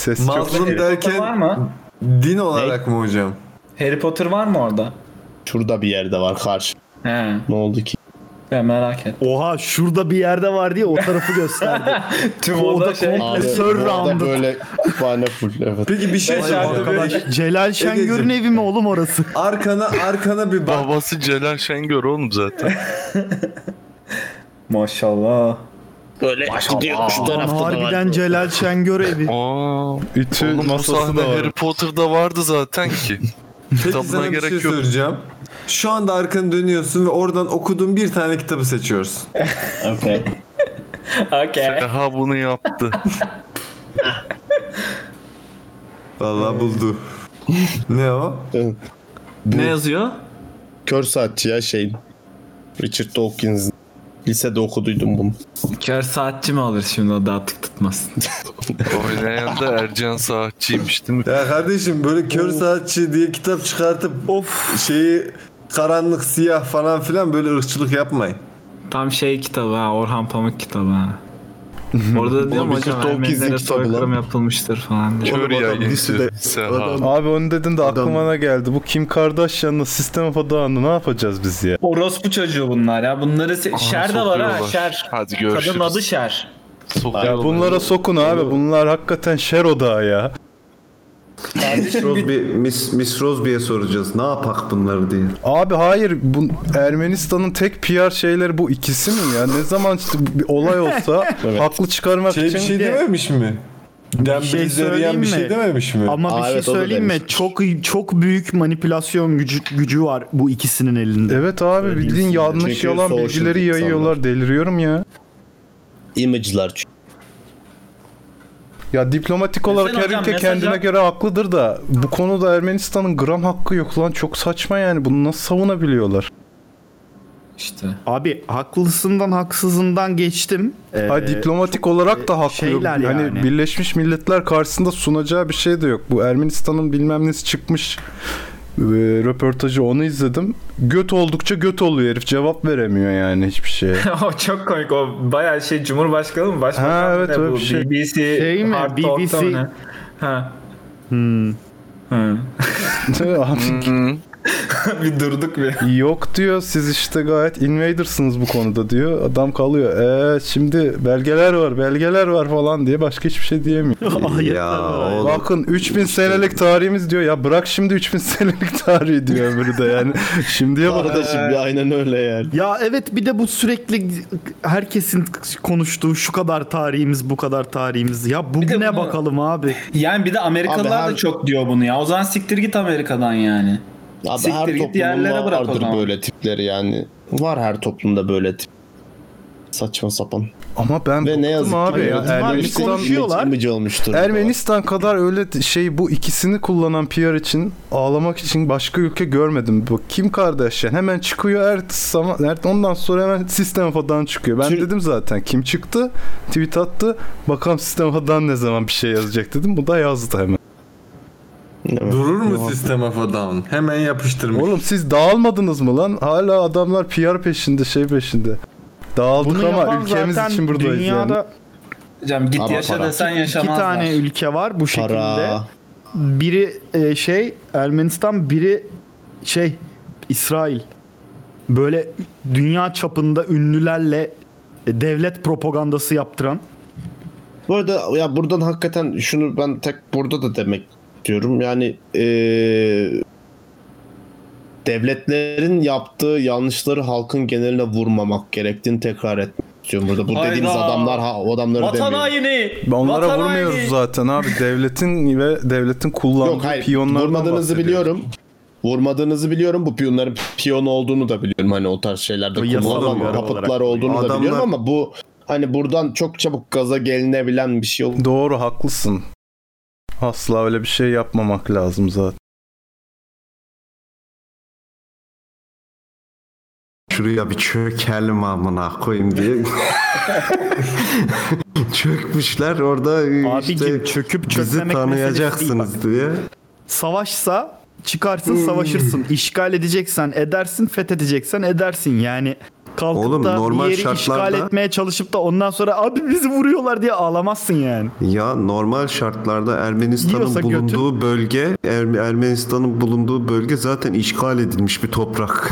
C: Ses
B: Mazlum derken
N: var mı?
B: din olarak mı hocam?
N: Harry Potter var mı orada?
H: Şurada bir yerde var karşı.
N: He.
H: Ne oldu ki?
N: Ben merak ettim.
E: Oha şurada bir yerde var diye o tarafı gösterdi.
N: Tüm
E: Orada
N: oda şey.
E: komple surrounded.
H: böyle kütüphane full evet.
B: Peki bir şey
E: Vay
B: söyleyeceğim.
E: arkadaş, Celal Şengör'ün evi mi oğlum orası?
B: Arkana arkana bir bak.
F: Babası Celal Şengör oğlum zaten.
N: Maşallah.
H: Böyle
F: gidiyor, şu tarafta da var.
E: Harbiden Celal Şengör evi.
F: Aa,
C: Ütü
F: oğlum bu
C: masası
F: sahne
C: da var.
F: Harry Potter'da vardı zaten ki.
B: Peki
F: Kitabına
B: sana bir
F: gerek
B: şey
F: yok.
B: söyleyeceğim. Şu anda arkanı dönüyorsun ve oradan okuduğun bir tane kitabı seçiyorsun.
N: Okay. okay.
F: Daha bunu yaptı.
B: Vallahi buldu. ne o?
H: Bu
J: Ne yazıyor?
H: kör saatçi ya şey. Richard Dawkins'in. Lisede okuduydum bunu.
J: Kör saatçi mi alır şimdi o da atık tutmasın.
F: Oynayan da Ercan Saatçı'ymış değil mi?
B: Ya kardeşim böyle kör saatçi diye kitap çıkartıp of şeyi karanlık siyah falan filan böyle ırkçılık yapmayın.
J: Tam şey kitabı ha Orhan Pamuk kitabı ha. Orada diyorum
H: Richard
J: hocam
H: Dawkins'in
J: Ermenilere
H: kitabı lan.
J: soykırım yapılmıştır falan diye.
F: Kör yayıncı.
C: Abi onu dedin de aklıma ne geldi? Bu Kim Kardashian'la System of a Down'ı ne yapacağız biz ya?
N: Orospu çocuğu bunlar ya. Bunları se-
C: Aha,
N: şer de var ha
C: sokuyorlar.
N: şer.
F: Hadi
N: Kadının adı şer.
C: Ya bunlara sokun abi. Bunlar hakikaten şer odağı ya.
D: Miss Rosby, Miss, Miss Rosby'ye soracağız. Ne yapak bunları diye.
C: Abi hayır bu Ermenistan'ın tek PR şeyleri bu ikisi mi ya? Ne zaman işte bir olay olsa haklı çıkarmak
B: Şey
C: için
B: bir şey dememiş mi?
E: Bir şey
B: Dembele
E: söyleyeyim
B: Zerian
E: mi?
B: bir şey dememiş mi?
E: Ama bir şey söyleyeyim mi? Çok çok büyük manipülasyon gücü, gücü var bu ikisinin elinde.
C: Evet abi bildiğin yanlış
H: Çünkü
C: yalan
H: social
C: bilgileri yayıyorlar. Deliriyorum ya.
H: Image'lar çünkü.
C: Ya diplomatik olarak
H: Mesela
C: her
H: hocam,
C: ülke
H: mesela-
C: kendine göre haklıdır da bu konuda Ermenistan'ın gram hakkı yok lan. Çok saçma yani. Bunu nasıl savunabiliyorlar?
J: İşte.
E: Abi haklısından haksızından geçtim.
C: Ha, diplomatik olarak da haklı. yok.
E: Ee, şeyler
C: Hani
E: yani.
C: Birleşmiş Milletler karşısında sunacağı bir şey de yok. Bu Ermenistan'ın bilmem nesi çıkmış e, röportajı onu izledim. Göt oldukça göt oluyor herif. Cevap veremiyor yani hiçbir şeye.
N: o çok komik. O bayağı şey Cumhurbaşkanı mı? Başbakan
C: Ha, evet,
N: mı ne
C: öyle
N: bu?
C: bir şey.
N: BBC
E: Şey mi?
N: Hard Talk'ta
E: BBC
N: mı ne? Ha.
C: Hmm.
N: bir durduk bir.
C: Yok diyor siz işte gayet invadersınız bu konuda diyor. Adam kalıyor. Eee şimdi belgeler var belgeler var falan diye başka hiçbir şey diyemiyor.
D: ya oğlum.
C: Bakın 3000 senelik tarihimiz diyor. Ya bırak şimdi 3000 senelik tarihi diyor öbürü de yani.
N: Ee,
C: Şimdiye bak.
H: Kardeşim ya aynen öyle yani.
E: Ya evet bir de bu sürekli herkesin konuştuğu şu kadar tarihimiz bu kadar tarihimiz. Ya bugüne
N: bunu-
E: bakalım abi.
N: Yani bir de Amerikalılar
E: Abi her-
N: da çok diyor bunu ya. O zaman siktir git Amerika'dan yani.
H: Abi
N: siktir
H: her
N: git yerlere
H: toplumda
N: bırak o
H: vardır
N: zaman.
H: böyle tipleri yani. Var her toplumda böyle tip. Saçma sapan.
C: Ama ben
H: Ve ne yazık
C: abi
H: ki
C: ya, Ermenistan-
H: Ermenistan
C: konuşuyorlar.
H: image olmuştur.
C: Ermenistan kadar öyle t- şey bu ikisini kullanan PR için ağlamak için başka ülke görmedim. Bu Kim Kardashian hemen çıkıyor ertesi zaman ert- ondan sonra hemen sistem falan çıkıyor. Ben dedim zaten kim çıktı tweet attı bakalım sistem falan ne zaman bir şey yazacak dedim. Bu da yazdı hemen.
B: Durur mu sistem of a Down? Hemen yapıştırmış.
C: Oğlum siz dağılmadınız mı lan? Hala adamlar PR peşinde şey peşinde. Dağıldık
E: Bunu
C: ama
E: yapan
C: ülkemiz
E: zaten
C: için buradayız
E: dünyada
C: yani.
J: Hocam git
E: Ama
J: yaşa
E: para.
J: desen yaşamazlar.
E: İki tane ülke var bu şekilde. Biri e, şey Ermenistan, biri şey İsrail. Böyle dünya çapında ünlülerle e, devlet propagandası yaptıran.
H: Bu arada ya buradan hakikaten şunu ben tek burada da demek diyorum. Yani e, eee, devletlerin yaptığı yanlışları halkın geneline vurmamak gerektiğini tekrar etmek istiyorum burada. Bu
C: Hayda.
H: dediğimiz adamlar ha o adamları demiyorum.
C: Ben Onlara vurmuyoruz zaten abi. Devletin ve devletin kullandığı
H: Yok hayır
C: piyonlardan
H: vurmadığınızı
C: bahsediyoruz.
H: biliyorum. Vurmadığınızı biliyorum. Bu piyonların piyon olduğunu da biliyorum. Hani o tarz şeylerde
C: Bu yasal
H: kullanılan
C: olarak-
H: kaputlar olduğunu da
C: Adamlar-
H: biliyorum ama bu hani buradan çok çabuk gaza gelinebilen bir şey oldu.
C: Doğru haklısın. Asla öyle bir şey yapmamak lazım zaten.
D: Şuraya bir çökelim amına koyayım diye. Çökmüşler orada işte
E: çöküp
D: bizi
E: çökmemek
D: tanıyacaksınız
E: meselesi
D: diye.
E: Savaşsa çıkarsın
D: Hmm.
E: savaşırsın. İşgal edeceksen edersin, fethedeceksen edersin. Yani kalkıp
D: Oğlum,
E: da
D: normal
E: bir yeri
D: şartlarda-
E: işgal etmeye çalışıp da ondan sonra abi bizi vuruyorlar diye ağlamazsın yani.
D: Ya normal şartlarda Ermenistan'ın
E: Yiyorsa götür.
D: bulunduğu bölge Er- Ermenistan'ın bulunduğu bölge zaten işgal edilmiş bir toprak.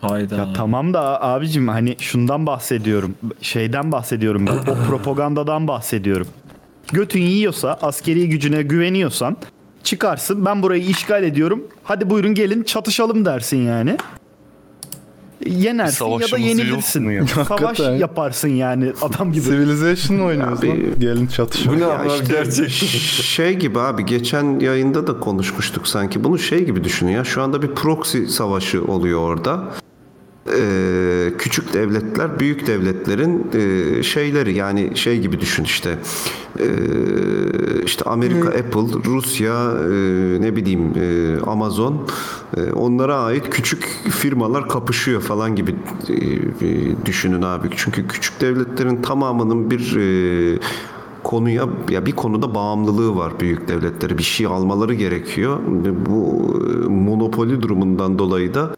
J: Hayda.
E: Ya tamam da abicim hani şundan bahsediyorum. Şeyden bahsediyorum ben. O propagandadan bahsediyorum. Götün yiyorsa, askeri gücüne güveniyorsan çıkarsın. Ben burayı işgal ediyorum. Hadi buyurun gelin çatışalım dersin yani. Yenersin ya da
C: Savaşımız yok mu ya?
E: yenilirsin. Savaş
C: Hakikaten.
E: yaparsın yani adam gibi.
C: Civilization oynuyoruz lan. Gelin çatışma.
D: Ya işte Şey gibi abi geçen yayında da konuşmuştuk sanki. Bunu şey gibi düşünün ya şu anda bir proxy savaşı oluyor orada. Ee, küçük devletler büyük devletlerin e, şeyleri yani şey gibi düşün işte Ee, işte Amerika Apple Rusya e, ne bileyim e, Amazon e, onlara ait küçük firmalar kapışıyor falan gibi e, e, düşünün abi çünkü küçük devletlerin tamamının bir e, konuya ya bir konuda bağımlılığı var büyük devletlere bir şey almaları gerekiyor. Bu e, monopoli durumundan dolayı da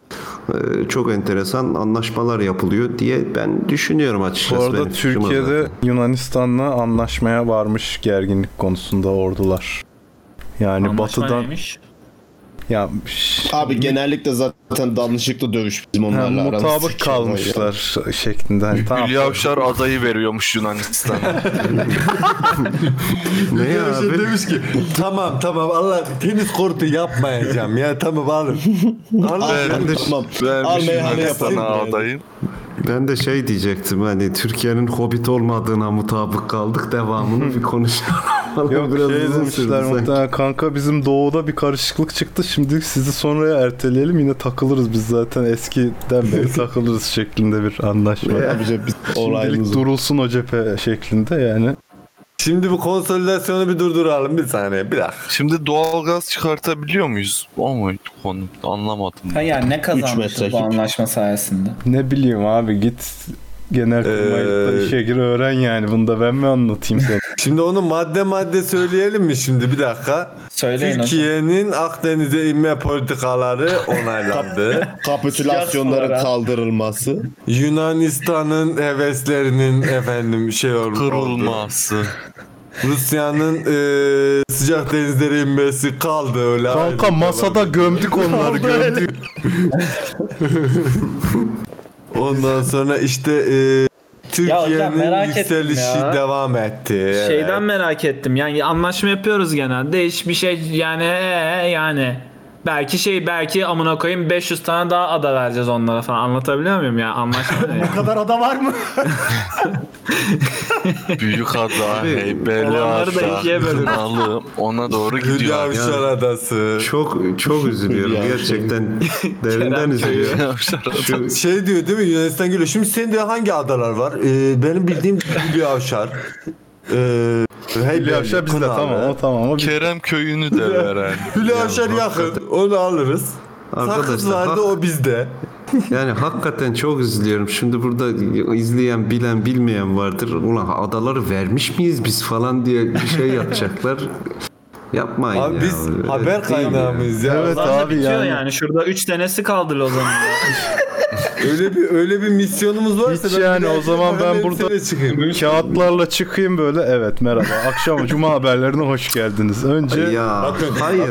D: e, çok enteresan anlaşmalar yapılıyor diye ben düşünüyorum açıkçası.
C: Bu arada
D: Benim fikrim o
C: Türkiye'de
D: zaten.
C: Yunanistan'la anlaşmaya varmış gerginlik konusunda ordular. Yani batıdan ya
H: Abi genellikle zaten danışıklı dövüş bizim
C: Ha,
H: onlarla aramız.
C: mutabık kalmışlar şeklinde. Hani tamam.
F: Hülya Avşar adayı veriyormuş Yunanistan'a.
D: Ne
B: ya
C: şey
D: ya abi?
B: Şey demiş ki tamam tamam Allah tenis kortu yapmayacağım ya tamam alın. Allah
D: Ben- tamam. Al meyhane yapalım.
F: adayım.
D: Ben de şey diyecektim hani Türkiye'nin hobbit olmadığına mutabık kaldık devamını bir konuşalım.
C: Yok
D: Biraz
C: şey
D: uzun sürdü
C: demişler
D: sanki.
C: muhtemelen kanka bizim doğuda bir karışıklık çıktı şimdi sizi sonraya erteleyelim yine takılırız biz zaten eskiden beri takılırız şeklinde bir anlaşma.
H: Ya, bize biz olayımız
C: Şimdilik
H: var.
C: durulsun o cephe şeklinde yani.
B: Şimdi bu konsolidasyonu bir durduralım bir saniye bir dakika.
F: Şimdi doğalgaz çıkartabiliyor muyuz? O mu konu? Anlamadım.
J: Ha yani ne kazanmışız bu anlaşma sayesinde?
C: Ne bileyim abi git genel kurmaylıktan
B: Ee,
C: işe gir öğren yani bunu da ben mi anlatayım sana?
B: Şimdi onu madde madde söyleyelim mi şimdi bir dakika?
J: Söyleyin hocam.
B: Türkiye'nin Akdeniz'e inme politikaları onaylandı.
H: Kapitülasyonların kaldırılması.
B: Yunanistan'ın heveslerinin efendim şey olmuş.
F: Kırılması.
B: Rusya'nın eee, sıcak denizlere inmesi kaldı öyle.
C: Kanka
B: ayrı.
C: masada gömdük onları
B: Kaldı öyle.
C: gömdük.
B: Ondan sonra işte eee, Türkiye'nin
J: merak ettim
B: yükselişi
J: ya.
B: devam etti. Evet.
J: Şeyden merak ettim. Yani anlaşma yapıyoruz genelde. Hiçbir şey yani ee, yani
A: e, Belki şey belki amına koyayım 500 tane daha ada vereceğiz onlara falan. Anlatabiliyor muyum ya? Anlaşma ne ya?
E: Bu kadar ada var mı?
F: Büyük ada, heybeli
A: olanları da
F: ada,
A: ikiye bölün.
F: kralım ona doğru gidiyor.
D: Hülyavşar
B: Adası.
D: Çok çok üzülüyorum
C: şey.
F: Hülyavşar.
D: gerçekten. Derinden üzülüyorum.
B: Şu- şey diyor değil mi Yunanistan geliyor. Şimdi senin de hangi adalar var? Ee, benim bildiğim Hülyavşar. Ee,
C: Hülyavşar bizde, tamam, o tamam. O
F: Kerem köyünü de veren.
B: Hülyavşar yakın. Onu alırız. Sakız
D: Arkadaşlar,
B: vardı
D: hak-
B: o bizde.
D: Yani hakikaten çok üzülüyorum. Şimdi burada izleyen, bilen, bilmeyen vardır. Ulan adaları vermiş miyiz biz falan diye bir şey yapacaklar. Yapmayın
B: Abi
D: ya.
B: biz
D: Öyle değil
B: haber
D: mi?
B: kaynağımız ya.
A: Zaten bitiyor yani. Şurada 3 tanesi kaldı Lozan'ın.
B: öyle bir öyle bir misyonumuz varsa
C: Hiç
B: ben
C: yani
B: bir
C: o
B: dahaki
C: zaman ben
B: bakalım
C: burada
B: hepsine çıkayım.
C: kağıtlarla çıkayım böyle. Evet merhaba. Akşam cuma haberlerine hoş geldiniz. Önce
D: Ya hayır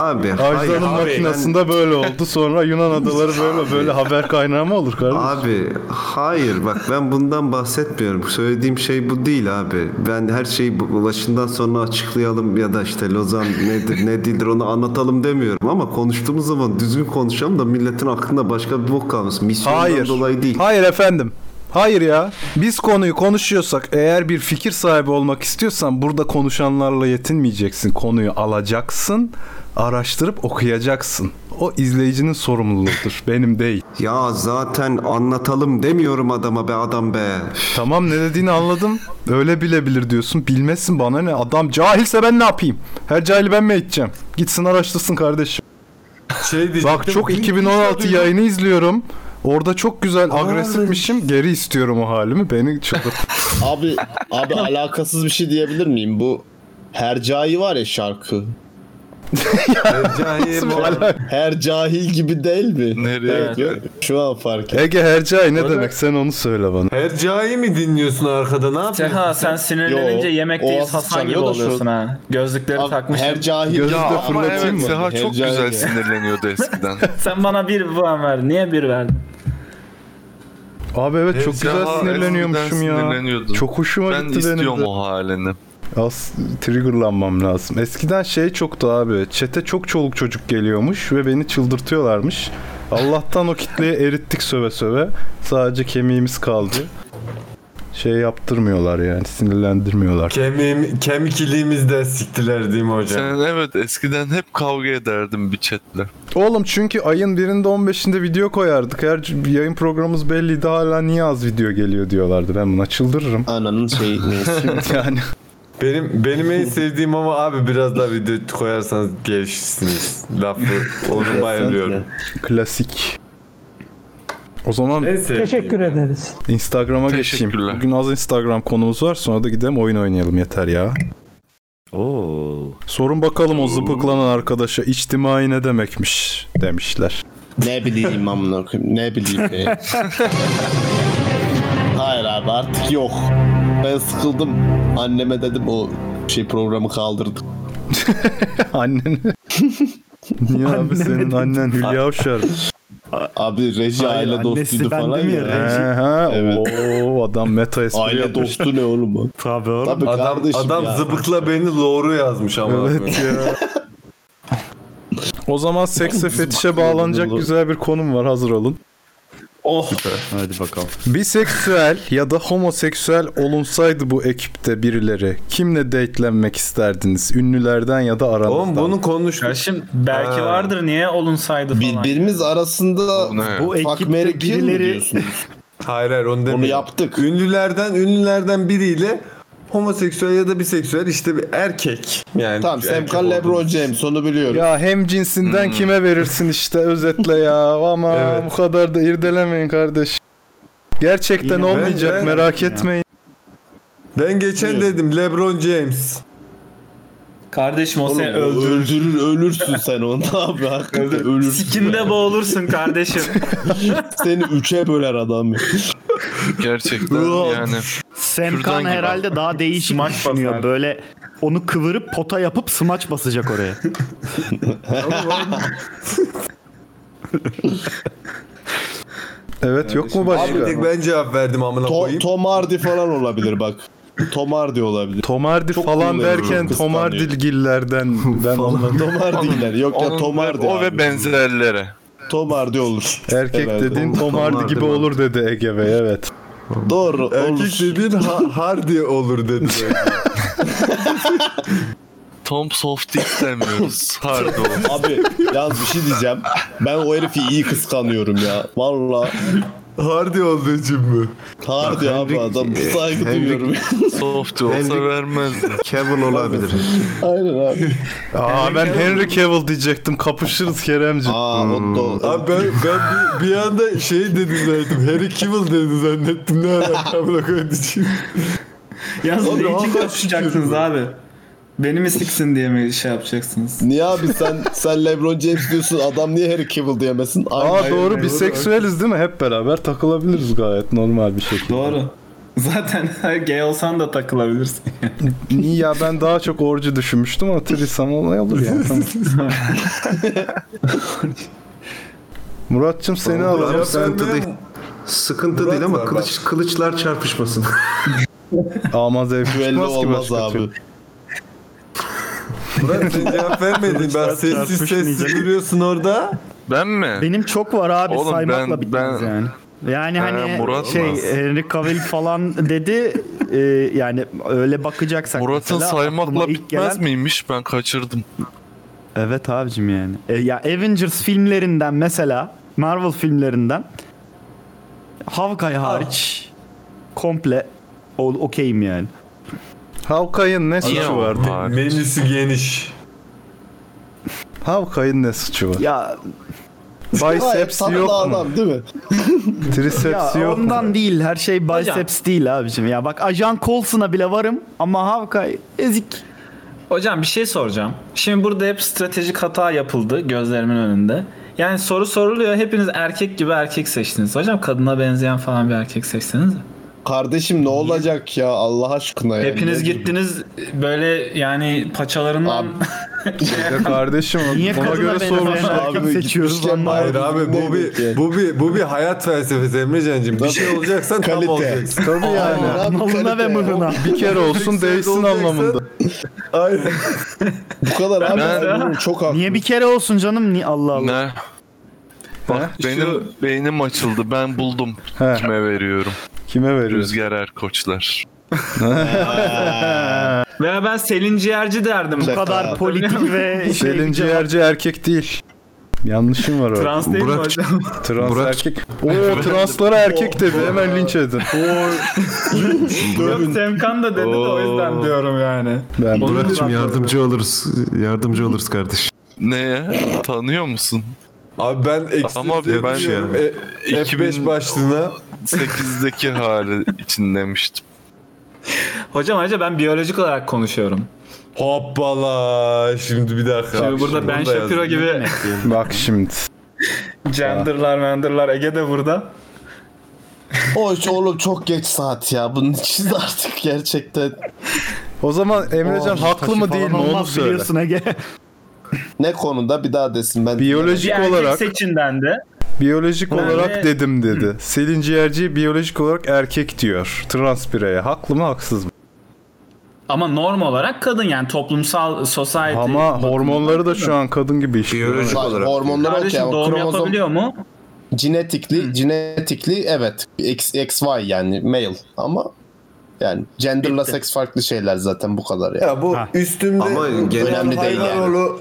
D: abi hayır.
C: Ajda'nın makinasında böyle oldu. Sonra Yunan adaları böyle böyle haber kaynağı mı olur kardeşim?
D: Abi hayır bak ben bundan bahsetmiyorum. Söylediğim şey bu değil abi. Ben her şeyi bu- başından sonra açıklayalım ya da işte Lozan nedir ne değildir onu anlatalım demiyorum ama konuştuğumuz zaman düzgün konuşalım da milletin aklında başka bir bok kalmasın. Misyondan
C: Hayır.
D: dolayı değil.
C: Hayır efendim. Hayır ya. Biz konuyu konuşuyorsak eğer bir fikir sahibi olmak istiyorsan burada konuşanlarla yetinmeyeceksin. Konuyu alacaksın, araştırıp okuyacaksın. O izleyicinin sorumluluğudur. Benim değil.
D: Ya zaten anlatalım demiyorum adama be adam be.
C: Tamam ne dediğini anladım. Öyle bilebilir diyorsun. Bilmezsin bana ne. Adam cahilse ben ne yapayım? Her cahili ben mi edeceğim? Gitsin araştırsın kardeşim. Bak çok
D: şey
C: 2016 yayını izliyorum. Orada çok güzel agresifmişim. Geri istiyorum o halimi. Beni çıldırt.
H: Abi abi alakasız bir şey diyebilir miyim? Bu Hercai var ya şarkı.
B: Hercai
H: mi? Her cahil gibi değil mi?
F: Nereye?
H: Evet, yok. Şu an fark ettim.
C: Ege Hercai ne
H: Orada-
C: demek? Sen onu söyle bana.
B: Hercai mi dinliyorsun arkada ne yapıyorsun?
A: Seha sen sinirlenince
B: Yo,
A: yemekteyiz
B: o
A: Hasan gibi
B: çalıyor da şu-
A: oluyorsun ha. Gözlükleri takmışsın.
F: ya, ama evet Seha çok güzel sinirleniyordu eskiden.
A: sen bana bir puan ver. Niye bir verdin?
C: Abi evet çok
F: Seha
C: güzel sinirleniyormuşum
F: eskiden
C: ya.
F: sinirleniyordu.
C: Çok hoşuma
F: ben
C: gitti benim
F: istiyorum
C: de.
F: o halini.
C: Az triggerlanmam lazım. Eskiden şey çoktu abi. Çete çok çoluk çocuk geliyormuş ve beni çıldırtıyorlarmış. Allah'tan o kitleyi erittik söve söve. Sadece kemiğimiz kaldı. Şey yaptırmıyorlar yani sinirlendirmiyorlar.
B: Kemiğim, kemikliğimiz de siktiler değil mi hocam?
F: Sen evet eskiden hep kavga ederdim bir chatle.
C: Oğlum çünkü ayın birinde 15'inde video koyardık. Her c- yayın programımız belliydi hala niye az video geliyor diyorlardı. Ben buna çıldırırım.
H: Ananın şey şeyi
C: yani.
B: Benim benim en sevdiğim ama abi biraz daha video koyarsanız gelişirsiniz lafı. Onu bayılıyorum.
C: Klasik. O zaman
K: Teşekkür ederiz.
C: Instagram'a geçeyim. Bugün az Instagram konumuz var. Sonra da gidelim oyun oynayalım yeter ya. Oo. Sorun bakalım o zıpıklanan arkadaşa içtimai ne demekmiş demişler.
H: Ne bileyim amına koyayım. Ne bileyim be. Hayır abi artık yok. Ben sıkıldım. Anneme dedim o şey programı kaldırdık.
C: Annen. Niye abi senin annen Hülya Avşar?
H: Abi reji
C: Hayır,
H: aile dostuydu
C: annesi bende
H: falan
C: mi
H: ya.
C: ya, reji? Oo adam meta espri
H: Aile
C: yapmış.
H: dostu ne oğlum o?
C: Tabii
H: Tabii
B: adam
H: kardeşim
B: adam
H: ya.
B: zıbıkla beni loru yazmış ama.
C: Evet ya. O zaman sekse fetişe bağlanacak güzel bir konum var hazır olun.
A: Oh.
M: Hadi bakalım.
C: Biseksüel ya da homoseksüel olunsaydı bu ekipte birileri kimle date'lenmek isterdiniz? Ünlülerden ya da aranızdan.
B: Oğlum bunu konuştuk.
A: Kardeşim belki vardır niye olunsaydı falan.
H: Birbirimiz arasında
A: Bu
H: fuck,
A: ekipte
H: marry, kill mi
A: birileri-
H: diyorsunuz?
B: Hayır hayır onu demiyorum. Onu yaptık. Ünlülerden ünlülerden biriyle homoseksüel ya da biseksüel işte bir erkek. Yani
H: Tamam
B: bir
H: Sam
B: erkek
H: Call,
B: oldu.
H: Lebron James onu biliyorum.
C: Ya hem
B: Hmm.
C: cinsinden kime verirsin işte özetle ya ama bu kadar da irdelemeyin kardeş. Gerçekten
B: Yine-
C: olmayacak
B: Ben- ben-
C: merak etmeyin.
B: Ben geçen dedim Lebron James.
A: Kardeşim o
H: Oğlum,
A: seni
H: o
A: öldürür.
H: öldürür ölürsün sen onu abi hakikaten ölürsün.
A: Sikinde boğulursun kardeşim.
H: Seni üçe böler adam.
F: Gerçekten yani. Kürdan
E: Semkan
F: gibi.
E: herhalde daha değişik düşünüyor. Böyle onu kıvırıp pota yapıp smaç basacak oraya.
C: Evet yok mu başka?
B: Abi tek ben cevap verdim amına
H: To-
B: koyayım.
H: Tom Hardy falan olabilir bak. Tomardi olabilir.
C: Tomardi falan derken Tomardilgillerden ben anladım.
H: Tomardilgiler. Yok ya
F: Onun-
H: Tomardi.
F: O ve benzerlere.
H: Tomardi olur.
C: Erkek
H: Herhalde.
C: dediğin Tomardi gibi olur dedi Ege Bey evet.
H: Doğru.
B: Erkek dediğin ha- hardi olur dedi.
F: Tom Soft istemiyoruz. Hard olsun.
H: Abi yalnız bir şey diyeceğim. Ben o herifi iyi kıskanıyorum ya. Valla.
B: Hardy olduğu için mi?
H: Hardy abi adam saygı duyuyorum.
F: Soft olsa vermez.
D: Cavill olabilir.
H: Aynen abi.
C: Aa ben Henry Cavill diyecektim kapışırız Keremciğim.
H: Aa o da
B: Abi ben, ben bir, bir anda şey dedi zannettim. Harry Cavill dedi zannettim. Ne alaka buna koyduğum
O: Yalnız
B: Abi,
O: ne için
B: Allah
O: kapışacaksınız abi? Beni mi siksin diye mi şey yapacaksınız?
H: Niye abi sen sen LeBron James diyorsun adam niye Harry Cavill diyemesin?
C: Aa doğru bir seksüeliz değil mi? Hep beraber takılabiliriz gayet normal bir şekilde.
O: Doğru. Zaten gay olsan da takılabilirsin.
C: İyi ya ben daha çok orcu düşünmüştüm ama trisam olay olur ya. Tamam. Muratçım seni
D: Vallahi
C: alacağım.
D: sıkıntı değil. Sıkıntı değil ama kılıç, kılıçlar çarpışmasın.
C: Ama zevk
D: Düello
C: çıkmaz ki
D: olmaz
C: başka
D: abi.
C: türlü.
B: Murat sen cevap vermedin. Ben
E: Kılıçlar
B: sessiz sessiz
E: çarpışmayacak.
B: duruyorsun orada.
F: Ben mi?
E: Benim çok var abi
F: Oğlum
E: saymakla
F: ben-
E: bitmez
F: ben-
E: yani. Yani
F: Ee,
E: hani
F: Murat
E: şey
F: olmaz.
E: Henry Cavill falan dedi e, yani öyle bakacaksak
F: Murat'ın
E: mesela aklıma
F: saymakla
E: ilk
F: bitmez
E: gelen-
F: miymiş? Ben kaçırdım.
E: Evet abicim yani. E, ya Avengers filmlerinden mesela Marvel filmlerinden Hawkeye hariç komple o- okeyim yani.
C: Hawkeye'ın ne suçu vardı?
B: Menüsü geniş.
C: Hawkeye'ın ne suçu var?
E: Ya
C: Biceps
E: Gayet
C: yok
E: tatlı
C: mu?
E: adam,
H: değil mi?
C: Triceps
E: ya
C: yok mu?
E: ondan değil her şey biceps değil abicim. Ya bak Ajan Coulson'a bile varım ama Hawkeye ezik.
J: Hocam bir şey soracağım. Şimdi burada hep stratejik hata yapıldı gözlerimin önünde. Yani soru soruluyor. Hepiniz erkek gibi erkek seçtiniz. Hocam kadına benzeyen falan bir erkek seçseniz.
H: Kardeşim ne olacak ya Allah aşkına yani.
J: Hepiniz gittiniz böyle yani paçalarından
C: Ya kardeşim ona göre sormuşlar.
B: Hayır abi bu bir, bu bir, bu bir hayat felsefesi Emrecan'cığım. Bir şey olacaksan tam olacaksın.
C: Tabii yani.
E: Malına ve mırına.
C: Bir kere olsun değsin anlamında.
H: Aynen. Bu kadar abi.
F: Ben-
H: Yani Çok haklı.
E: Niye bir kere olsun canım? Ni Allah Allah.
F: Ne? Bak benim beynim açıldı. Ben buldum.
C: He.
F: Kime veriyorum?
C: Kime veriyorsun?
F: Rüzgar Erkoçlar.
J: Veya ben Selin Ciğerci derdim.
E: Bu kadar politik ve şey
C: Selin
E: bir cevap.
C: ciğerci erkek değil. Yanlışım var orada.
J: Trans değil mi Burak- hocam?
C: Trans
J: Burak-
C: erkek. Oo translara erkek dedi hemen linç edin.
J: Yok Semkan da dedi de o yüzden diyorum yani.
C: Ben
J: Burak'cığım
D: yardımcı oluruz. Yardımcı oluruz kardeş.
F: Neye? Tanıyor musun?
B: Abi ben eksi
F: Ama
B: diye
F: ben
B: düşünüyorum. E, F5 başlığına.
F: 8'deki hali için demiştim.
J: Hocam ayrıca ben biyolojik olarak konuşuyorum.
B: Hoppala. Şimdi bir dakika.
J: Şimdi burada Ben Shapiro gibi
C: Bak şimdi.
J: genderlar menderlar Ege de burada.
H: Oy oğlum çok geç saat ya. Bunun için de artık gerçekten.
C: O zaman Emrecan haklı mı değil mi onu söyle.
H: Ne konuda bir daha desin ben.
C: Biyolojik
H: Yani
C: olarak
J: seçinden de
C: biyolojik
H: Ben
C: olarak
H: de-
C: dedim dedi. Selin ciğerci biyolojik olarak erkek diyor. Trans bireye. Haklı mı haksız mı?
J: Ama norm olarak kadın yani toplumsal society.
C: Ama hormonları da şu an kadın gibi işliyor.
H: Bak, Hormonlar
J: Kardeşim
H: okey.
J: doğum yapabiliyor mu?
H: Cinetikli, cinetikli evet. X, XY yani male ama yani genderla seks farklı şeyler zaten bu kadar yani.
B: Ya bu üstümde
H: Ama
B: duran
H: önemli değil yani.
B: hayvanoğlu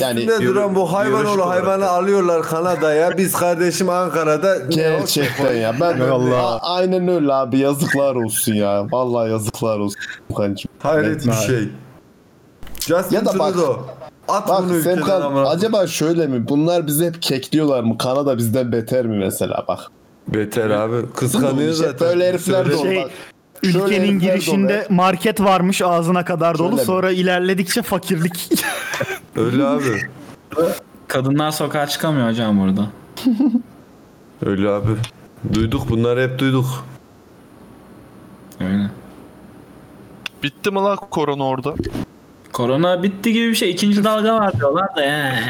H: Yani-
B: üstünde duran bu
H: Biyolojik
B: hayvanoğlu
H: olarak
B: hayvanı alıyorlar Kanada'ya. Biz kardeşim Ankara'da
H: Gerçekten ya. Ben A- aynen öyle abi yazıklar olsun ya. Vallahi yazıklar olsun Furkan'cığım.
B: Hayret bir şey. Justin
H: ya da bak,
B: Trudeau. At
H: bak
B: bunu ülkeden
H: Semkan,
B: amına.
H: acaba şöyle mi? Bunlar bizi hep kekliyorlar mı? Kanada bizden beter mi mesela bak.
B: Beter abi. Kıskanıyor
H: İşte
B: zaten.
H: Şey, Böyle herifler de
B: Söyle.
H: şey,
E: Şey, Ülkenin girişinde market varmış ağzına kadar dolu.
H: Şöyle mi?
E: Sonra ilerledikçe fakirlik.
B: Öyle abi.
J: Kadınlar sokağa çıkamıyor hocam burada.
B: Öyle abi. Duyduk bunları hep duyduk.
J: Öyle.
F: Bitti mi lan korona orada?
J: Korona bitti gibi bir şey. İkinci dalga var diyorlar da yani.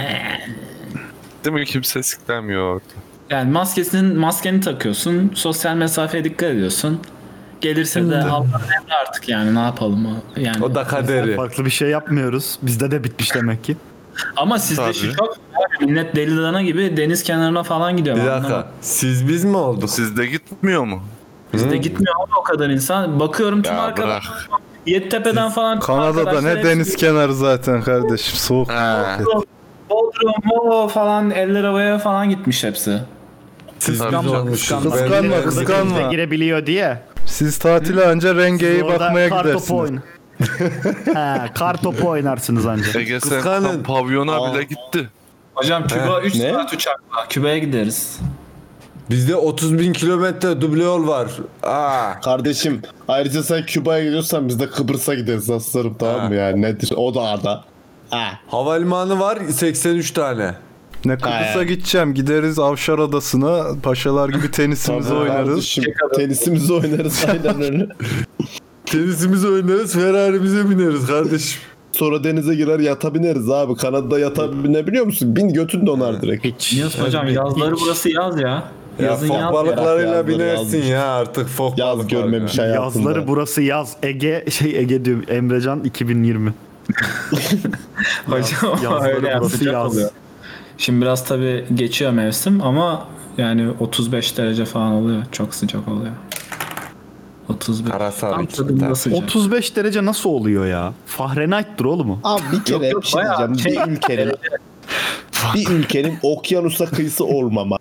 F: Değil mi? Kimse siklenmiyor orada.
J: Yani maskesinin maskeni takıyorsun. Sosyal mesafeye dikkat ediyorsun. Gelirse de
E: Hmm.
J: Allah emri artık yani ne yapalım. Yani
E: Farklı bir şey yapmıyoruz. Bizde de bitmiş demek ki.
J: Ama sizde
E: Tabii.
J: şu çok millet deli dana gibi deniz kenarına falan gidiyor.
B: Bir
J: Ben
B: dakika.
J: anlamadım.
B: Siz biz mi olduk?
F: Sizde gitmiyor mu?
J: Bizde gitmiyor ama o kadar insan. Bakıyorum tüm arkadaşlar Yettepe'den falan tüm
C: Kanada'da
J: arkadaşlar
C: ne deniz
J: hepsi-
C: kenarı zaten kardeşim soğuk.
J: Bodrum, Bodrum, Movo falan eller havaya falan gitmiş hepsi.
B: Siz
C: Kıskanma kıskanma.
E: girebiliyor diye.
C: Siz tatile anca rengeye
E: Orada
C: bakmaya
E: kar topu
C: gidersiniz.
E: oyna- He, kar topu oynarsınız anca.
F: Ege sen pavyona bile gitti.
J: Hocam
B: Küba üç Ne?
J: saat uçakla. Küba'ya gideriz.
B: Bizde 30 bin kilometre duble yol var. Aa.
H: Kardeşim ayrıca sen Küba'ya gidiyorsan biz de Kıbrıs'a gideriz aslanım tamam mı yani nedir o da ada. Ha.
B: Havalimanı var 83 tane.
C: Ne Kıbrıs'a gideceğim gideriz Avşar Adası'na paşalar gibi tenisimizi
H: Tabii
C: oynarız.
H: kardeşim, tenisimizi oynarız aynen öyle.
B: Tenisimizi oynarız Ferrari'mize bineriz kardeşim.
H: Sonra denize girer yata bineriz abi. Kanada'da yata binebiliyor musun? Bin götün donar direkt.
J: Biliyorsun hocam yazları burası yaz ya.
B: Ya
J: Yazın
B: fok
J: yaz
B: balıklarıyla
J: ya.
B: binersin ya artık fok Yaz görmemiş
E: Yazları burası yaz. Ege şey Ege diyor Emrecan 2020.
J: Hocam
E: yazları
J: öyle yani,
E: burası
J: sıcak
E: yaz.
J: oluyor. Şimdi biraz tabii geçiyor mevsim ama yani 35 derece falan oluyor. Çok sıcak oluyor. 35. Tam tadında sıcak.
E: 35 derece nasıl oluyor ya? Fahrenheit'tir oğlum o.
H: Abi bir kere bir şey diyeceğim. Bir ülkenin, bir ülkenin okyanusa kıyısı olmama.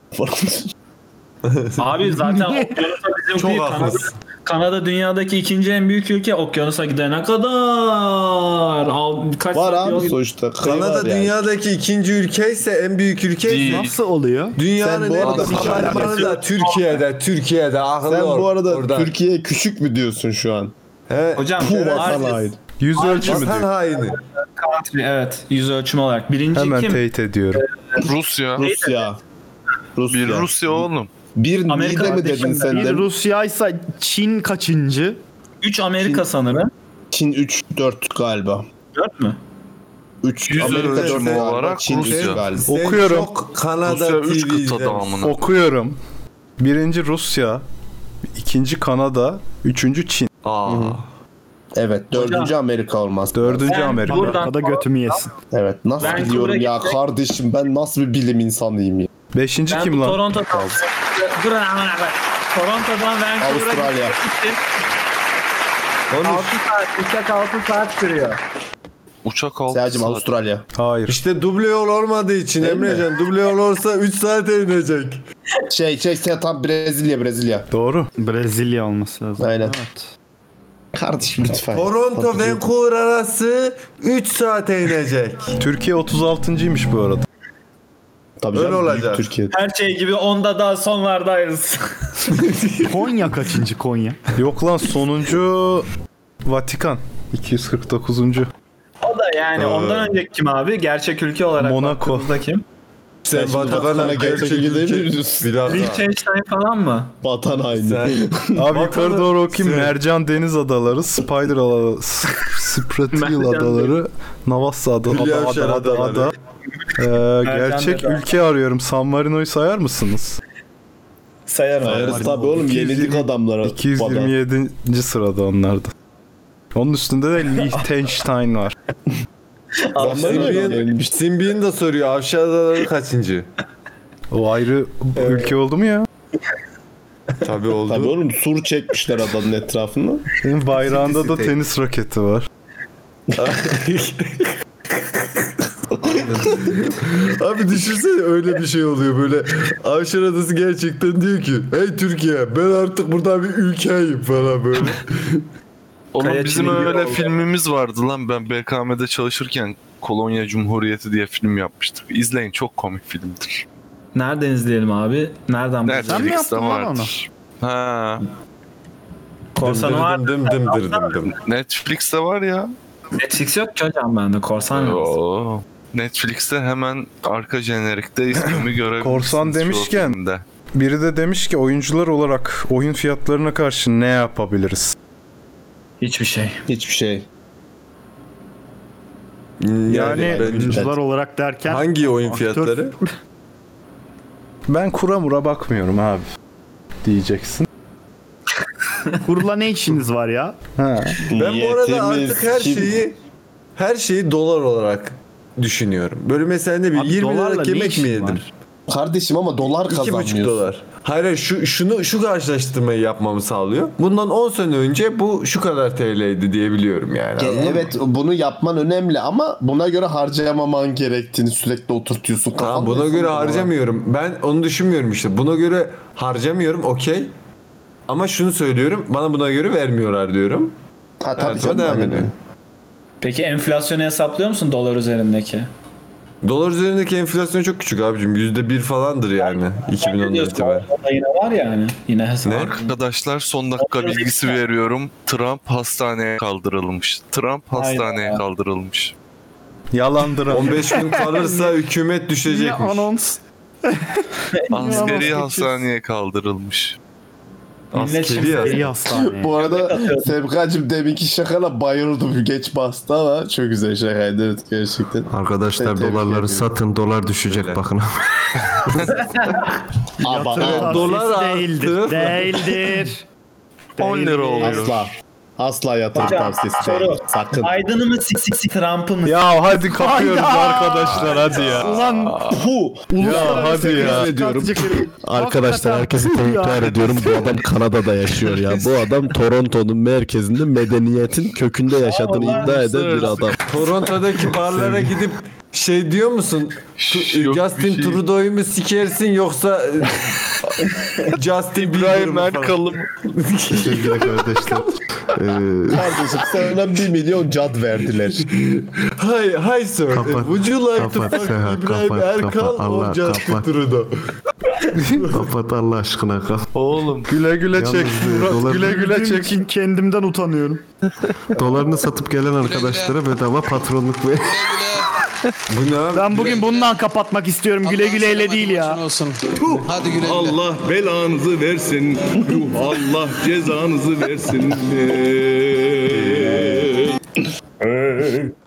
J: Abi zaten okyanusa bizim
H: Çok
J: değil. Kanada,
H: haklısın.
J: Kanada dünyadaki ikinci en büyük ülke okyanusa gidene kadar. Al, kaç
H: Var
J: saat yol
H: abi
J: gidiyor?
H: sonuçta.
B: Kanada dünyadaki ikinci ülke ise en büyük ülke ise-
E: Nasıl oluyor?
B: Dünyanın en büyük havalimanı da Türkiye'de, Türkiye'de akıllı
H: Sen
B: ol
H: bu arada
B: oradan.
H: Türkiye küçük mü diyorsun şu an?
B: He.
J: Hocam,
H: Puh,
J: evet.
H: vatan
J: Artist-
H: haini.
C: Yüz
J: ölçümü
B: Vatan
J: diyor.
B: haini.
J: Country, evet. Yüz ölçümü olarak. Birinci
C: Hemen
J: kim?
C: teyit ediyorum.
F: Rusya.
H: Rusya. Rusya.
F: Bir Rusya oğlum.
H: Bir
J: Amerika
H: Niğde mi dedin
J: kardeşim,
H: sen
J: bir
H: de?
E: Rusya'ysa Çin kaçıncı?
J: 3 Amerika sanırım.
H: Çin 3-4 galiba.
J: 4 mü?
H: 3
F: Yüz
H: Amerika
F: ölçümü
H: 4 galiba.
F: olarak
H: Çin
F: Rusya.
H: 3 galiba.
B: Sen
C: Okuyorum.
B: çok Kanada
F: Rusya üç
B: TV
F: kıta
B: izlemiş.
F: tamamını.
C: Okuyorum. Birinci Rusya, ikinci Kanada, üçüncü Çin.
B: Aa.
H: Evet dördüncü
C: Hocam.
H: Amerika olmaz.
C: Dördüncü Ben Amerika. buradan-
E: Da götümü yesin.
H: Evet nasıl
J: Ben
H: biliyorum
J: Kıbrıs'a
H: ya
J: gidecek-
H: kardeşim ben nasıl bir bilim insanıyım ya.
C: Beşinci
J: Ben bu Toronto'dan. Dur hemen bak. Toronto'dan Vancouver'a
H: Avustralya.
J: gittim. 6 saat, uçak 6 saat sürüyor.
F: Uçak altı
H: Selacım
F: saat.
H: Avustralya.
C: Hayır.
B: İşte duble yol olmadığı için
H: Değil mi?
B: Emrecan duble yol olsa 3 saate inecek.
H: Şey şey sen tam Brezilya Brezilya.
C: Doğru.
E: Brezilya olması lazım.
H: Aynen. Kardeşim lütfen.
B: Toronto Vancouver arası 3 saate inecek.
C: Türkiye 36.ymiş bu arada.
H: Tabii
B: Öyle olacak.
H: Türkiye.
J: Her şey gibi onda daha sonlardayız.
E: Konya kaçıncı Konya?
C: Yok lan sonuncu Vatikan. 249.
J: O da yani ondan önceki kim abi? Gerçek ülke olarak
C: Monaco.
J: baktığımızda kim?
B: Sen
H: şimdi Vatikan'a gerçek ülke mi diyorsun?
B: Bir dakika.
J: Liechtenstein falan mı?
H: Vatan haini.
B: Sen-
C: Abi yukarı
B: Vatanı-
C: doğru okuyayım.
B: Sen-
C: Mercan Deniz Adaları, Spider Adaları, S- Spratil Adaları, Navassa Adaları,
B: Hülya
C: ada,
B: Avşar
C: ada, ada,
B: Adaları.
C: ada. Ee, gerçek
J: Dede.
C: ülke arıyorum. San Marino'yu sayar mısınız?
J: Sayarım.
H: Sayarız tabii oğlum
C: 220
H: yenildik adamlara.
C: 227. sırada onlarda. Onun üstünde de Liechtenstein var.
B: Simbi'nin Simbi'nin de soruyor Avşar Adaları kaçıncı?
C: O ayrı ülke oldu mu ya?
B: Tabii oldu.
H: Tabii oğlum sur çekmişler adanın etrafını.
C: Senin bayrağında da tenis raketi var.
B: Abi düşünsene öyle bir şey oluyor böyle. Avşar Adası gerçekten diyor ki hey Türkiye ben artık burada bir ülkeyim falan böyle.
F: Oğlum
B: Kaya
F: bizim
B: çizgi
F: öyle
B: oldu.
F: filmimiz vardı lan. Ben BKM'de çalışırken Kolonya Cumhuriyeti diye film yapmıştık. İzleyin çok komik filmdir.
J: Nereden izleyelim abi? Nereden
F: Netflix'te
J: bulacağız?
F: vardır. Ha.
J: Korsanı var.
B: Dım dım dır dım dım.
F: Netflix'te var ya.
J: Netflix yok ki hocam bende. Korsan yok.
F: Oo. Netflix'te hemen arka jenerikte ismimi görebilirsiniz.
C: Korsan
F: çoğu
C: demişken-
F: filmde.
C: Biri de demiş ki oyuncular olarak oyun fiyatlarına karşı ne yapabiliriz?
J: Hiçbir şey.
H: Hiçbir şey.
E: Yani,
B: ben-
E: oyuncular olarak derken
B: Hangi oyun
E: aktör-
B: fiyatları?
C: Ben kura mura bakmıyorum abi diyeceksin.
E: Kurla ne işiniz var ya?
B: Ben bu arada artık her şeyi her şeyi dolar olarak düşünüyorum. Böyle mesela ne bileyim
H: Abi
B: 20
H: dolarla
B: liralık
H: ne
B: yemek mi
H: işin
B: yedim?
H: var? Kardeşim ama dolar kazanmıyorsun.
B: 2,5 dolar. Hayır hayır, şu, şunu, şu karşılaştırmayı yapmamı sağlıyor. Bundan 10 sene önce bu şu kadar TL'ydi diyebiliyorum yani.
H: Ge-
B: anladın mı?
H: evet bunu yapman önemli ama buna göre harcamaman gerektiğini sürekli oturtuyorsun.
B: Tamam buna göre harcamıyorum. Ben onu düşünmüyorum işte. Buna göre harcamıyorum okey. Ama şunu söylüyorum. Bana buna göre vermiyorlar diyorum.
H: Ha,
B: tabii canım, aynen öyle.
P: Peki enflasyonu hesaplıyor musun dolar üzerindeki?
B: Dolar üzerindeki enflasyon çok küçük abicim. %1 falandır yani. 2010'dan itibaren.
P: Orada yine var ya hani. Yine hesap.
F: Arkadaşlar son dakika bilgisi veriyorum. Trump hastaneye kaldırılmış. Trump hastaneye kaldırılmış.
C: Yalandır.
B: 15 gün kalırsa hükümet düşecekmiş.
E: Anons.
F: Askeri hastaneye kaldırılmış.
E: Şey
H: Askeri Bu arada Sevkacım deminki şakala bayıldım. Geç bastı ama çok güzel şakaydı evet, gerçekten.
Q: Arkadaşlar
H: Tebrik
Q: dolarları
H: ediyorum.
Q: satın dolar düşecek bakın.
H: Ama
E: Yatırım
H: evet.
E: tavsiyesi değildir. Değildir.
H: 10 lira
E: oluyor.
H: Asla. Asla yatırım
P: Hocam,
H: tavsiyesi
P: soru.
H: değil. Sakın.
P: Biden'ı mı sik sik sik Trump'ı mı?
C: Ya hadi kapıyoruz
P: Hayda!
C: arkadaşlar hadi ya.
E: Ulan
H: pu.
Q: Ya hadi ya. Arkadaşlar herkese tebrikler ediyorum. Bu adam Kanada'da yaşıyor ya. Bu adam Toronto'nun merkezinde medeniyetin kökünde yaşadığını iddia eden bir adam.
B: Toronto'daki barlara gidip şey diyor musun? Tu-
F: şey
B: Justin Trudeau'yu mu sikersin yoksa e, Justin Bieber mi falan?
H: Sevgili kardeşler.
Q: Ee,
H: Kardeşim sana 1 milyon cad verdiler.
B: Hay hay sir. Would you like to fuck İbrahim Erkal or Justin Trudeau?
Q: Kapat Allah aşkına kapat.
F: Oğlum.
C: Güle güle
Q: Yalnız,
C: çek
Q: e,
C: Murat,
Q: dolar-
C: güle güle
E: Güldüğüm
C: çek.
E: için kendimden utanıyorum.
Q: Dolarını satıp gelen arkadaşlara bedava patronluk ve
B: Bu ne abi?
E: Ben bugün bundan kapatmak istiyorum. Güle güleyle değil ya.
L: Olsun. Hadi güle güle. Allah belanızı versin. Yuh, Allah cezanızı versin.